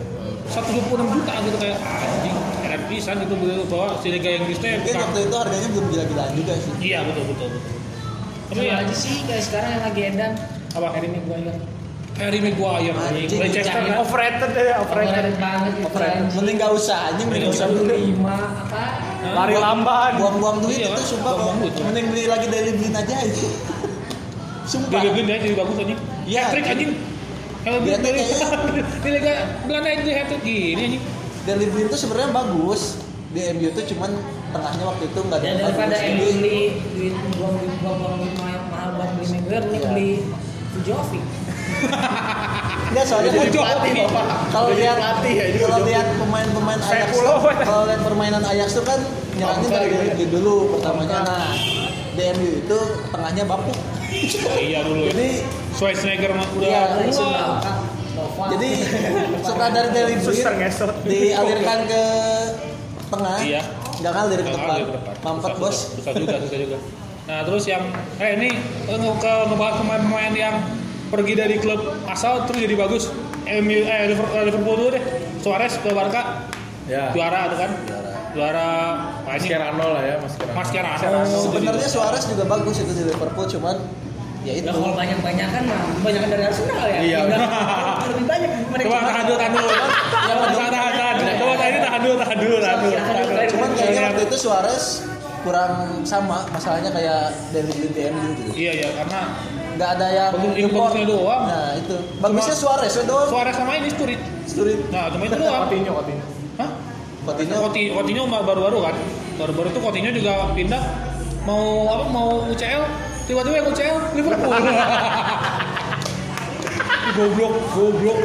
Speaker 2: 126 juta gitu kayak anjing keren pisan gitu begitu bahwa si Liga Inggrisnya
Speaker 6: Mungkin waktu
Speaker 2: bukan
Speaker 6: itu harganya belum gila-gilaan juga sih.
Speaker 2: Iya betul betul. betul. Tapi
Speaker 3: Coba
Speaker 2: ya
Speaker 3: aja sih guys sekarang yang lagi edan
Speaker 2: apa
Speaker 3: Harry Maguire.
Speaker 2: Harry Maguire
Speaker 6: Anjing,
Speaker 2: Leicester
Speaker 3: jangan.
Speaker 2: kan?
Speaker 1: Overrated ya,
Speaker 3: Overrated
Speaker 1: overrated.
Speaker 3: banget itu
Speaker 6: Mending nggak usah aja, mending nggak usah
Speaker 3: anjing.
Speaker 6: beli.
Speaker 3: Lima apa?
Speaker 1: Lari lamban.
Speaker 6: Buang-buang duit
Speaker 2: Iya,
Speaker 6: itu sumpah
Speaker 2: buang-buang
Speaker 6: kok.
Speaker 2: duit.
Speaker 6: Mending beli lagi dari beliin aja itu.
Speaker 2: Dia
Speaker 6: Sumpah.
Speaker 2: gede dia jadi bagus anjing.
Speaker 6: Iya,
Speaker 2: Hat-trick,
Speaker 6: anjing.
Speaker 2: anjing. Kalau
Speaker 6: Dia
Speaker 2: dia dari
Speaker 6: tuh
Speaker 2: di Liga Belanda itu hat trick gini anjing.
Speaker 6: Dari beliin tuh sebenarnya bagus. Di MU tuh cuman tengahnya waktu itu nggak ada
Speaker 3: Ya
Speaker 6: yang
Speaker 3: daripada
Speaker 6: bagus.
Speaker 3: yang
Speaker 6: Jadi,
Speaker 3: beli duit buang duit buang buang duit mahal mahal buat beli Maguire mending
Speaker 6: Iya.
Speaker 3: beli Jovi.
Speaker 6: Enggak soalnya kan
Speaker 2: Jadi pelatih, Bapak.
Speaker 6: Kalau
Speaker 5: Jadi
Speaker 6: lihat
Speaker 5: pelatih ya, ini
Speaker 6: kalau
Speaker 5: udah
Speaker 6: lihat pemain-pemain Ajax, tuh, kalau lihat permainan Ajax tuh kan nyerangnya
Speaker 5: Bangsa
Speaker 6: dari
Speaker 5: gitu ya.
Speaker 6: gitu dulu pertamanya. Nah, DMU itu tengahnya bapuk.
Speaker 2: Oh, iya dulu. ya.
Speaker 6: Jadi
Speaker 2: Schweinsteiger mah
Speaker 6: Iya,
Speaker 2: udah
Speaker 3: Alisson
Speaker 2: tua.
Speaker 3: Bangka, Nova.
Speaker 6: jadi setelah dari dari duit
Speaker 1: Suster ngesot.
Speaker 6: dialirkan ke tengah.
Speaker 2: Iya.
Speaker 6: Enggak ngalir ke
Speaker 2: Nggak
Speaker 6: depan.
Speaker 2: ngalir ke depan.
Speaker 6: Mampet
Speaker 2: Susah,
Speaker 6: bos.
Speaker 2: susah. Susah juga, susah juga. Nah terus yang eh ini eh, nge- ke ngebahas pemain-pemain yang pergi dari klub asal terus jadi bagus. MU eh Liver- eh, Liverpool dulu deh. Suarez ke Barca
Speaker 5: Ya.
Speaker 2: juara tuh kan. Juara. Wah, ini
Speaker 5: Mascherano lah ya, Mascherano.
Speaker 2: Mascherano.
Speaker 6: Sebenarnya Suarez juga bagus itu di Liverpool cuman ya itu.
Speaker 3: Ya kalau banyak banyakan mah banyak dari Arsenal ya.
Speaker 5: Iya.
Speaker 3: Udah, lebih banyak mereka.
Speaker 2: Coba tahan dulu, tahan dulu. Coba tahan, tahan, tahan. Coba tahan ini tahan dulu, tahan dulu, tahan dulu.
Speaker 6: Cuman
Speaker 2: Iya,
Speaker 6: gitu. kayaknya waktu itu Suarez kurang sama masalahnya kayak dari di DMU gitu.
Speaker 2: Iya, iya, karena
Speaker 6: nggak ada yang
Speaker 2: Bagus- ini
Speaker 6: import.
Speaker 2: bagusnya doang.
Speaker 6: Nah itu bagusnya Suarez ya doang.
Speaker 2: Suarez sama ini Sturit.
Speaker 6: Sturit
Speaker 2: Nah, cuma itu doang.
Speaker 1: Coutinho, Coutinho.
Speaker 2: Hah?
Speaker 6: Coutinho
Speaker 2: Coutinho, Coutinho mah baru-baru kan? Baru-baru tuh Coutinho juga pindah mau apa mau UCL tiba-tiba yang UCL Liverpool goblok goblok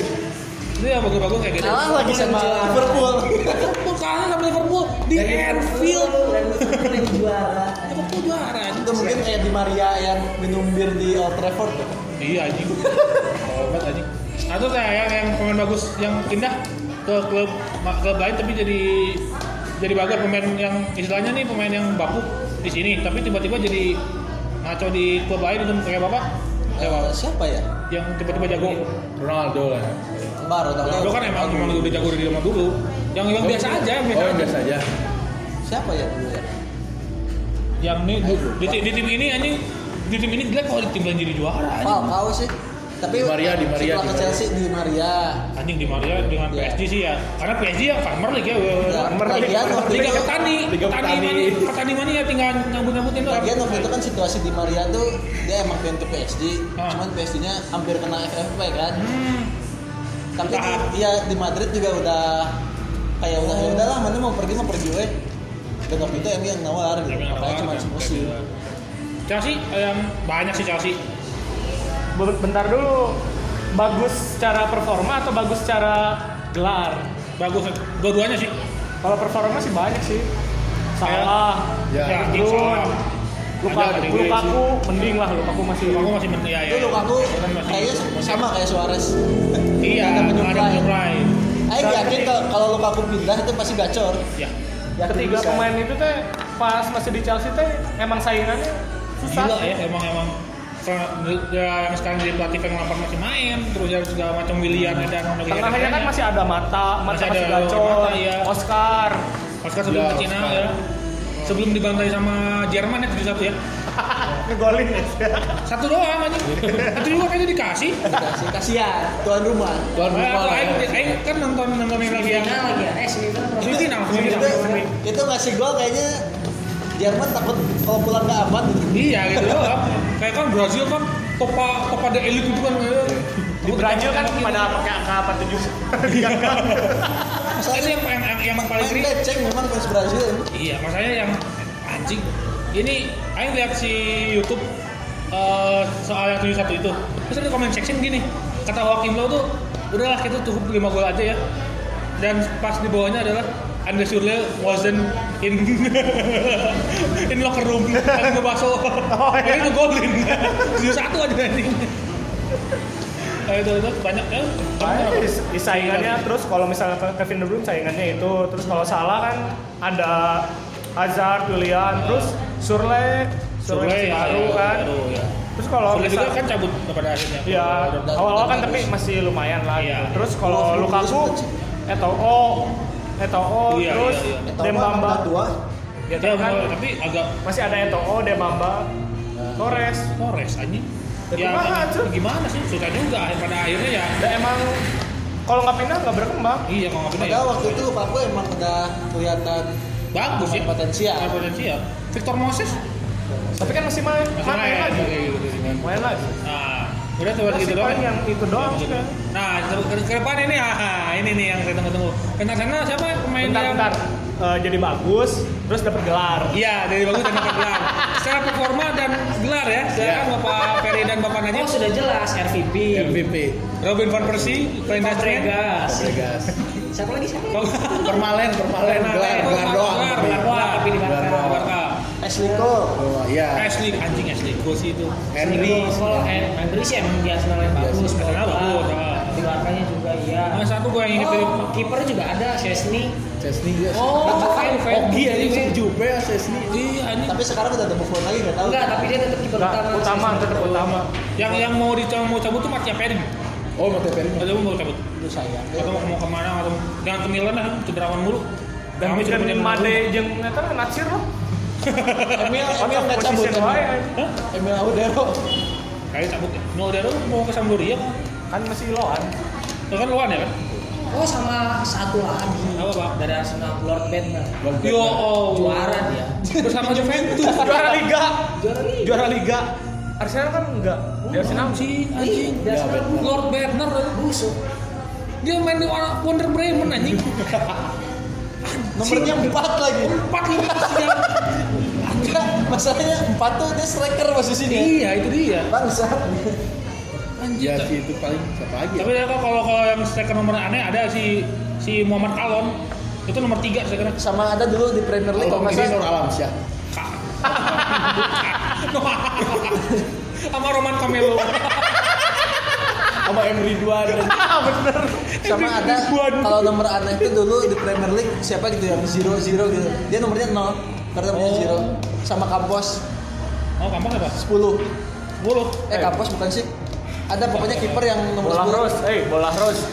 Speaker 2: itu yang bagus-bagus kayak gitu
Speaker 3: Kalah lagi sama
Speaker 6: Liverpool.
Speaker 2: Liverpool kalah sama Liverpool di Anfield
Speaker 3: Dan Liverpool yang juara.
Speaker 2: Liverpool juara
Speaker 6: itu mungkin kayak di Maria yang minum bir di Old Trafford. tuh.
Speaker 2: Iya anjing. Obat anjing. Nah terus ya, yang, yang pemain bagus yang pindah ke klub ma- klub lain tapi jadi jadi bagus pemain yang istilahnya nih pemain yang baku di sini tapi tiba-tiba jadi ngaco di klub lain itu kayak bapak
Speaker 5: Iya,
Speaker 6: Eh, siapa ya?
Speaker 2: yang tiba-tiba jago.
Speaker 5: Ronaldo lah. ya.
Speaker 6: Baru
Speaker 2: Ronaldo kan emang emang udah jago dari zaman dulu. Yang yang biasa aja, yang biasa
Speaker 5: Oh, yang
Speaker 2: aja.
Speaker 5: biasa aja.
Speaker 6: Siapa ya dulu ya?
Speaker 2: Yang nih di, di, di tim ini anjing di tim ini jelek kalau di tim lain jadi juara anjing.
Speaker 6: Falcao sih. Tapi
Speaker 5: Nah, Di Maria, di Maria,
Speaker 6: setelah
Speaker 5: di
Speaker 6: ke
Speaker 5: Maria.
Speaker 6: Chelsea di Maria.
Speaker 2: Anjing di Maria dengan
Speaker 6: Iya.
Speaker 2: PSG sih ya. Karena PSG ya Farmer League ya.
Speaker 6: Nah, lagian waktu
Speaker 2: Liga
Speaker 6: itu
Speaker 2: petani,
Speaker 5: Liga
Speaker 2: petani,
Speaker 5: petani.
Speaker 2: mani, petani mana ya tinggal nyambut-nyambutin doang.
Speaker 6: lagian waktu itu kan situasi di Maria tuh dia emang pengen ke PSG,
Speaker 2: Ah.
Speaker 6: cuman PSG-nya hampir kena FFP kan.
Speaker 2: Hmm,
Speaker 6: Tapi
Speaker 2: Ah.
Speaker 6: di- iya di Madrid juga udah kayak udah ya udahlah mana mau pergi mau pergi weh. Dan waktu itu Emi yang nawar gitu.
Speaker 2: emang
Speaker 6: Makanya
Speaker 2: lawan
Speaker 6: cuma
Speaker 2: kan.
Speaker 6: semusim.
Speaker 2: Chelsea eh, yang banyak sih Chelsea.
Speaker 1: Be- Bentar dulu. Bagus secara performa atau bagus secara gelar?
Speaker 2: Bagus dua-duanya sih.
Speaker 1: Kalau performa sih banyak sih.
Speaker 4: Salah.
Speaker 8: Ya.
Speaker 4: Ya,
Speaker 2: Ya, salah.
Speaker 4: Luka,
Speaker 2: Ada Inggris.
Speaker 4: Lukaku mending lah Lukaku masih
Speaker 2: Aku masih men ya, ya.
Speaker 6: Itu Lukaku
Speaker 2: Kan masih-
Speaker 6: kayaknya sama kayak Suarez.
Speaker 2: Iya,
Speaker 6: ada
Speaker 2: ada
Speaker 6: penyuplai.
Speaker 2: penyuplai.
Speaker 6: Aing yakin kalau- kalau Lukaku pindah itu pasti gacor.
Speaker 2: Ya.
Speaker 6: Yakin
Speaker 4: ketiga
Speaker 6: bisa.
Speaker 4: pemain itu teh pas masih di Chelsea teh emang saingannya susah.
Speaker 2: Gila ya, emang emang ya, yang sekarang jadi pelatih yang lapar masih main terus ya segala macam William dan
Speaker 4: Tengahnya kan masih ada mata, mata
Speaker 2: Masih
Speaker 4: masih,
Speaker 2: ada
Speaker 4: gacor,
Speaker 2: Mata, iya.
Speaker 4: Oscar.
Speaker 2: Oscar sebelum
Speaker 4: Iya,
Speaker 8: Ya,
Speaker 2: ke Cina
Speaker 8: Oscar.
Speaker 2: ya sebelum dibantai sama Jerman ya 71 ya
Speaker 4: Ngegolin ya.
Speaker 2: satu doang aja satu juga kayaknya dikasih
Speaker 6: Dikasih, Kasihan tuan rumah.
Speaker 8: Tuan
Speaker 2: Eh,
Speaker 8: rumah lah.
Speaker 2: Aing Aing kan nonton nonton yang lagi yang
Speaker 3: Final lagi ya, eh semifinal berapa?
Speaker 2: semifinal
Speaker 6: Itu,
Speaker 2: semifinal
Speaker 6: itu ngasih gol kayaknya Jerman takut kalau pulang nggak aman gitu.
Speaker 2: iya gitu doang kayak kan Brazil kan topa topa the elite itu kan kayak
Speaker 4: Di Brazil kan pada pakai angka 47.
Speaker 2: Masalahnya yang yang yang, yang paling
Speaker 6: Main
Speaker 2: kering
Speaker 6: becek memang fans Brazil.
Speaker 2: Iya, masalahnya yang anjing. Ini aing lihat si YouTube eh, soal yang 71 itu. Terus ada comment section gini. Kata Joaquim Low tuh, udahlah kita cukup 5 gol aja ya. Dan pas di bawahnya adalah Andre Surle wasn't in in locker room lagi ngebaso. Oh, iya. Ini ngegolin. 71 aja anjing. Eh, itu, itu banyak ya.
Speaker 4: Banyak dis- di saingannya terus kalau misalnya Ke- Kevin De Bruyne saingannya itu, terus kalau salah kan ada Hazard, Julian, terus Surle, Surle, masih baru kan.
Speaker 2: iya, Baru, ya.
Speaker 4: Terus kalau
Speaker 2: Surle juga
Speaker 4: misal-
Speaker 2: kan cabut pada akhirnya.
Speaker 4: Iya,
Speaker 6: Dan-
Speaker 4: awal-awal kan
Speaker 6: dan
Speaker 4: tapi
Speaker 6: bagus.
Speaker 4: masih lumayan lah. gitu.
Speaker 2: Iya.
Speaker 4: Terus kalau
Speaker 6: Dua puluh
Speaker 4: Lukaku,
Speaker 6: terus.
Speaker 4: Eto'o, Eto'o,
Speaker 2: Iya,
Speaker 4: terus
Speaker 2: iya, iya.
Speaker 4: Dembamba.
Speaker 6: dua.
Speaker 4: Dia
Speaker 2: Ya,
Speaker 4: tahu kan
Speaker 2: tapi agak
Speaker 4: masih ada Eto'o,
Speaker 2: Nah.
Speaker 4: Dembamba, Torres.
Speaker 2: Torres anjing.
Speaker 4: Ya, kumaha,
Speaker 2: emang
Speaker 4: cuy?
Speaker 2: gimana sih? Susah juga akhir- pada akhirnya ya.
Speaker 4: Dan emang kalau nggak pindah nggak berkembang.
Speaker 2: Iya, kalau nggak pindah ya.
Speaker 6: Padahal waktu itu Lukaku emang udah kelihatan
Speaker 2: bagus ya
Speaker 6: pemain potensial.
Speaker 2: Pemain potensial. Victor Moses
Speaker 4: Tapi kan masih main,
Speaker 2: masih
Speaker 4: main,
Speaker 2: main
Speaker 4: lagi.
Speaker 2: kayak gitu sih, kan.
Speaker 4: Main lagi.
Speaker 2: Nah, udah tuh
Speaker 4: Masih
Speaker 2: gitu
Speaker 4: paling
Speaker 2: doang.
Speaker 4: yang itu doang sih. kan.
Speaker 2: Nah, ke- ke, ke depan ini ah, ini nih yang saya tunggu-tunggu. Pentas sana siapa pemain
Speaker 4: Bentar,
Speaker 2: yang
Speaker 4: bentar. Eh, jadi bagus, terus dapat gelar.
Speaker 2: Iya, dari bagus dan dapat gelar. Secara performa dan gelar ya. Sekarang Bapak Ferry dan Bapak Najib.
Speaker 3: Oh sudah jelas RVP.
Speaker 8: MVP.
Speaker 2: Robin van Persie, Fernandes
Speaker 3: Fabregas.
Speaker 8: Vegas.
Speaker 3: Siapa lagi siapa?
Speaker 8: Permalen, permalen, gelar, gelar doang.
Speaker 2: Gelar,
Speaker 8: Tapi-
Speaker 2: gelar doang, tapi di
Speaker 8: Gelar
Speaker 2: Barca.
Speaker 8: doang.
Speaker 2: Barca.
Speaker 6: Ashley Cole.
Speaker 8: Oh, Iya.
Speaker 2: Ashley anjing Ashley gue sih itu
Speaker 8: Henry.
Speaker 3: Kalau eh, Henry sih emang di Arsenal yang bagus.
Speaker 2: Arsenal
Speaker 3: Pogba,
Speaker 2: bagus, ah.
Speaker 3: Di Barkanya juga iya.
Speaker 2: Mas satu gue yang inget dari
Speaker 3: Oh, kiper juga ada Chesney.
Speaker 8: Chesney juga.
Speaker 3: Oh, fan fan.
Speaker 8: Ogi anjing Jupe ya Chesney.
Speaker 2: Iya anjing
Speaker 6: Tapi sekarang udah ada Buffon lagi nggak tahu.
Speaker 3: Enggak, tapi dia tetap kiper
Speaker 4: Nggak,
Speaker 3: utama.
Speaker 4: utama, tetap utama.
Speaker 2: yang yang mau dicabut mau cabut tuh Mattia Perin
Speaker 8: Oh, Mate Perry.
Speaker 2: ada mau cabut
Speaker 6: Aduh sayang.
Speaker 2: atau mau mau kemana atau jangan ke Milan lah cederawan mulu
Speaker 4: Dan
Speaker 2: Kami
Speaker 4: bikin
Speaker 2: cederawan mulu.
Speaker 4: Made jeung eta mah natsir lah.
Speaker 6: Emil
Speaker 4: Out
Speaker 6: Emil
Speaker 4: of
Speaker 6: nggak cabut.
Speaker 4: position
Speaker 6: Emil.
Speaker 4: wae.
Speaker 2: Hah?
Speaker 6: Emil Audero.
Speaker 2: Kayaknya cabut ya mau dari mau ke Sampdoria kan
Speaker 4: Kan masih loan.
Speaker 2: Ya kan luan ya kan
Speaker 3: Oh, sama satu lagi.
Speaker 2: Apa, Pak?
Speaker 3: Dari Arsenal Lord Bednar.
Speaker 2: yo oh
Speaker 3: Juara dia.
Speaker 2: bersama Juventus
Speaker 4: Juara liga.
Speaker 3: Juara nih.
Speaker 4: Juara liga. Arsenal kan enggak. Di Arsenal
Speaker 2: anjing
Speaker 3: Ih,
Speaker 2: anjing
Speaker 3: di Arsenal
Speaker 2: Lord Bednar
Speaker 3: eh, busuk.
Speaker 2: dia main di Wonder Bremen anjing
Speaker 6: Nomornya empat lagi.
Speaker 2: empat lima siang
Speaker 6: Enggak, masalahnya empat tuh dia striker posisinya.
Speaker 2: iya itu dia
Speaker 6: Bangsa.
Speaker 8: Ya si itu paling siapa lagi ya?
Speaker 2: Tapi ya, kalau kalau yang striker nomor aneh ada si si Muhammad Kalon itu nomor tiga saya kira.
Speaker 6: Sama ada dulu di Premier League
Speaker 8: Kalau
Speaker 6: kalau nggak
Speaker 8: kiri
Speaker 6: salah.
Speaker 8: Nur Alamsyah.
Speaker 2: Sama Roman Camelo.
Speaker 8: Sama Emri Duan.
Speaker 6: sama ada kalau nomor aneh itu dulu di Premier League siapa gitu ya zero zero gitu dia nomornya nol karena nomornya
Speaker 2: Oh.
Speaker 6: zero sama Kampos
Speaker 2: Oh kamu apa?
Speaker 6: 10
Speaker 2: Bulu.
Speaker 6: eh Kampos bukan sih ada pokoknya kiper yang nomor
Speaker 4: bola
Speaker 6: 10
Speaker 4: Rose, eh bola Rose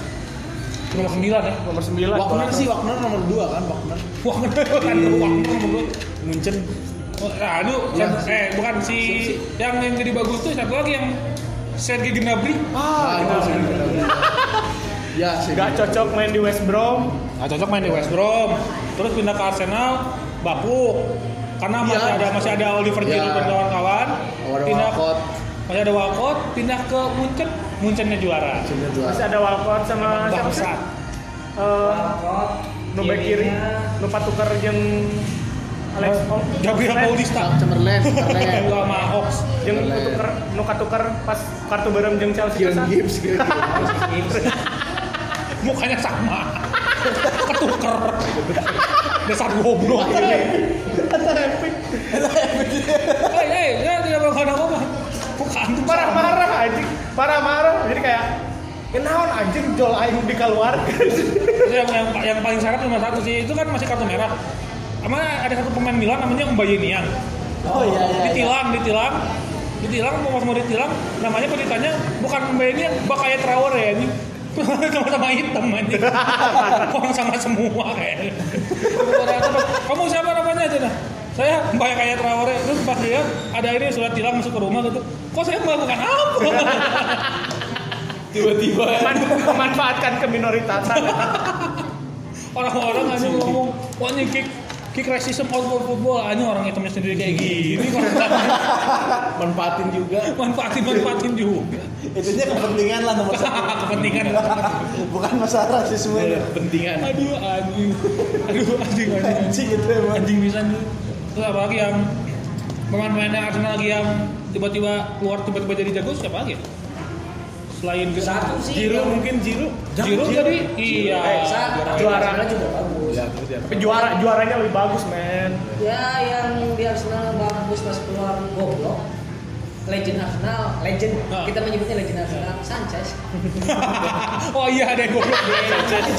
Speaker 2: Nomor sembilan ya.
Speaker 4: nomor 9.
Speaker 8: Wagner sih Wagner nomor 2 kan Wagner.
Speaker 2: Wah kan uang nomor
Speaker 8: Munchen.
Speaker 2: dua. Aduh, eh bukan si yang yang jadi bagus tuh satu lagi yang Sergei Gnabry.
Speaker 6: iya.
Speaker 8: Ah, itu sih. Ya sih.
Speaker 4: Gak cocok main di West Brom.
Speaker 2: Nah, cocok main di West Brom. Terus pindah ke Arsenal, bapuk. Karena masih
Speaker 8: Iya.
Speaker 2: ada masih ada Oliver
Speaker 8: Iya.
Speaker 2: Giroud dan kawan-kawan.
Speaker 8: Ada
Speaker 2: Pindah
Speaker 8: Walcott.
Speaker 2: masih ada Walcott, pindah ke Munchen. Munchennya juara.
Speaker 8: Munchen
Speaker 4: Masih
Speaker 8: juara.
Speaker 4: ada Walcott sama siapa sih?
Speaker 2: Bangsat.
Speaker 4: Eh,
Speaker 3: Walcott,
Speaker 4: nu back kiri,
Speaker 3: kirinya.
Speaker 4: lupa tuker jeung Alex Ong.
Speaker 2: Gabriel Paulista.
Speaker 8: Chamberlain, Chamberlain.
Speaker 2: Dua sama Ox.
Speaker 4: Jeung tuker nu katuker pas kartu bareng jeung Chelsea
Speaker 8: Kieran
Speaker 4: pisan.
Speaker 8: Gibbs, Kieran Gibbs.
Speaker 2: Mukanya sama. ketuker dasar goblok hei hei ya tidak melakukan apa-apa bukan tuh
Speaker 1: Parah-parah anjing. Parah-marah. Jadi kayak Kenaon anjing jol aing dikeluarkan.
Speaker 2: Itu yang, yang, yang paling syarat cuma satu sih itu kan masih kartu merah sama ada satu pemain Milan namanya Mbaye Niang
Speaker 6: Oh iya iya. iya.
Speaker 2: ditilang ditilang ditilang mau pas mau ditilang namanya kok ditanya bukan Mbaye Niang bakaya Traore ya ini sama-sama hitam aja orang sama semua kayak kamu siapa namanya aja nah saya Mbaye kayak Traore terus pas dia ada ini surat tilang masuk ke rumah gitu kok saya melakukan apa
Speaker 1: Man- memanfaatkan keminoritasan.
Speaker 2: orang-orang aja ngomong wah ini kick kick racism out for football aja orang hitamnya sendiri kayak gini
Speaker 6: Manfaatin juga.
Speaker 2: manfaatin manfaatin juga
Speaker 6: Itunya kepentingan lah nomor satu.
Speaker 2: kepentingan
Speaker 6: Bukan masalah rasisme itu.
Speaker 2: aduh anjing aduh anjing anjing
Speaker 6: Anjing itu emang.
Speaker 2: anjing bisa nih terus apa lagi yang pemain-pemain yang Arsenal lagi yang tiba-tiba keluar tiba-tiba jadi jago siapa lagi ya? selain
Speaker 3: Satu sih.
Speaker 5: Jiru mungkin Jiru.
Speaker 2: Giroud tadi iya
Speaker 3: Eh, sa-
Speaker 1: Juara.
Speaker 3: Arsenal juga bagus.
Speaker 1: Tapi juara juaranya lebih bagus, men.
Speaker 3: Ya yang di Arsenal bagus pas keluar goblok. Legend Arsenal, legend.
Speaker 2: Nah.
Speaker 3: Kita menyebutnya legend Arsenal, Sanchez.
Speaker 2: oh iya ada yang goblok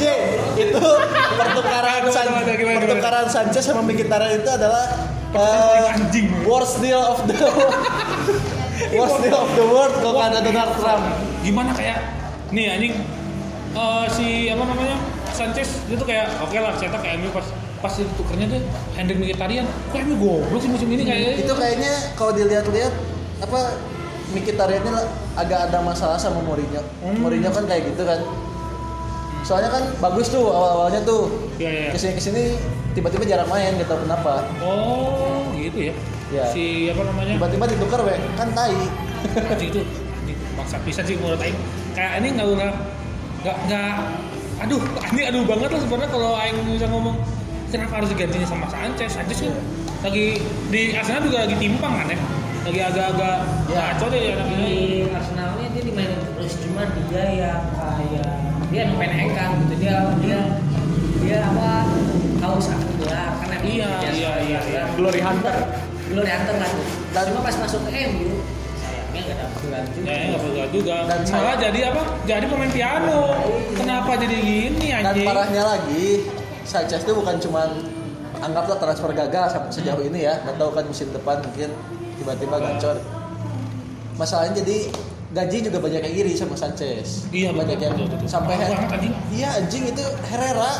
Speaker 6: J, itu
Speaker 2: Gimana,
Speaker 6: pertukaran San,
Speaker 2: gimana, gimana, gimana?
Speaker 6: pertukaran Sanchez sama Mkhitaryan itu adalah
Speaker 2: Pertukaran
Speaker 6: eh,
Speaker 2: paling anjing.
Speaker 6: worst deal of the worst deal of the world kalau nggak ada Donald Trump.
Speaker 2: gimana kayak nih anjing eh, si apa namanya Sanchez dia tuh kayak oke lah cetak kayak MU pas pas itu tukernya tuh Hendrik Mkhitaryan kok MU goblok sih musim ini kayak gitu?
Speaker 6: Itu kayaknya kalau dilihat-lihat apa Mkhitaryan ini agak ada masalah sama Mourinho. Mourinho kan kayak gitu kan. Soalnya kan bagus tuh awal-awalnya tuh.
Speaker 2: Iya, iya.
Speaker 6: Kesini-kesini tiba-tiba jarang main gitu kenapa?
Speaker 2: oh gitu ya
Speaker 6: Iya.
Speaker 2: si apa namanya
Speaker 6: Tiba-tiba ditukar weh, kan tai.
Speaker 2: anjing itu anjing maksa bisa sih menurut Aing kayak ini nggak nggak nggak nggak aduh ini aduh banget lah sebenarnya kalau Aing bisa ngomong kenapa harus digantinya sama Sanchez Sanchez kan lagi di Arsenal juga lagi timpang kan ya lagi agak-agak
Speaker 6: Iya.
Speaker 2: kacau deh ya
Speaker 3: Di Arsenalnya dia dimainin terus cuman dia yang kayak dia emang pengen engkang gitu dia dia dia apa haus akan gelar karena dia
Speaker 2: Iya, iya,
Speaker 3: punya seorang
Speaker 2: iya,
Speaker 3: gelar.
Speaker 1: Glory Hunter.
Speaker 3: Glory Hunter kan.
Speaker 6: Dan-
Speaker 3: Cuma pas masuk ke MU sayangnya nggak dapet gelar juga.
Speaker 2: Ya, ya, nggak pegal juga.
Speaker 6: Dan
Speaker 2: Malah
Speaker 6: saya-
Speaker 2: jadi apa? Jadi pemain piano. Kenapa jadi gini
Speaker 6: Dan
Speaker 2: anjing?
Speaker 6: parahnya lagi, Sanchez itu bukan cuman anggaplah transfer gagal sam- sejauh ini ya, nggak tahu kan musim depan mungkin tiba-tiba gacor. Masalahnya jadi gaji juga banyak yang iri sama Sanchez.
Speaker 2: Iya,
Speaker 6: banyak
Speaker 2: betul,
Speaker 6: yang
Speaker 2: betul, betul.
Speaker 6: sampai
Speaker 2: Parah banget, anjing.
Speaker 6: Iya anjing itu Herrera.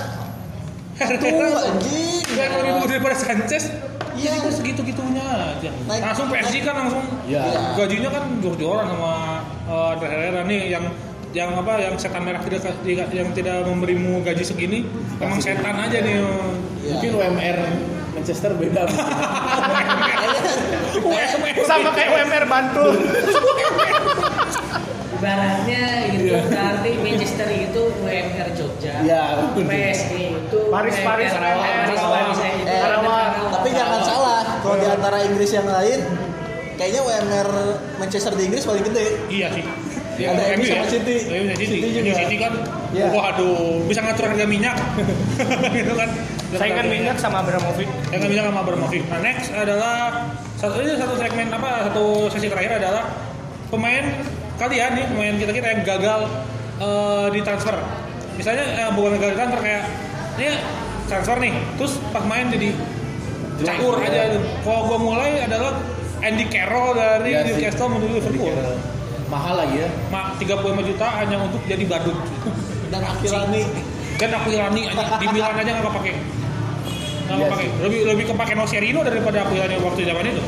Speaker 2: Herrera.
Speaker 6: Tuh anjing.
Speaker 2: Kayak kalau gitu. dibuat daripada Sanchez,
Speaker 6: Iya.
Speaker 2: itu segitu-gitunya aja.
Speaker 6: Naik-
Speaker 2: Langsung PSG kan langsung
Speaker 5: Iya.
Speaker 2: gajinya kan jor-joran sama eh, Andre Herrera nih yang yang apa yang setan merah tidak yang tidak memberimu gaji segini emang setan aja nih
Speaker 6: Iya.
Speaker 5: Mungkin UMR Manchester beda.
Speaker 1: Sama kayak UMR Bantul.
Speaker 3: Ibaratnya gitu berarti Manchester itu UMR Jogja.
Speaker 6: Iya.
Speaker 3: PSG itu
Speaker 1: Paris,
Speaker 3: UMR
Speaker 1: Paris,
Speaker 3: Karawang,
Speaker 1: Paris,
Speaker 3: Karawang,
Speaker 1: Paris.
Speaker 3: itu
Speaker 6: Eh,
Speaker 3: Karawang.
Speaker 6: Tapi jangan salah, kalau di antara Inggris yang lain, kayaknya UMR Manchester di Inggris paling gede.
Speaker 2: Iya sih.
Speaker 6: Ada
Speaker 2: Kalau
Speaker 6: MU
Speaker 2: MU
Speaker 6: sama City.
Speaker 2: Iya, bisa City.
Speaker 6: City
Speaker 2: Di
Speaker 6: juga.
Speaker 2: City kan,
Speaker 6: Iya.
Speaker 2: waduh, bisa ngatur harga minyak. gitu kan.
Speaker 1: Saingan minyak sama Abramovich.
Speaker 2: Saingan minyak sama Abramovich. Nah, next adalah satu ini satu segmen apa satu sesi terakhir adalah pemain kalian nih pemain kita kita yang gagal eh, ditransfer. Misalnya eh, bukan gagal ditransfer kayak dia transfer nih, terus pas main jadi caur
Speaker 5: iya.
Speaker 2: aja. Kalau gua mulai adalah Andy Carroll dari
Speaker 5: Iya sih.
Speaker 2: Newcastle menuju Liverpool.
Speaker 5: Mahal lagi ya.
Speaker 2: Ma, 35 juta hanya untuk jadi badut.
Speaker 6: Dan Akilani
Speaker 2: Dan Kan aku Irani aja di Milan aja nggak kepake. Nggak
Speaker 5: Iya
Speaker 2: kepake. Lebih lebih kepake Nocerino daripada aku Irani waktu zaman itu.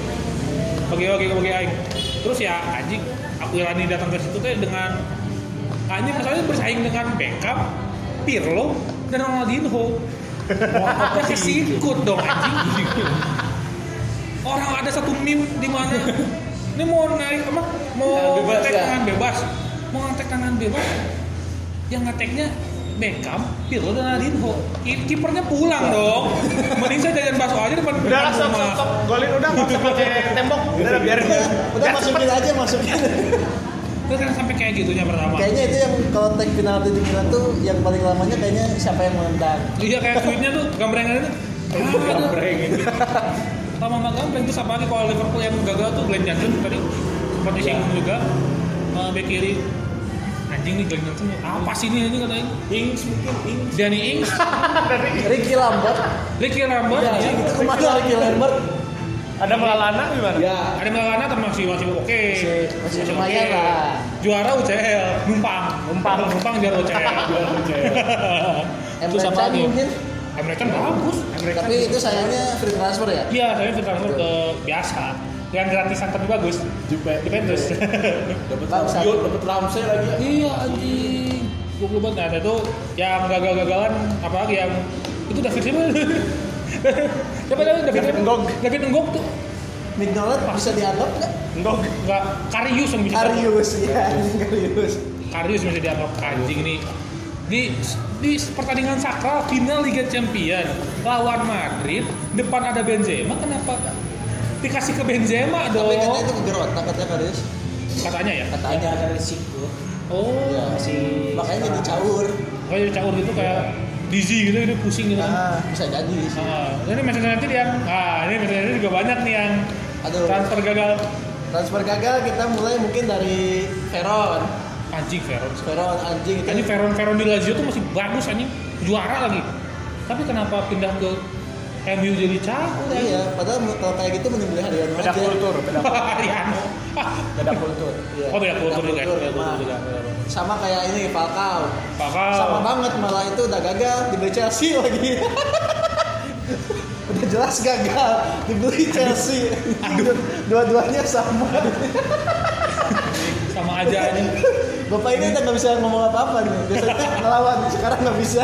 Speaker 2: Bagi bagi bagi aing. Terus ya anjing aku Irani datang ke situ teh dengan anjing misalnya bersaing dengan Beckham, Pirlo dan Ronaldinho. Wah, kesikut dong anjing. Orang ada satu meme di mana ini mau naik apa? Mau
Speaker 5: Tangan bebas,
Speaker 2: ngetek
Speaker 5: ya?
Speaker 2: tangan bebas. Mau ngetek tangan bebas. Yang ngeteknya Beckham, Pirlo dan Ronaldinho. Ki- Kipernya pulang dong. Mending saya jajan bakso aja depan
Speaker 1: Udah lah,
Speaker 2: depan
Speaker 1: stop, stop, stop. Golin udah nggak usah pakai tembok. Udah lah, biarin.
Speaker 6: udah masukin aja masukin
Speaker 2: Terus Itu kan sampai kayak gitunya pertama.
Speaker 6: Kayaknya itu yang kalau tag penalti di Milan tuh yang paling lamanya kayaknya siapa yang menendang.
Speaker 2: Iya kayak tweetnya tuh gambrengan itu. Gambreng. Lama banget gambreng terus apalagi kalau Liverpool yang gagal tuh Glenn Johnson tadi sempat disinggung juga Eh, bek kiri anjing nih Glenn Johnson ya. apa sih ini ini katanya
Speaker 4: Ings mungkin Ings.
Speaker 2: Danny Ings
Speaker 6: Ricky Lambert.
Speaker 2: Ricky Rambert
Speaker 6: Ya,
Speaker 2: ya.
Speaker 6: itu kemana Ricky Lambert?
Speaker 1: Ada melalana gimana?
Speaker 6: Ya,
Speaker 2: ada Melana atau masih masih oke
Speaker 6: Masih- masih
Speaker 2: oke.
Speaker 6: lumayan lah.
Speaker 2: juara UCL numpang numpang numpang juara UCL juara UCL terus
Speaker 6: Emre
Speaker 2: apa
Speaker 6: Can
Speaker 2: lagi
Speaker 6: mungkin.
Speaker 2: Emre Can bagus
Speaker 6: Tapi itu sayangnya free transfer ya.
Speaker 2: Iya, saya fit transfer ke biasa. Yang gratisan tapi bagus.
Speaker 5: Jupe.
Speaker 2: Juventus.
Speaker 5: Dapat
Speaker 6: Bangsa.
Speaker 5: Rabiot, dapat Ramsey lagi.
Speaker 2: iya anjing. Gue banget nah, ada tuh yang gagal-gagalan apalagi yang itu David Silva. Siapa tadi David David Ngog. David Ngog tuh
Speaker 6: Mignolet bisa dianggap nggak?
Speaker 1: Enggak.
Speaker 2: enggak Karius yang bisa.
Speaker 6: Karius ya, Karius.
Speaker 2: Karius bisa dianggap anjing ini. Di di pertandingan sakral final Liga Champion lawan Madrid depan ada Benzema kenapa dikasih ke Benzema
Speaker 6: Tapi katanya
Speaker 2: dong
Speaker 6: itu geger otak katanya Karius.
Speaker 2: katanya ya
Speaker 6: Katanya ada risiko.
Speaker 2: oh
Speaker 6: Ya. Makanya jadi caur.
Speaker 2: Pokoknya caur gitu kayak dizzy gitu, dia pusing gitu kan.
Speaker 6: Nah, bisa jadi sih.
Speaker 2: Ah, ini Manchester United yang, ah ini Manchester United juga banyak nih yang kan
Speaker 6: Aduh.
Speaker 2: transfer gagal.
Speaker 6: Transfer gagal kita mulai mungkin dari Veron.
Speaker 2: Anjing Veron.
Speaker 6: Veron anjing itu.
Speaker 2: Anjing Veron Veron di Lazio tuh masih bagus anjing, juara lagi. Tapi kenapa pindah ke MU jadi caur?
Speaker 6: Iya, padahal men- kalau kayak gitu mending beli Haryono aja.
Speaker 1: Beda kultur, beda
Speaker 2: Ariano.
Speaker 6: Beda kultur. Iya.
Speaker 2: Oh, beda kultur juga ya, beda kultur
Speaker 6: emang.
Speaker 2: juga.
Speaker 6: Sama kayak ini Falcao.
Speaker 2: Bakal.
Speaker 6: Sama banget malah itu udah gagal dibeli Chelsea lagi. udah jelas gagal dibeli Chelsea. Dua-duanya sama.
Speaker 2: Sama aja anjing.
Speaker 6: Bapak ini udah nggak bisa ngomong apa-apa nih. Biasanya ngelawan, sekarang nggak bisa.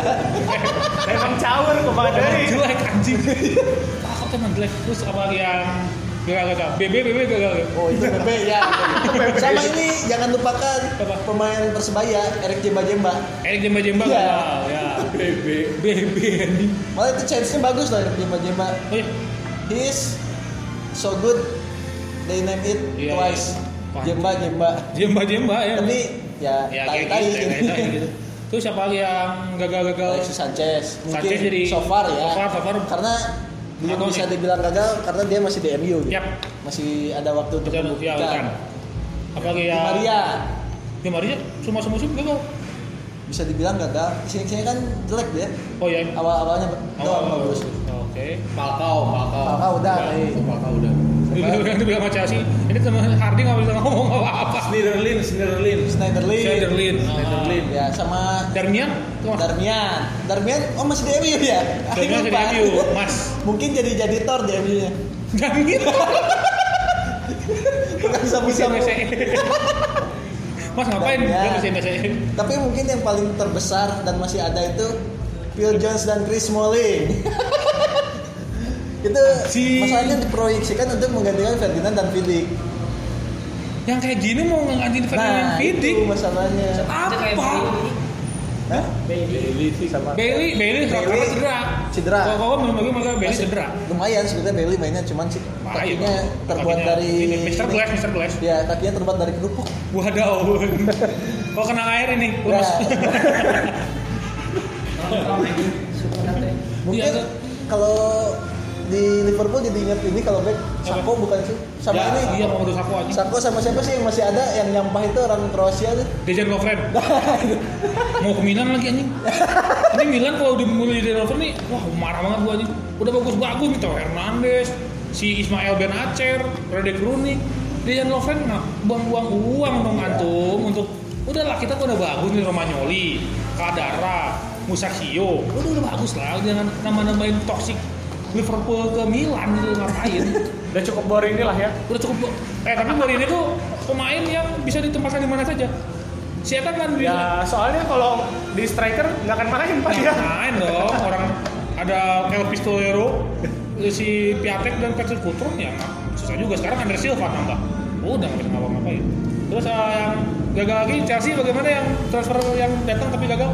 Speaker 1: Emang caur kemana
Speaker 2: Emang
Speaker 1: nih?
Speaker 2: jelek anjing. Takut emang jelek. Terus apa yang gagal-gagal? BB BB gagal.
Speaker 6: Oh itu PP ya. Sama ini jangan lupakan
Speaker 2: Apa?
Speaker 6: pemain Persebaya Erik Jemba Jemba.
Speaker 2: Erik Jemba-Jemba
Speaker 6: Iya.
Speaker 2: gagal. Ya. BB BB anjing.
Speaker 6: Malah itu chance-nya bagus loh Erik Jemba Jemba.
Speaker 2: Oh iya.
Speaker 6: He is so good. They name it
Speaker 2: Iya,
Speaker 6: twice.
Speaker 2: iya.
Speaker 6: Jemba Jemba.
Speaker 2: Jemba Jemba ya.
Speaker 6: Tapi ya
Speaker 2: ya
Speaker 6: tai
Speaker 2: kayak
Speaker 6: tai
Speaker 2: gitu, kayak gitu, kayak gitu. Terus siapa lagi yang gagal-gagal?
Speaker 6: Alexis Sanchez mungkin
Speaker 2: Sanchez jadi-
Speaker 6: so far ya.
Speaker 2: so far, so far.
Speaker 6: Karena belum
Speaker 2: Atau
Speaker 6: bisa
Speaker 2: nih.
Speaker 6: dibilang gagal karena dia masih di MU gitu.
Speaker 2: Yap.
Speaker 6: Masih ada waktu untuk
Speaker 2: Kita ya bukan. Ya.
Speaker 6: membuktikan.
Speaker 2: Apa lagi
Speaker 6: Di
Speaker 2: yang
Speaker 6: Maria
Speaker 2: Di Maria semua musim gagal.
Speaker 6: bisa dibilang gagal. Di sini sini kan jelek dia.
Speaker 2: Oh iya.
Speaker 6: Awal-awalnya doang bagus.
Speaker 2: Oke. Ah.
Speaker 5: Falcao, Falcao.
Speaker 6: Falcao udah, eh, baik.
Speaker 5: Falcao udah.
Speaker 2: Dulu yang dibilang sama Chelsea, ini teman Hardy nggak bisa ngomong apa-apa.
Speaker 5: Sniderlin, Sniderlin.
Speaker 6: Schneiderlin.
Speaker 2: Schneiderlin.
Speaker 5: Schneiderlin.
Speaker 6: Ya sama
Speaker 2: Darmian, tuh, Mas.
Speaker 6: Darmian. Darmian oh masih di MU ya?
Speaker 2: Darmian
Speaker 6: Akhirnya,
Speaker 2: jadi
Speaker 6: Pak.
Speaker 2: MU, Mas.
Speaker 6: Mungkin jadi jadi tor di MU nya.
Speaker 2: Darmian.
Speaker 6: Bukan sabu
Speaker 2: Bisa
Speaker 6: sabu.
Speaker 2: E. Mas ngapain?
Speaker 6: Darmian.
Speaker 2: Dia masih E. MSE.
Speaker 6: Tapi mungkin yang paling terbesar dan masih ada itu Phil Jones dan Chris Smalling. itu
Speaker 2: Si-
Speaker 6: masalahnya diproyeksikan untuk menggantikan Ferdinand dan Vidic.
Speaker 2: Yang kayak gini mau ngantiin Ferdinand
Speaker 6: Nah,
Speaker 2: Vidic.
Speaker 6: itu masalahnya.
Speaker 3: Itu kayak
Speaker 2: Apa?
Speaker 3: Bailey.
Speaker 6: Hah?
Speaker 3: Bailey.
Speaker 6: Sama
Speaker 2: Bailey, Bailey,
Speaker 6: Bailey
Speaker 2: Bailey cedera.
Speaker 6: cedera.
Speaker 2: Kalau kalau menurut gue mereka Bailey
Speaker 6: Masih-
Speaker 2: cedera.
Speaker 6: Lumayan sebenarnya Bailey mainnya cuman sih
Speaker 2: Parah ya,
Speaker 6: kakinya
Speaker 2: Bang.
Speaker 6: terbuat
Speaker 2: Kakinya-
Speaker 6: dari
Speaker 2: ini, Mr. Glass, Mr. Glass.
Speaker 6: Ya, kakinya terbuat dari kerupuk.
Speaker 2: Wadaw. Kok kena air ini?
Speaker 6: Ya.
Speaker 2: Lemas.
Speaker 6: Mungkin
Speaker 2: Iya, tuh.
Speaker 6: kalau di Liverpool jadi ingat ini kalau back Sako bukan sih? Sama
Speaker 2: Ya,
Speaker 6: ini.
Speaker 2: Iya, mau rusak aku aja.
Speaker 6: Sako sama siapa sih yang masih ada yang nyampah itu orang Kroasia tuh?
Speaker 2: Dejan Lovren. Mau ke Milan lagi anjing. Ini Milan kalau udah mulai Dejan Lovren nih, wah marah banget gua anjing. Udah bagus-bagus nih, Teo Hernandez, si Ismail Ben Acer, Rade Krunic. Dejan Lovren mah buang-buang uang dong antum untuk udahlah kita tuh udah bagus nih Romagnoli, Kadara, Musakio. Udah udah bagus lah, jangan nama-namain toxic Liverpool ke Milan gitu ngapain.
Speaker 1: Udah cukup boring inilah ya.
Speaker 2: udah cukup bu- eh tapi Mourinho ini tuh pemain yang bisa ditempatkan di mana saja si Eta kan bisa
Speaker 1: Ya soalnya kalau di striker nggak akan main pak dia.
Speaker 2: ya. main dong orang ada El Pistolero si Piatek dan Petrus Kutrum ya nggak- susah juga sekarang Andre Silva nambah udah nggak bisa ngapa-ngapain terus eh, yang gagal lagi Chelsea bagaimana yang transfer yang datang tapi gagal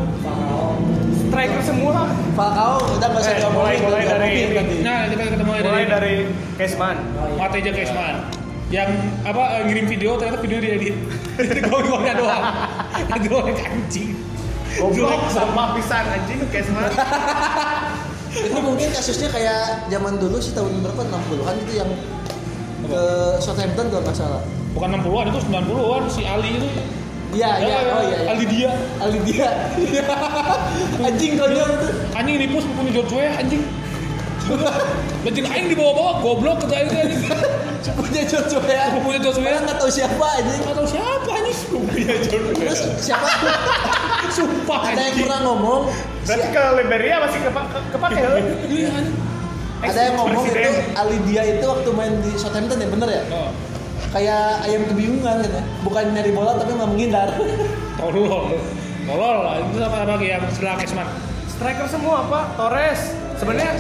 Speaker 1: Striker semua.
Speaker 6: Falcao udah nggak usah
Speaker 1: Eh,
Speaker 6: diomongin,
Speaker 1: mulai- mulai
Speaker 6: diomongin
Speaker 1: dari-
Speaker 6: nanti.
Speaker 2: nah kita ketemu
Speaker 1: Mulai
Speaker 2: dari
Speaker 1: dari Kesman.
Speaker 2: Mateja Keisman yang apa eh, ngirim video ternyata video diedit itu gong-gongnya doang itu orang anjing
Speaker 4: Goblok
Speaker 2: Jelek,
Speaker 4: sama pisan anjing kayak semua.
Speaker 6: Itu mungkin kasusnya kayak zaman dulu sih tahun berapa 60-an gitu yang ke Southampton kalau nggak salah.
Speaker 2: bukan 60-an itu 90-an si Ali itu
Speaker 6: Iya,
Speaker 2: Ya,
Speaker 6: iya,
Speaker 2: ya,
Speaker 6: oh iya. iya.
Speaker 2: Ali dia
Speaker 6: Ali dia. Anjing konyol tuh.
Speaker 2: anjing ini pus bukunya George Weah anjing Anjing aing dibawa-bawa goblok ke aing anjing.
Speaker 6: Sepupunya Jojo ya.
Speaker 2: Sepupunya George Weah.
Speaker 6: Orang nggak tahu siapa anjing.
Speaker 2: Enggak tahu siapa anjing sepupunya George
Speaker 6: Terus
Speaker 2: Weah.
Speaker 6: siapa?
Speaker 2: Sumpah
Speaker 6: Ada yang
Speaker 2: anjing.
Speaker 6: pernah ngomong.
Speaker 4: Berarti ke Liberia masih kepa ke- kepake lu.
Speaker 2: Iya, anjing.
Speaker 6: Ada yang ngomong itu
Speaker 4: Presiden.
Speaker 6: Ali dia itu waktu main di Southampton ya bener ya?
Speaker 2: Oh,
Speaker 6: Kayak ayam kebingungan kan ya. Bukan nyari bola tapi nggak menghindar.
Speaker 2: Tolol. Tolol itu sama sama yang sebelah Kesman.
Speaker 4: Striker semua Pak, Torres. Sebenarnya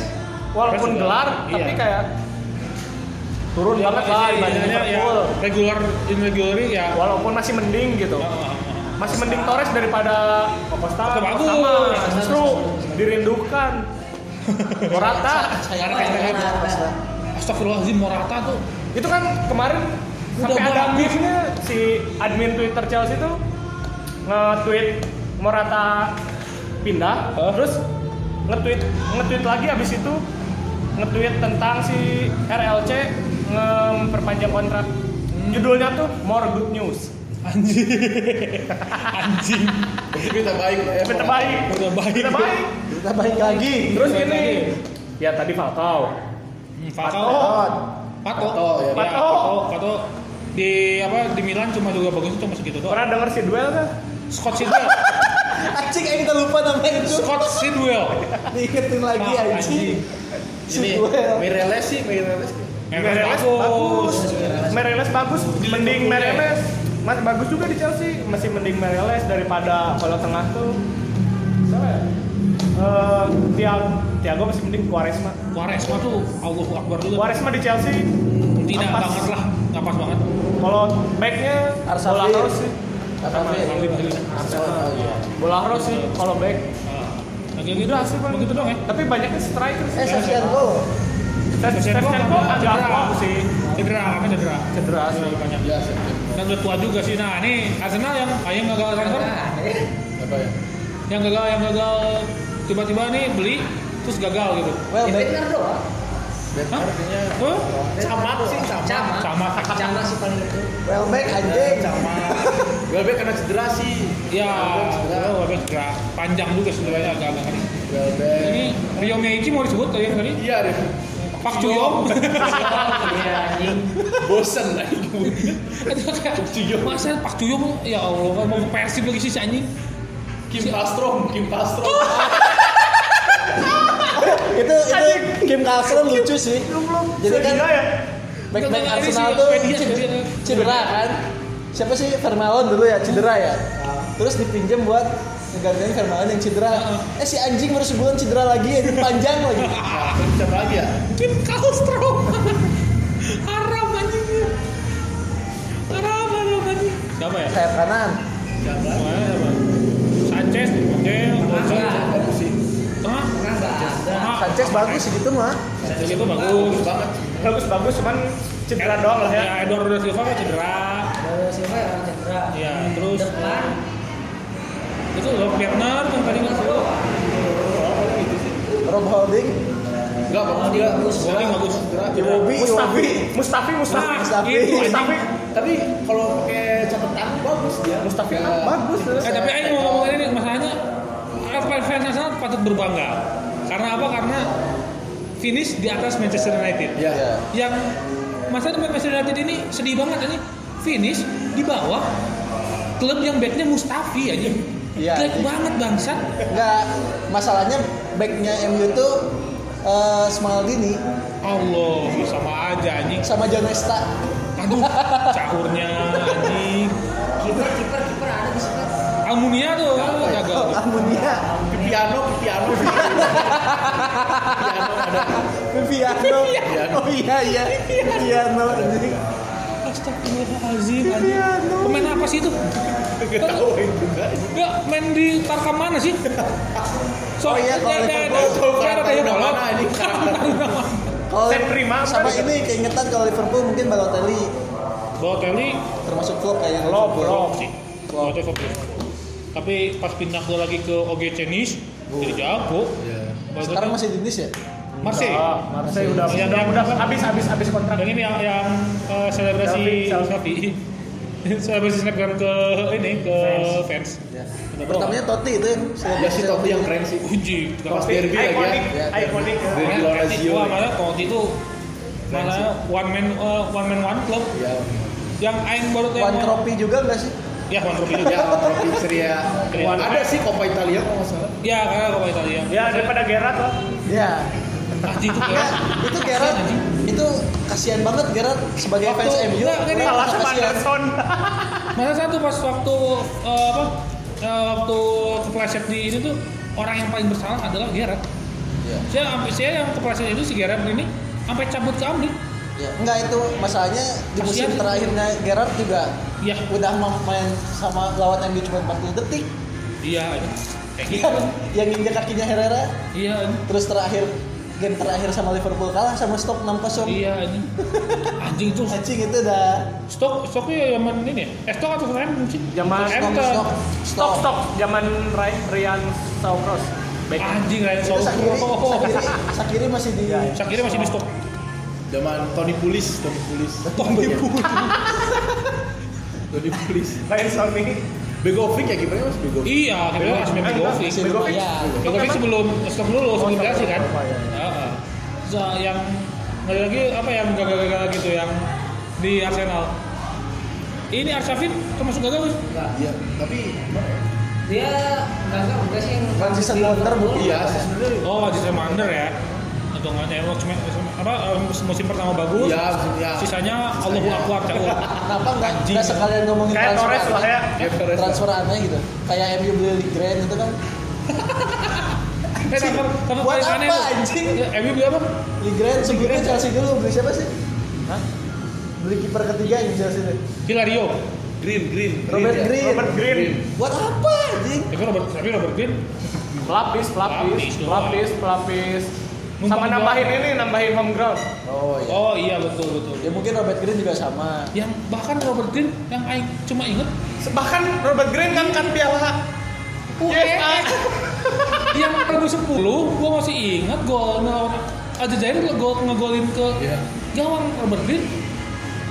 Speaker 4: walaupun
Speaker 2: Torres juga.
Speaker 4: gelar
Speaker 2: Iya.
Speaker 4: tapi kayak turun banget lah dibanding
Speaker 2: Iya, iya,
Speaker 4: Liverpool.
Speaker 2: regular in regular ya.
Speaker 4: Walaupun masih mending gitu. Masih mending Torres daripada Costa.
Speaker 2: Iya, Costa bagus.
Speaker 4: Sama. Justru dirindukan. Morata.
Speaker 6: Saya
Speaker 2: Karena kayak Astagfirullahaladzim Morata tuh
Speaker 4: Itu kan kemarin sampai ada
Speaker 2: bagus.
Speaker 4: meme-nya si admin Twitter Chelsea itu nge-tweet Morata pindah,
Speaker 2: Hah?
Speaker 4: terus nge-tweet nge-tweet lagi abis itu nge-tweet tentang si RLC memperpanjang kontrak.
Speaker 2: Hmm.
Speaker 4: Judulnya tuh More Good News.
Speaker 2: anjing. anjing.
Speaker 9: Berarti kita baik. eh,
Speaker 4: Berita
Speaker 9: Morata.
Speaker 4: baik.
Speaker 2: Udah baik.
Speaker 4: Berita baik.
Speaker 6: Kita balik lagi.
Speaker 4: Terus
Speaker 2: Berita
Speaker 4: ini
Speaker 2: baik.
Speaker 4: ya tadi Falcao.
Speaker 6: Hmm,
Speaker 2: Pato. Pato.
Speaker 9: Pato, ya.
Speaker 2: Ya,
Speaker 4: Pato.
Speaker 2: Pato. Pato. Di apa di Milan cuma juga bagus cuma segitu doang.
Speaker 4: Pernah denger si duel kan?
Speaker 2: Scott Sidwell.
Speaker 6: Anjing aing kita lupa nama itu.
Speaker 2: Scott Sidwell.
Speaker 6: Diingetin lagi
Speaker 2: Maaf,
Speaker 6: anjing.
Speaker 9: Ini
Speaker 6: Suel.
Speaker 9: Mireles sih, Mireles.
Speaker 2: Mereles bagus.
Speaker 4: Mereles bagus.
Speaker 9: Iya.
Speaker 4: Mending Mereles. Mas bagus juga di Chelsea. Masih mending Mereles daripada kalau tengah tuh. Siapa ya? Eh, Tiago, Tiago masih mending Quaresma.
Speaker 2: Quaresma tuh Allahu Akbar juga.
Speaker 4: Quaresma di Chelsea
Speaker 2: Tidak
Speaker 4: Ampas.
Speaker 2: banget lah, nggak pas banget.
Speaker 4: kalau backnya bola
Speaker 6: Arsafin.
Speaker 4: Rose sih.
Speaker 6: Apa
Speaker 2: Alvin
Speaker 6: sih?
Speaker 2: Alvin.
Speaker 6: Oh, iya.
Speaker 4: Bola Rose sih kalau back.
Speaker 2: Ah, Oke, gitu sih begitu dong ya.
Speaker 4: Tapi banyaknya striker sih.
Speaker 6: Eh, Shevchenko.
Speaker 2: Shevchenko
Speaker 4: Shevchenko
Speaker 2: sama
Speaker 4: agak
Speaker 2: Cedera.
Speaker 4: wow sih.
Speaker 2: Cedera, apa cedera?
Speaker 4: Cedera sih.
Speaker 2: Banyak.
Speaker 9: Iya,
Speaker 2: Dan udah tua juga sih. Nah, ini Arsenal yang ayam gagal transfer,
Speaker 9: Apa ya?
Speaker 2: yang gagal yang gagal tiba-tiba nih beli terus gagal gitu.
Speaker 6: Well,
Speaker 3: Itu
Speaker 6: back.
Speaker 3: benar doang.
Speaker 2: Hah? Hah?
Speaker 10: Camat sih, camat.
Speaker 3: Sama.
Speaker 2: Sama.
Speaker 3: Sama sih paling itu.
Speaker 6: Well back anjing.
Speaker 9: Welbeck karena cedera sih.
Speaker 2: Ya,
Speaker 9: Welbeck cedera.
Speaker 2: oh, habis cedera. Panjang juga sebenarnya agak-agak kali.
Speaker 9: Welbeck.
Speaker 2: Ini Rio Meiji mau disebut tadi tadi.
Speaker 9: Iya, Rif.
Speaker 2: Pak Cuyong.
Speaker 3: Iya anjing.
Speaker 9: Bosen lagi.
Speaker 2: Pak Cuyong. Masa Pak Cuyong ya Allah kan mau ke Persib lagi sih si anjing.
Speaker 4: Iya.
Speaker 9: Kim Pastrom, Kim Pastrom.
Speaker 6: itu itu Kim Kastron kan lucu sih. Jadi kan
Speaker 4: Cedera ya.
Speaker 6: back back
Speaker 2: Ini si
Speaker 6: Arsenal tuh
Speaker 2: Swedia,
Speaker 6: ced-
Speaker 2: Swedia.
Speaker 6: cedera kan. Siapa sih Vermaelen dulu ya cedera ya. Terus dipinjam buat ngegantiin Vermaelen yang cedera. Eh si anjing baru sebulan cedera lagi ya, panjang lagi.
Speaker 9: Siapa lagi ya?
Speaker 2: Tim Kalstrom. haram anjingnya. Haram haram anjing. Siapa ya?
Speaker 6: Sayap kanan.
Speaker 2: Mana siapa? Sanchez, Bocel, Bocel. Tengah. Tengah.
Speaker 6: Sanchez bagus segitu mah.
Speaker 2: Sanchez itu bagus.
Speaker 9: banget.
Speaker 4: Bagus-bagus cuman cedera doang lah ya.
Speaker 2: Ya, Eduardo Silva kan cedera.
Speaker 3: Baru siapa ya orang cedera?
Speaker 2: Ya, terus
Speaker 3: Depan.
Speaker 2: itu loh Werner yang tadi nggak tahu.
Speaker 6: Rob Holding,
Speaker 9: Enggak, bagus juga.
Speaker 2: Golnya bagus.
Speaker 9: Cedera, cedera.
Speaker 6: Iwobi,
Speaker 4: Mustafi,
Speaker 6: Iwobi.
Speaker 4: Mustafi, Mustafi.
Speaker 2: Nah,
Speaker 6: Mustafi.
Speaker 2: itu anjing.
Speaker 4: Mustafi.
Speaker 9: Tapi kalau pakai catat tangan bagus dia.
Speaker 4: Mustafi
Speaker 9: Ya.
Speaker 4: kan bagus.
Speaker 2: Eh, tapi Aing mau ngomong ini masalahnya apa fans Arsenal patut berbangga. Karena apa? Karena finish di atas Manchester United.
Speaker 9: Iya.
Speaker 6: Iya.
Speaker 2: Yang masa depan Manchester United ini sedih banget ini finish di bawah klub yang backnya Mustafi aja.
Speaker 6: Iya,
Speaker 2: Jelek
Speaker 6: anjing.
Speaker 2: banget bangsat.
Speaker 6: Enggak, masalahnya backnya MU tuh eh Smaldini
Speaker 2: Allah, sama aja anjing.
Speaker 6: sama Jonesta.
Speaker 2: Aduh, cahurnya anjing.
Speaker 3: Kiper kiper kiper ada di situ.
Speaker 2: Almunia tuh ah, gagal.
Speaker 6: Oh, Amunia.
Speaker 9: Piano, piano. piano ada.
Speaker 6: Viviano.
Speaker 9: Viviano.
Speaker 6: Oh iya iya. Viviano anjing.
Speaker 2: Astagfirullahalazim anjing. Pemain apa sih itu?
Speaker 9: Enggak tahu juga.
Speaker 2: Ya, main di Tarkam mana sih? So,
Speaker 6: Oh iya, kalau Liverpool,
Speaker 9: tahu
Speaker 2: ada
Speaker 9: karakter
Speaker 2: kayak
Speaker 9: udah
Speaker 2: bola.
Speaker 9: mana ini, karakter.
Speaker 6: Kalau
Speaker 4: Saya terima,
Speaker 6: sama
Speaker 4: kan?
Speaker 6: ini keingetan kalau Liverpool mungkin Balotelli.
Speaker 2: Balotelli
Speaker 6: termasuk klub kayaknya
Speaker 2: flop flop sih. Balotelli flop ya. Tapi pas pindah ke lagi ke OG Cenis jadi jago. Balotelli-
Speaker 6: sekarang masih di ya? Indonesia
Speaker 9: Iya.
Speaker 2: Marseille.
Speaker 1: Ah, Marseille udah
Speaker 2: Yang
Speaker 1: udah
Speaker 2: yang-
Speaker 1: udah habis habis habis kontrak.
Speaker 2: Dan ini yang yang eh, selebrasi
Speaker 1: Selfie,
Speaker 2: selfie. selebrasi snapgram ke ini ke fans.
Speaker 6: pertamanya Totti itu yang
Speaker 5: Ya sih Totti yang keren sih.
Speaker 2: Uji.
Speaker 5: Pas derby lagi ya.
Speaker 1: Ikonik,
Speaker 6: ya.
Speaker 1: ikonik. ya.
Speaker 5: Dari Lorenzo.
Speaker 2: Wah, malah Totti itu malah one man eh, one man one club
Speaker 5: Ya.
Speaker 2: yang aing baru tuh yang
Speaker 6: One
Speaker 2: mau-
Speaker 6: Trophy juga nggak sih
Speaker 2: Ya, one trophy juga.
Speaker 5: Ya, Totti Seria.
Speaker 2: Seria.
Speaker 5: Ada sih Coppa Italia kalau nggak salah.
Speaker 2: Ya, karena kalau Italia.
Speaker 1: Ya daripada Gerard lah.
Speaker 6: ya
Speaker 2: Anjing Ah, itu ya. kayak
Speaker 6: itu Gerard itu kasihan banget Gerard sebagai
Speaker 2: Waktu-
Speaker 6: fans
Speaker 2: Nggak,
Speaker 6: MU
Speaker 2: nggak, nggak.
Speaker 1: Kalah
Speaker 6: merasa
Speaker 1: sama
Speaker 6: kasihan.
Speaker 1: Anderson.
Speaker 2: Mana satu pas waktu eh, apa? eh, waktu kepleset di ini tuh orang yang paling bersalah adalah Gerard.
Speaker 6: Iya.
Speaker 2: Saya sampai saya yang kepleset itu si Gerard ini sampai cabut ke Amrik.
Speaker 6: Ya, enggak itu masalahnya di musim
Speaker 2: Kasihan.
Speaker 6: terakhirnya Gerard juga
Speaker 2: Iya.
Speaker 6: udah mau main sama lawan MU cuma 40 detik
Speaker 2: Iya, anjing. kayak gitu.
Speaker 6: Iya, yang injek kakinya Herrera
Speaker 2: Iya, anjing.
Speaker 6: terus terakhir game terakhir sama Liverpool kalah sama Stoke 6-0
Speaker 2: iya anjing. Anjing itu
Speaker 6: anjing itu udah
Speaker 2: stok stoknya zaman ini ya? Eh stok atau Tottenham sih?
Speaker 1: Zaman
Speaker 2: Tottenham
Speaker 6: stok
Speaker 2: ke-
Speaker 6: stok
Speaker 1: Stop
Speaker 6: stok
Speaker 1: stop zaman Ry- Ryan Saucross. Back.
Speaker 2: Anjing lain
Speaker 6: itu
Speaker 2: stok.
Speaker 6: Sakiri
Speaker 2: Oh.
Speaker 6: Sakiri Sakiri masih di
Speaker 2: Sakiri masih di stok.
Speaker 5: Zaman Tony Pulis, Tony Pulis.
Speaker 2: Tony Pulis.
Speaker 5: Tony Pulis.
Speaker 1: Ryan Sony.
Speaker 5: Begovic ya kipernya Mas Begovic.
Speaker 2: Iya, akhirnya Asmi Begovic.
Speaker 6: masih di lumayan
Speaker 2: Begovic sebelum stok dulu
Speaker 6: Oh,
Speaker 2: sebelum dikasih kan.
Speaker 6: iya,
Speaker 2: Heeh. So, yang lagi lagi apa yang gagal-gagal gitu yang di Arsenal. Ini Arshavin termasuk gagal kan?
Speaker 5: Iya, tapi
Speaker 3: dia gagal enggak sih yang
Speaker 6: One season wonder, Bu.
Speaker 5: iya sih sebenarnya.
Speaker 2: Oh, masih sama Under ya. Hitungannya emang cuma apa eh, musim pertama bagus.
Speaker 5: Iya, maksudnya.
Speaker 2: Sisanya Allahu Akbar cakul.
Speaker 6: kenapa nggak nggak sekalian ngomongin
Speaker 1: Kayak Torres lah
Speaker 6: aneh?
Speaker 1: ya.
Speaker 5: Ya, Torres.
Speaker 6: transfer aneh gitu kayak MU beli di Grand itu kan
Speaker 2: Eh, tapi tapi
Speaker 6: Buat
Speaker 2: paling
Speaker 6: apa,
Speaker 2: aneh, Bu.
Speaker 6: anjing?
Speaker 2: Ya, MU beli apa?
Speaker 6: di Grand sebelumnya Chelsea dulu beli siapa sih beli kiper ketiga yang Chelsea itu
Speaker 2: Hilario.
Speaker 5: Green, Green.
Speaker 6: Robert
Speaker 5: ya.
Speaker 6: Green
Speaker 1: Robert Green.
Speaker 6: buat apa anjing
Speaker 2: Tapi Robert, tapi Robert Green
Speaker 1: Pelapis, pelapis,
Speaker 2: Pelapis doang.
Speaker 1: pelapis, pelapis. Sama
Speaker 2: Numpang doang.
Speaker 1: nambahin ini, nambahin home ground.
Speaker 6: oh iya
Speaker 2: Oh iya betul betul.
Speaker 6: ya mungkin Robert Green juga sama
Speaker 2: Yang bahkan Robert Green yang aing cuma inget
Speaker 1: Bahkan Robert Green kan kan piala
Speaker 5: Iya.
Speaker 1: ah. UEFA.
Speaker 2: yang 2010 gua masih inget gol lawan Aljazair gol ngegolin ke
Speaker 5: Iya.
Speaker 2: gawang Robert Green.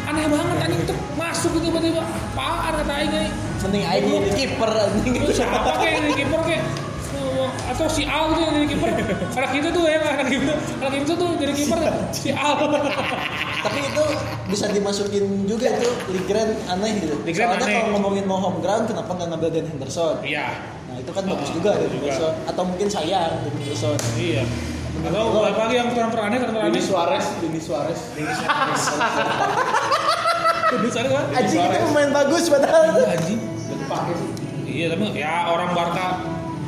Speaker 2: Aneh banget anjing tuh masuk gitu tiba-tiba. Apaan kata aing ini?
Speaker 6: mending Aing jadi kiper anjing
Speaker 2: Itu siapa kayak ini kiper kayak Oh, atau si Al tuh yang jadi kiper anak itu tuh yang anak itu anak itu tuh jadi kiper ya, si Al
Speaker 6: tapi itu bisa dimasukin juga itu Lee Grand aneh gitu
Speaker 2: Lee Grant
Speaker 6: soalnya
Speaker 2: aneh.
Speaker 6: kalau ngomongin mau home ground kenapa nggak ngambil Dan Henderson
Speaker 2: iya
Speaker 6: nah itu kan bagus juga Dan
Speaker 2: juga.
Speaker 6: Henderson atau mungkin sayang Dan Henderson
Speaker 2: Iya. Atau balik lagi yang transfer aneh, transfer aneh.
Speaker 5: Ini Suarez, ini Suarez. Ini
Speaker 2: Di sana kan?
Speaker 6: anjing itu pemain bagus padahal itu
Speaker 2: Anjing.
Speaker 5: dipakai sih.
Speaker 2: Iya, tapi ya orang Barca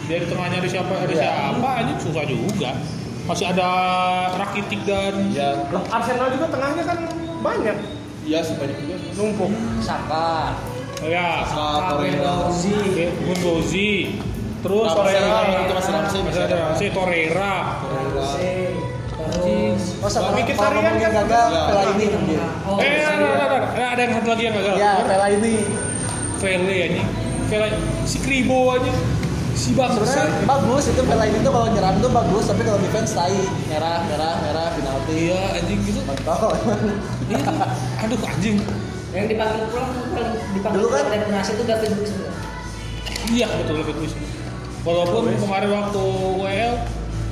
Speaker 2: dia di tengahnya ada siapa, ada
Speaker 6: Iya.
Speaker 2: siapa anjing susah juga. Masih ada Rakitic dan
Speaker 5: Ya,
Speaker 1: Loh, Arsenal juga tengahnya kan banyak
Speaker 5: iya sebanyak itu.
Speaker 1: numpuk.
Speaker 6: Iya.
Speaker 3: Saka
Speaker 2: oh ya,
Speaker 5: Saka, Torreira.
Speaker 3: Gendouzi
Speaker 2: oke, Gundozi. Terus
Speaker 5: Ramsey,
Speaker 2: Torreira,
Speaker 5: itu masih Ramsey,
Speaker 2: masih ada Ramsey, Torreira.
Speaker 3: terus
Speaker 6: oh sama
Speaker 1: Mikitarian
Speaker 6: kalau ngomongin
Speaker 1: kan?
Speaker 6: gagal
Speaker 5: Ya.
Speaker 6: Vela ini dia
Speaker 3: oh
Speaker 2: Eh, ada, Iya. ada, ada, ada, ada yang satu lagi yang gagal.
Speaker 6: ya Vela ini
Speaker 2: Vele anjing. Vele si Kribo anjing. Si
Speaker 6: sebenarnya
Speaker 2: Bangsa.
Speaker 6: bagus itu Vela ini tuh kalau nyerang tuh bagus tapi kalau defense tai merah merah merah penalti
Speaker 2: Iya, anjing gitu.
Speaker 6: kontol
Speaker 2: Iya. Aduh anjing.
Speaker 3: yang dipanggil pulang pulang dipanggil
Speaker 6: Dulu kan?
Speaker 3: pulang dari Munasih itu David Luiz juga.
Speaker 2: Iya betul David Luiz. Walaupun kemarin waktu WL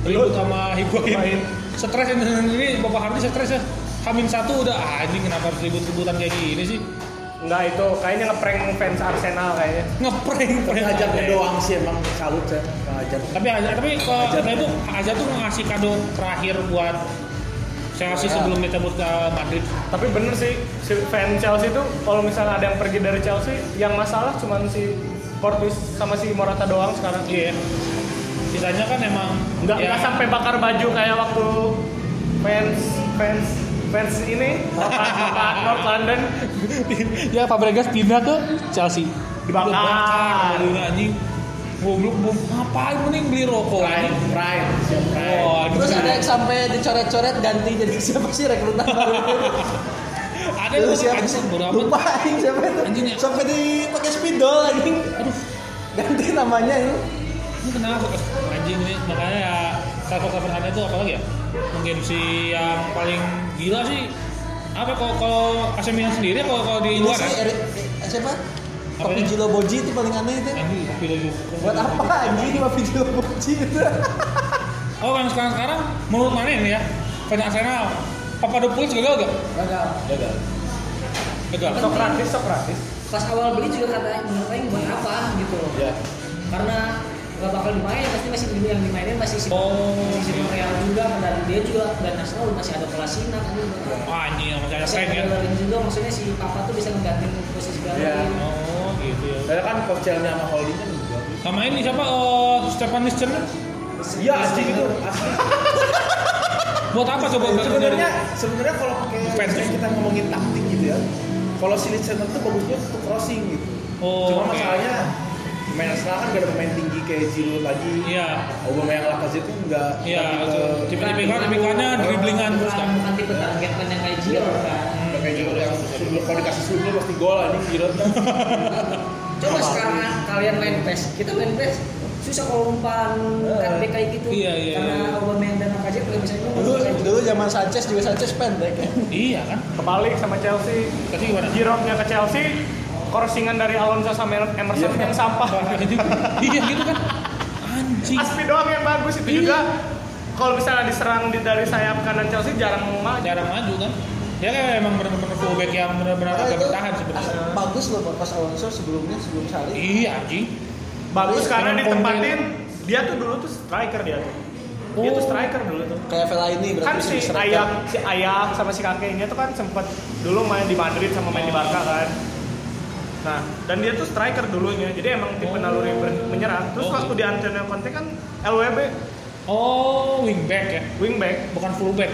Speaker 2: ribut sama Higuain. Stres ini ini Bapak Hardi stres ya. Hamin satu udah ah, anjing kenapa harus ribut-ributan kayak gini sih?
Speaker 1: Enggak itu, kayaknya ngeprank fans Arsenal kayaknya.
Speaker 2: Ngeprank
Speaker 5: Tapi
Speaker 2: prank.
Speaker 5: ajarnya doang sih emang salut
Speaker 2: ya,
Speaker 5: saya ngajar.
Speaker 2: Tapi Hazard- tapi kalau Hazard itu Hazard tuh ngasih kado terakhir buat Chelsea sebelum dicabut ke Madrid.
Speaker 1: Tapi bener sih, si fan Chelsea itu kalau misalnya ada yang pergi dari Chelsea, yang masalah cuma si Portis sama si Morata doang sekarang.
Speaker 2: Iya. Sisanya kan emang
Speaker 1: Nggak,
Speaker 2: ya,
Speaker 5: Iya.
Speaker 1: nggak sampai bakar baju kayak waktu fans fans fans ini bapak, bapak North London
Speaker 2: ya Fabregas pindah ke Chelsea.
Speaker 1: Dibakar.
Speaker 2: Dibakar, dulu anjing. Goblok, goblok. ngapain mending beli rokok anjing.
Speaker 5: Prime, siap Prime.
Speaker 2: Oh,
Speaker 6: terus ada yang sampai dicoret-coret ganti jadi siapa sih rekrutan baru itu
Speaker 2: ada
Speaker 6: Lu
Speaker 2: yang
Speaker 6: siapa
Speaker 2: anjing bodo amat.
Speaker 6: lupa anjing siapa itu
Speaker 2: Anjing ya.
Speaker 6: sampai di pakai spidol anjing
Speaker 2: Aduh,
Speaker 6: ganti namanya ini
Speaker 2: ini kenapa anjing ini makanya ya cover cover aneh itu apalagi ya mungkin si yang paling gila sih apa kalau kalau AC Milan sendiri kalau kalau di
Speaker 6: ini
Speaker 2: luar
Speaker 6: sih
Speaker 2: ya
Speaker 6: Eri- eh, siapa
Speaker 2: Apa
Speaker 6: Papi
Speaker 2: ini?
Speaker 6: Jilo Boji itu paling aneh itu
Speaker 2: anjing tapi lu-
Speaker 6: buat apa anjing Papi Jilo Boji itu
Speaker 2: oh yang sekarang sekarang menurut mana ini ya fans Arsenal Papadopoulos gagal gak?
Speaker 3: gagal
Speaker 2: Gagal.
Speaker 1: Sokratis, Sokratis.
Speaker 3: pas awal beli juga katanya menurut Aing buat apa gitu loh
Speaker 2: Iya.
Speaker 5: Ya.
Speaker 3: karena nggak bakal dimainin pasti masih di- yang dimainin masih si
Speaker 2: Oh,
Speaker 3: masih si Real juga dan dia juga dan Nasional masih ada Kolasinac kan
Speaker 2: Wah anjing masih ada
Speaker 3: masih
Speaker 2: prank
Speaker 3: ada
Speaker 2: ya.
Speaker 3: Bellerin juga maksudnya si Papa tuh bisa mengganti posisi
Speaker 5: Iya.
Speaker 3: Bellerin
Speaker 2: Oh gitu ya.
Speaker 5: Karena kan kocelnya sama holding kan juga.
Speaker 2: Sama ini siapa? Oh, Stefan Nissen.
Speaker 5: Iya anjing itu asli.
Speaker 2: Buat apa coba?
Speaker 5: Sebenarnya sebenarnya kalau pakai
Speaker 2: Fans.
Speaker 5: kayak kita ngomongin taktik gitu ya. Kalau si Listener tuh bagusnya untuk crossing gitu.
Speaker 2: Oh,
Speaker 5: Cuma
Speaker 2: oke.
Speaker 5: masalahnya pemain Arsenal kan gak ada pemain tinggi kayak Giroud lagi.
Speaker 2: Iya.
Speaker 5: Aubameyang yang Lacazette tuh enggak.
Speaker 2: Iya, itu tipikal
Speaker 3: bukan-
Speaker 2: tipikalnya driblingan terus
Speaker 3: bukan
Speaker 2: kan. Hmm.
Speaker 3: bukan tipe target man yang kayak Gio kan
Speaker 5: Kayak Giroud yang sebelum kalau dikasih sebelum pasti gol anjing Giroud kan.
Speaker 3: coba sekarang kalian main PES kita main PES susah kalau umpan
Speaker 5: Eh.
Speaker 3: kan kayak gitu
Speaker 2: Iya, iya, iya.
Speaker 3: karena Aubameyang dan Lacazette nggak bisa nyumbang
Speaker 6: dulu dulu zaman Sanchez juga Sanchez pendek ya
Speaker 2: Iya kan?
Speaker 5: gitu.
Speaker 1: Kebalik sama Chelsea.
Speaker 2: Tapi gimana? Iya,
Speaker 1: Giroudnya ke Chelsea, crossingan dari Alonso sama Emerson
Speaker 5: Iya.
Speaker 1: yang sampah.
Speaker 2: Anjing. Iya gitu kan. Anjing.
Speaker 1: Aspi doang yang bagus itu juga.
Speaker 5: Iya.
Speaker 1: Kalau misalnya diserang di- dari sayap kanan Chelsea jarang maju.
Speaker 2: Jarang maju kan. Dia kan emang benar-benar fullback yang benar-benar
Speaker 6: Nah,
Speaker 2: agak
Speaker 6: itu
Speaker 2: bertahan sebenarnya.
Speaker 6: ah, bagus loh pas Alonso sebelumnya sebelum Sari
Speaker 2: Iya anjing.
Speaker 1: Bagus
Speaker 2: Iya,
Speaker 1: karena
Speaker 2: dengan
Speaker 1: ditempatin. Dia tuh dulu tuh striker dia tuh. Dia tuh
Speaker 2: Oh.
Speaker 1: striker dulu tuh.
Speaker 6: kayak Vela ini
Speaker 1: Kan
Speaker 6: berarti
Speaker 1: si
Speaker 6: striker.
Speaker 1: ayah, si ayah sama si kakeknya tuh kan sempet dulu main di Madrid sama main di Barca kan. Nah, dan dia tuh striker dulunya. Jadi emang tipe naluri ber- menyerang. Terus
Speaker 2: Oh.
Speaker 1: waktu di Antonio Conte kan LWB
Speaker 2: Oh, wingback ya.
Speaker 1: wingback.
Speaker 2: Bukan fullback.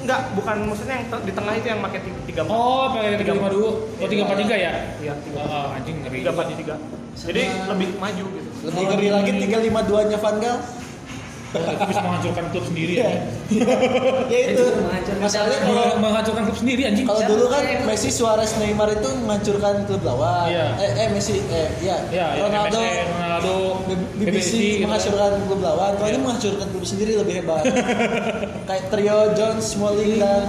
Speaker 1: Enggak, bukan maksudnya yang te- di tengah itu yang pakai tiga- tiga empat.
Speaker 2: Oh, pakai 3 dulu. Oh, 3 ya?
Speaker 1: Iya, tiga
Speaker 2: Oh, anjing ngeri.
Speaker 1: tiga empat tiga. Jadi lebih maju gitu.
Speaker 6: lebih ngeri lagi 352 nya Van Gaal
Speaker 2: Itu bisa menghancurkan klub sendiri ya.
Speaker 6: ya itu
Speaker 3: Itu menghancurkan.
Speaker 6: masalahnya kalau
Speaker 2: Kalau menghancurkan klub sendiri anjing.
Speaker 6: kalau dulu kan
Speaker 3: Siapa?
Speaker 6: Messi, Suarez, Neymar itu menghancurkan klub lawan.
Speaker 2: Iya.
Speaker 6: Eh, eh Messi, eh iya.
Speaker 2: Ya, ya,
Speaker 6: Ronaldo,
Speaker 2: MSN, Ronaldo,
Speaker 6: BBC
Speaker 2: gitu kan.
Speaker 6: menghancurkan klub lawan. Kalau
Speaker 2: Iya.
Speaker 6: ini menghancurkan klub sendiri lebih hebat. Kayak trio Jones, Smalling dan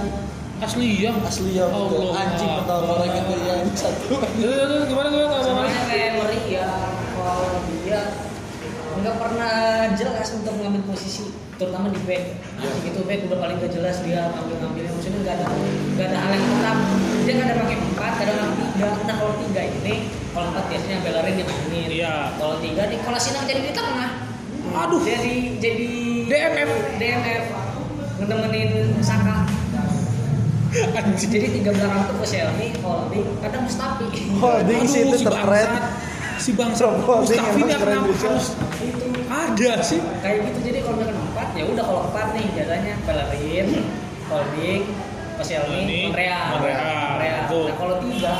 Speaker 2: Asli ya.
Speaker 6: Ashley Young
Speaker 2: Iya.
Speaker 6: itu
Speaker 2: Allah.
Speaker 6: anjing mental kalau gitu ya satu.
Speaker 2: Ya, ya, ya, Gimana gimana kalau
Speaker 3: Sebenarnya kayak Emery ya kalau dia nggak pernah jelas untuk mengambil posisi terutama di back
Speaker 2: Iya.
Speaker 3: gitu back udah paling gak jelas dia ngambil ngambil maksudnya nggak ada nggak ada hal yang tetap dia kadang pakai empat kadang pakai tiga nah kalau tiga ini kalau empat biasanya belerin dia mainin
Speaker 2: Iya.
Speaker 3: kalau tiga di kalau sinang jadi di tengah aduh jadi jadi
Speaker 2: DMF.
Speaker 3: DMF nemenin Saka
Speaker 2: Anjing.
Speaker 3: jadi tiga belakang tuh Koscielny, Holding, kadang Mustafi
Speaker 6: Holding
Speaker 2: Aduh,
Speaker 6: sih itu
Speaker 2: si
Speaker 6: terkeren.
Speaker 2: bangsat. Si bangsa
Speaker 6: Rob Holding
Speaker 2: Mustafi
Speaker 6: emang
Speaker 2: ini
Speaker 6: keren
Speaker 2: kenapa
Speaker 6: juga.
Speaker 2: harus
Speaker 3: itu
Speaker 2: ada sih?
Speaker 3: kayak gitu jadi kalau misalkan empat ya udah kalau empat nih jalannya Bellerin, Holding,
Speaker 2: Holding,
Speaker 3: Koscielny, Monreal.
Speaker 2: Monreal. Betul.
Speaker 3: Nah kalau tiga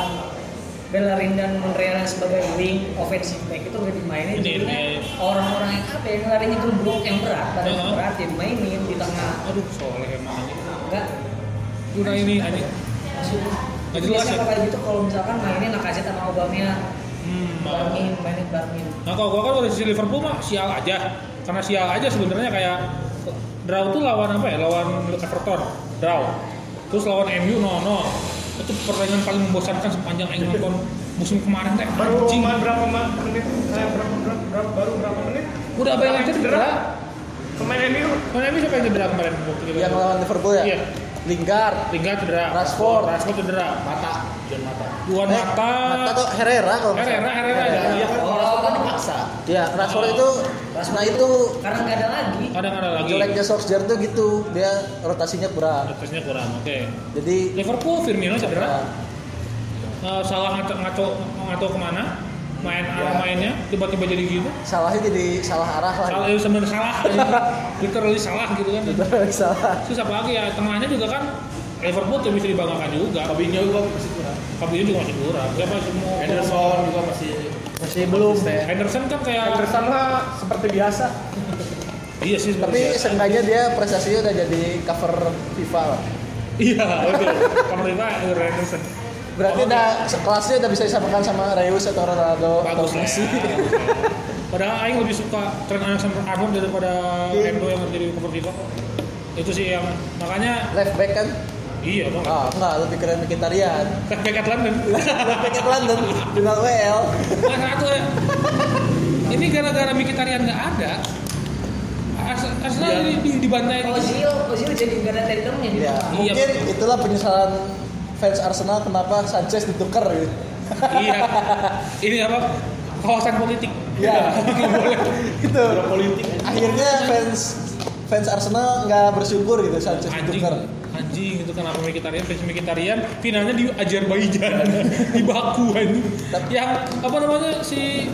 Speaker 3: Bellerin dan Monreal sebagai wing offensive back itu udah
Speaker 2: Ini,
Speaker 3: dimainin jadinya
Speaker 2: ini.
Speaker 3: orang-orang yang apa ya larinya ke blok yang berat, badan yang
Speaker 2: Uh-huh.
Speaker 3: berat ya dimainin di tengah
Speaker 2: Aduh, soleh emang anjing.
Speaker 3: enggak
Speaker 2: Udah ini anjing. Nggak jelas
Speaker 3: Jadi biasanya
Speaker 2: ya?
Speaker 3: kalau kayak gitu kalau misalkan mainin Lacazette sama Aubameyang
Speaker 2: Hmm,
Speaker 3: Barmin, mainin Barmin
Speaker 2: Nah kalau gua kan dari sisi Liverpool mah sial aja. Karena sial aja sebenarnya kayak draw tuh lawan apa ya? Lawan Everton, draw. Terus lawan MU 0-0. Itu pertandingan paling membosankan sepanjang Aing nonton musim kemarin teh.
Speaker 1: Baru
Speaker 2: Anjing.
Speaker 1: ma- berapa ma- menit? Eh, berapa, berapa- berapa- baru berapa menit?
Speaker 2: Udah apa yang
Speaker 1: Berapa
Speaker 2: cedera?
Speaker 1: Pemain MU
Speaker 2: Mana MU siapa yang cedera kemarin? Waktu kita-
Speaker 6: Yang lawan Liverpool ya.
Speaker 2: Iya.
Speaker 6: Lingard,
Speaker 2: Lingard cedera.
Speaker 6: Rashford.
Speaker 2: Rashford cedera. Mata. Juan Mata. Juan
Speaker 6: Eh,
Speaker 2: Mata.
Speaker 6: Mata tuh Herrera kalau nggak
Speaker 2: Herrera,
Speaker 6: salah. Oh,
Speaker 2: Herrera ya. Oh.
Speaker 5: Iya kan kalau Rashford kan dipaksa.
Speaker 6: Iya, Rashford itu nah itu
Speaker 3: karena nggak ada lagi
Speaker 2: Kadang ada lagi.
Speaker 6: jeleknya Solskjaer tuh gitu, dia rotasinya kurang.
Speaker 2: Atasnya kurang. Oke.
Speaker 6: Jadi ya,
Speaker 2: Liverpool Firmino cedera. Eh, salah ngaco ngaco ngaco kemana? Main arah mainnya tiba-tiba jadi gitu.
Speaker 6: salahnya jadi salah arah lah.
Speaker 2: Salah, eh, sebenarnya salah. Literally salah gitu kan.
Speaker 6: Iya. salah.
Speaker 2: Terus apa lagi ya tengahnya juga kan Liverpool tuh bisa dibanggakan juga.
Speaker 5: Fabinho juga masih kurang.
Speaker 2: Fabinho juga masih kurang. Ya, Siapa semua?
Speaker 5: Henderson juga masih
Speaker 6: Masih belum.
Speaker 2: Henderson kan kayak
Speaker 1: Henderson lah seperti biasa.
Speaker 2: iya sih
Speaker 6: Tapi
Speaker 2: seperti biasa.
Speaker 6: seenggaknya dia prestasinya udah jadi cover FIFA lah.
Speaker 2: Iya, betul. Pemerintah Oh, Aaron Anderson.
Speaker 6: Berarti udah kelasnya udah bisa disamakan sama Reus atau iya. Ronaldo atau
Speaker 2: Bagus lah.
Speaker 6: Messi.
Speaker 2: Padahal Aing lebih suka tren Alexander Arnold daripada
Speaker 6: Iya.
Speaker 2: Endo yang jadi cover FIFA kok. Itu sih yang makanya
Speaker 6: Left back kan?
Speaker 2: iya dong.
Speaker 6: Ah, enggak, lebih keren Mkhitaryan.
Speaker 2: Left back at London.
Speaker 6: Left back at London, final WL.
Speaker 2: Nah, satu ya. Ini gara-gara Mkhitaryan nggak ada. As- Arsenal
Speaker 6: Iya.
Speaker 2: di, di, dibantai
Speaker 6: Oh,
Speaker 3: Ozil,
Speaker 2: gitu.
Speaker 3: Ozil jadi nggak ada tandemnya di
Speaker 6: Ya,
Speaker 3: belakang.
Speaker 6: mungkin itulah penyesalan fans Arsenal kenapa Sanchez ditukar gitu.
Speaker 2: iya. Ini apa? Kawasan politik.
Speaker 6: Ya.
Speaker 2: Nggak boleh.
Speaker 6: gitu. Akhirnya fans fans Arsenal nggak bersyukur gitu Sanchez
Speaker 2: Anjing.
Speaker 6: ditukar.
Speaker 2: Anjing itu kan kenapa Mkhitaryan fans Mkhitaryan finalnya di Azerbaijan di Baku anjing. Yang apa namanya si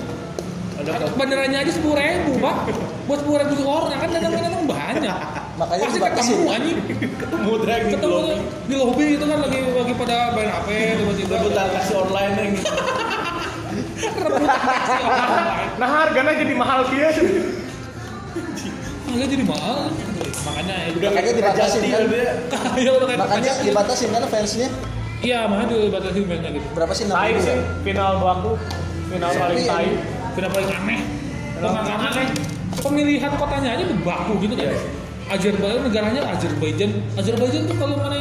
Speaker 2: banderanya aja sepuluh ribu pak buat sepuluh ribu orang kan datang datang banyak
Speaker 6: Makanya
Speaker 2: pasti
Speaker 6: dibatasin.
Speaker 2: ketemu anjing
Speaker 1: gitu
Speaker 2: ketemu tuh di lobby itu kan lagi lagi pada main HP tiba-tiba rebutan
Speaker 5: taksi online yang
Speaker 2: taksi online
Speaker 1: Nah harganya jadi mahal dia.
Speaker 2: malah jadi mahal makanya ya udah
Speaker 6: Makanya dibatasin kan.
Speaker 2: ya udah kayak
Speaker 6: Makanya dibatasin kan fansnya
Speaker 2: iya makanya dibatasi mainnya gitu
Speaker 6: berapa sih
Speaker 1: Tai sih
Speaker 6: 60?
Speaker 1: final baku, final paling
Speaker 6: Iya.
Speaker 1: tai.
Speaker 2: kenapa paling aneh bukan aneh pemilihan kotanya aja baku gitu kan Azerbaijan negaranya Azerbaijan Azerbaijan tuh kalau mana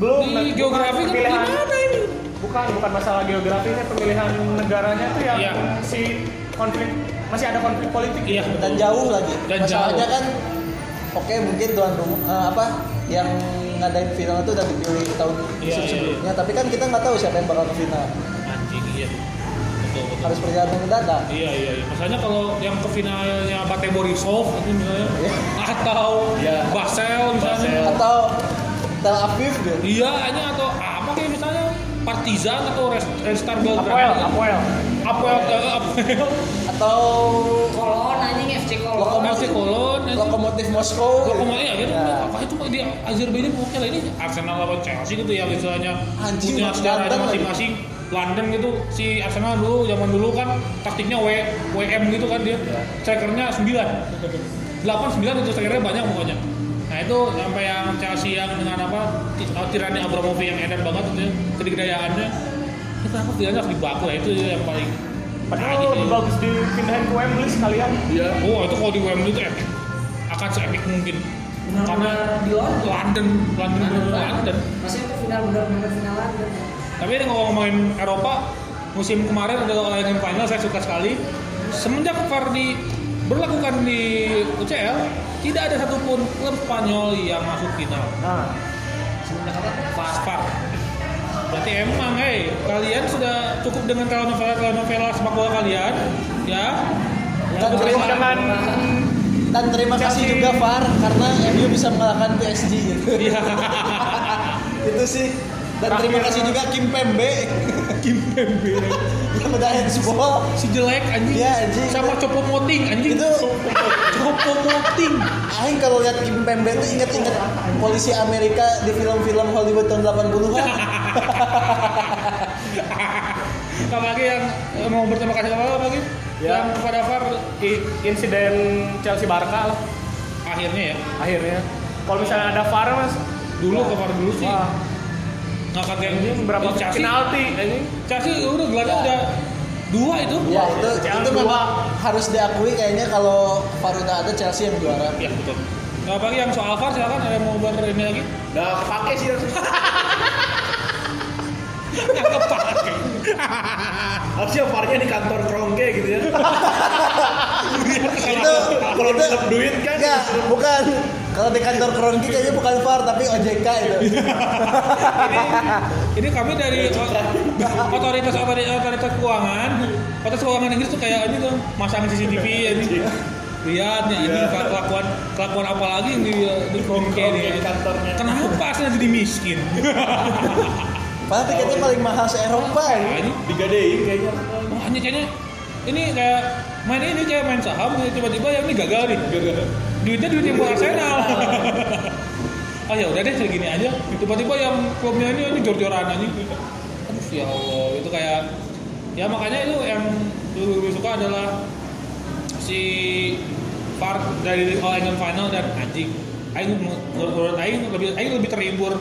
Speaker 1: Belum,
Speaker 2: di
Speaker 1: bukan
Speaker 2: geografi kan
Speaker 1: pilihan.
Speaker 2: gimana ini
Speaker 1: Bukan bukan masalah geografinya, pemilihan negaranya tuh yang
Speaker 2: Iya.
Speaker 1: si konflik masih ada konflik politik.
Speaker 2: iya
Speaker 6: dan jauh lagi.
Speaker 2: Dan
Speaker 6: Masalahnya
Speaker 2: jauh.
Speaker 6: kan oke mungkin tuan rumah eh, apa yang ngadain final itu udah dipilih tahun
Speaker 2: Iya, iya,
Speaker 6: sebelumnya, tapi kan kita nggak tahu siapa yang bakal ke final.
Speaker 2: anjing iya betul betul
Speaker 6: Harus perjalanan mendadak.
Speaker 2: Iya iya iya. Misalnya kalau yang ke finalnya Bate Borisov itu misalnya
Speaker 6: Iya.
Speaker 2: atau Basel misalnya.
Speaker 6: Atau Tel Aviv gitu.
Speaker 2: Iya, hanya atau apa kayak misalnya Partizan atau Res- Red Star
Speaker 1: Apoel,
Speaker 2: Belgrade.
Speaker 1: Apoel.
Speaker 2: Apoel, eh, Apoel,
Speaker 6: Atau
Speaker 3: Kolon anjing FC Kolon.
Speaker 2: FC Kolon, anjing.
Speaker 6: Lokomotif Moskow. gitu.
Speaker 2: Lokomotif ya gitu.
Speaker 6: Nah,
Speaker 2: Apa itu di Azerbaijan oke lah ini Arsenal lawan Chelsea gitu ya misalnya
Speaker 6: Anjing,
Speaker 2: punya
Speaker 6: Mas
Speaker 2: sejarahnya
Speaker 6: London lagi.
Speaker 2: masing-masing. London gitu si Arsenal dulu zaman dulu kan taktiknya W, WM gitu kan dia
Speaker 6: Iya.
Speaker 2: strikernya 9 8 9 itu strikernya banyak pokoknya nah itu sampai yang Chelsea yang dengan apa ti- uh, tirani Abramovich yang edan banget itu ya, kedegayaannya itu apa tirani harus dibaku ya itu yang paling
Speaker 1: Padahal
Speaker 2: anjing
Speaker 1: lebih
Speaker 2: ya.
Speaker 1: bagus dipindahin ke Wembley sekalian.
Speaker 2: Oh itu kalau di Wembley itu epic. Akan se-epic mungkin. Karena
Speaker 3: di London.
Speaker 2: London, London, London, London.
Speaker 3: Maksudnya itu final benar-benar final London.
Speaker 2: Tapi ini kalau ngomongin Eropa, musim kemarin ada layanan final saya suka sekali. Semenjak VAR di berlakukan di UCL, tidak ada satupun klub Spanyol yang masuk final.
Speaker 1: Nah,
Speaker 3: Sebenarnya apa?
Speaker 2: Pas VAR. Berarti emang, hei, kalian sudah cukup dengan telenovela-telenovela sepak bola kalian, ya?
Speaker 6: Dan terima-
Speaker 1: dengan
Speaker 6: Dan terima kasih
Speaker 1: Chelsea.
Speaker 6: juga VAR karena MU bisa mengalahkan PSG gitu. Ah,
Speaker 2: Iya.
Speaker 6: Itu sih. Dan terima
Speaker 1: Terakhir.
Speaker 6: kasih juga Kim Pembe
Speaker 2: Kim Pembe.
Speaker 6: yang udah handsball.
Speaker 2: Si jelek anjing.
Speaker 6: Iya, anjing.
Speaker 2: Sama Copo Moting anjing.
Speaker 6: Itu
Speaker 2: Copo Moting.
Speaker 6: Aing kalau lihat Kim Pembe tuh inget-inget polisi Amerika di film-film Hollywood tahun 80-an.
Speaker 2: Apalagi yang eh, mau berterima kasih apa lagi? Yang kepada VAR
Speaker 1: i- insiden Chelsea Barca lah
Speaker 2: akhirnya ya.
Speaker 1: akhirnya. Kalau misalnya ada VAR mas,
Speaker 2: Dulu ke VAR dulu sih.
Speaker 1: wah
Speaker 2: Nggak kaget
Speaker 1: ini berapa
Speaker 2: Eh, Chelsea.
Speaker 1: penalti ini?
Speaker 2: Chelsea udah gelarnya udah dua itu.
Speaker 6: ya itu
Speaker 1: Jangan
Speaker 6: itu
Speaker 1: dua.
Speaker 6: memang harus diakui kayaknya kalau VAR udah ada Chelsea yang juara.
Speaker 2: Ya betul. Nah, apalagi yang soal VAR silakan ada yang mau ber ini lagi.
Speaker 5: Udah pakai sih
Speaker 2: Nggak kepake.
Speaker 5: harusnya parnya di kantor kerongke gitu ya.
Speaker 6: Itu
Speaker 5: Kalau
Speaker 6: itu
Speaker 5: dalam duit kan
Speaker 6: enggak, bukan. Kalau di kantor Kronki kayaknya bukan VAR tapi OJK itu.
Speaker 2: Ini kami dari otoritas otoritas, otoritas keuangan, otoritas keuangan Inggris tuh kayak ini tuh masang CCTV ya ini. Lihat nih ini kelakuan kelakuan apa lagi yang di di Kromke nih. Kenapa aslinya jadi miskin?
Speaker 6: Padahal tiketnya paling mahal se Eropa ya.
Speaker 2: Nah, ini
Speaker 6: ini.
Speaker 5: digadein kayaknya.
Speaker 2: wah, ini kayaknya ini kayak main ini kayak main saham tiba-tiba yang ini gagal nih. Duitnya duit yang buat Arsenal. Oh ya udah deh segini aja. Tiba-tiba yang klubnya ini ini jor-joran aja. Aduh ya Allah, itu kayak ya makanya itu yang dulu lebih suka adalah si part dari All England Final dan anjing. Aing menurut menurut Aing lebih Aing lebih terhibur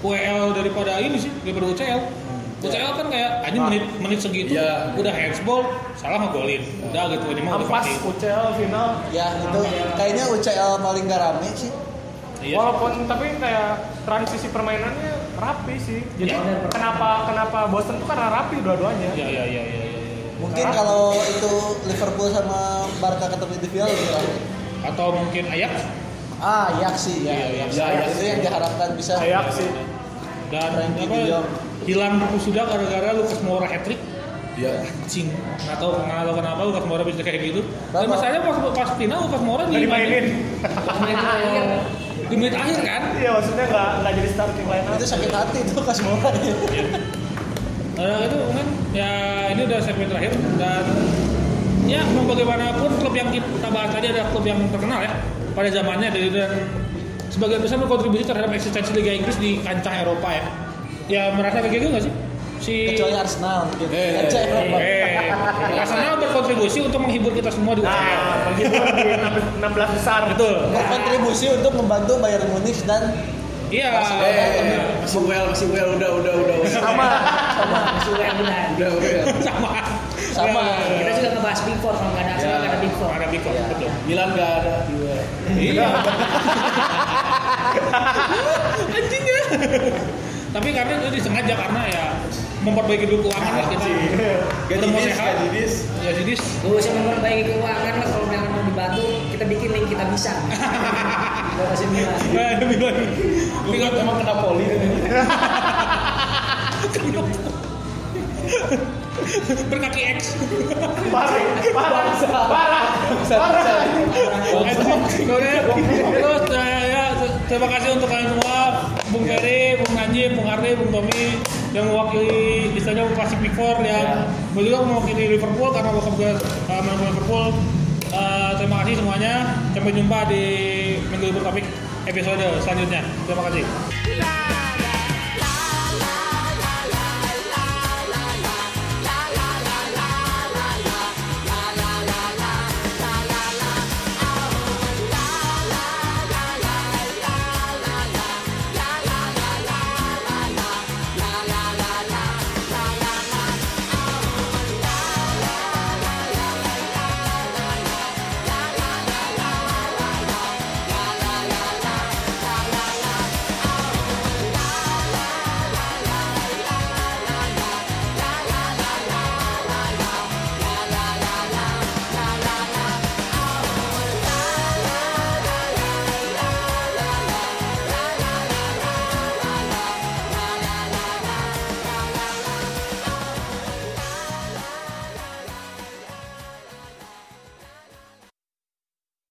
Speaker 2: WL daripada ini sih daripada UCL.
Speaker 1: Hmm,
Speaker 2: UCL
Speaker 1: iya.
Speaker 2: kan kayak anjing menit
Speaker 1: Nah,
Speaker 2: menit segitu
Speaker 5: Iya.
Speaker 2: udah handsball salah ngegolin. Udah gitu ini mah udah
Speaker 1: Ampas
Speaker 2: pasti.
Speaker 1: UCL final.
Speaker 6: Ya itu kayaknya UCL paling gak rame sih.
Speaker 2: Iya.
Speaker 1: Walaupun tapi kayak transisi permainannya rapi sih. Jadi
Speaker 3: Iya.
Speaker 1: kenapa kenapa Boston tuh karena rapi dua-duanya.
Speaker 2: Iya iya iya iya. iya.
Speaker 6: Mungkin kalau itu Liverpool sama Barca ketemu di final lebih rame.
Speaker 2: Atau mungkin Ajax
Speaker 6: Ah, Ajax sih ya.
Speaker 2: Iya,
Speaker 6: Ajax.
Speaker 5: iya, Ajax.
Speaker 6: Itu yang diharapkan bisa.
Speaker 1: Ayak sih.
Speaker 2: dan
Speaker 6: Frankie
Speaker 2: apa
Speaker 6: de Jong.
Speaker 2: hilang sudah gara-gara Lucas Moura hat trick.
Speaker 5: Iya.
Speaker 2: Cing, nggak tahu nggak tahu kenapa Lucas Moura bisa kayak gitu. Dan
Speaker 6: Kenapa?
Speaker 2: masalahnya pas pas final Lucas Moura
Speaker 1: Nggak dimainin.
Speaker 3: Pemain terakhir
Speaker 2: di menit akhir kan.
Speaker 1: Iya maksudnya nggak nggak jadi starting lineup.
Speaker 6: Itu sakit hati tuh kas Moura.
Speaker 5: Iya.
Speaker 2: Nah, itu mungkin ya ini udah segmen terakhir dan ya mau bagaimanapun klub yang kita bahas tadi adalah klub yang terkenal ya pada zamannya dari dan sebagian besar berkontribusi terhadap eksistensi Liga Inggris di kancah Eropa ya. Ya merasa kayak gitu nggak sih? Si
Speaker 6: Kecuali Arsenal mungkin.
Speaker 5: Eh,
Speaker 6: Kan saya Eropa.
Speaker 2: Eh, Arsenal berkontribusi untuk menghibur kita semua di UCL.
Speaker 1: Nah, begitu di 16 besar.
Speaker 2: Betul.
Speaker 6: Berkontribusi untuk membantu Bayern Munich dan
Speaker 2: Iya.
Speaker 5: Eh, masih well, masih well, udah, udah, udah. udah.
Speaker 3: masih UM benar.
Speaker 5: Udah, udah.
Speaker 2: Sama.
Speaker 6: Sama.
Speaker 2: Ya,
Speaker 3: Kita sudah ngebahas Big Four kalau nggak ada Arsenal nggak ada Big Four.
Speaker 2: Ada Big Four, betul.
Speaker 5: Milan gak ada di well.
Speaker 2: Iya. Anjingnya. ya. Tapi karena itu disengaja karena ya memperbaiki dulu keuangan lah kita. Kita
Speaker 5: Gaji
Speaker 2: mau
Speaker 5: dis,
Speaker 2: sehat.
Speaker 5: gaji dis.
Speaker 2: Ya jadi
Speaker 3: Gak usah memperbaiki keuangan lah kalau misalkan mau dibantu kita bikin link kita bisa. Gak kasih bilang.
Speaker 2: Nah, demi lagi.
Speaker 5: Tapi kan emang kena poli.
Speaker 2: Berkaki X.
Speaker 1: Parah, parah, parah, parah.
Speaker 2: Terus saya ya, terima kasih untuk kalian semua, Bung Ferry, Bung Anji, Bung Arde, Bung Tommy yang mewakili istilahnya klasik Big Four yang ya. beliau mewakili Liverpool karena bokap gue uh, main bola Liverpool. Uh, terima kasih semuanya. Sampai jumpa di minggu bertopik episode selanjutnya. Terima kasih.
Speaker 7: La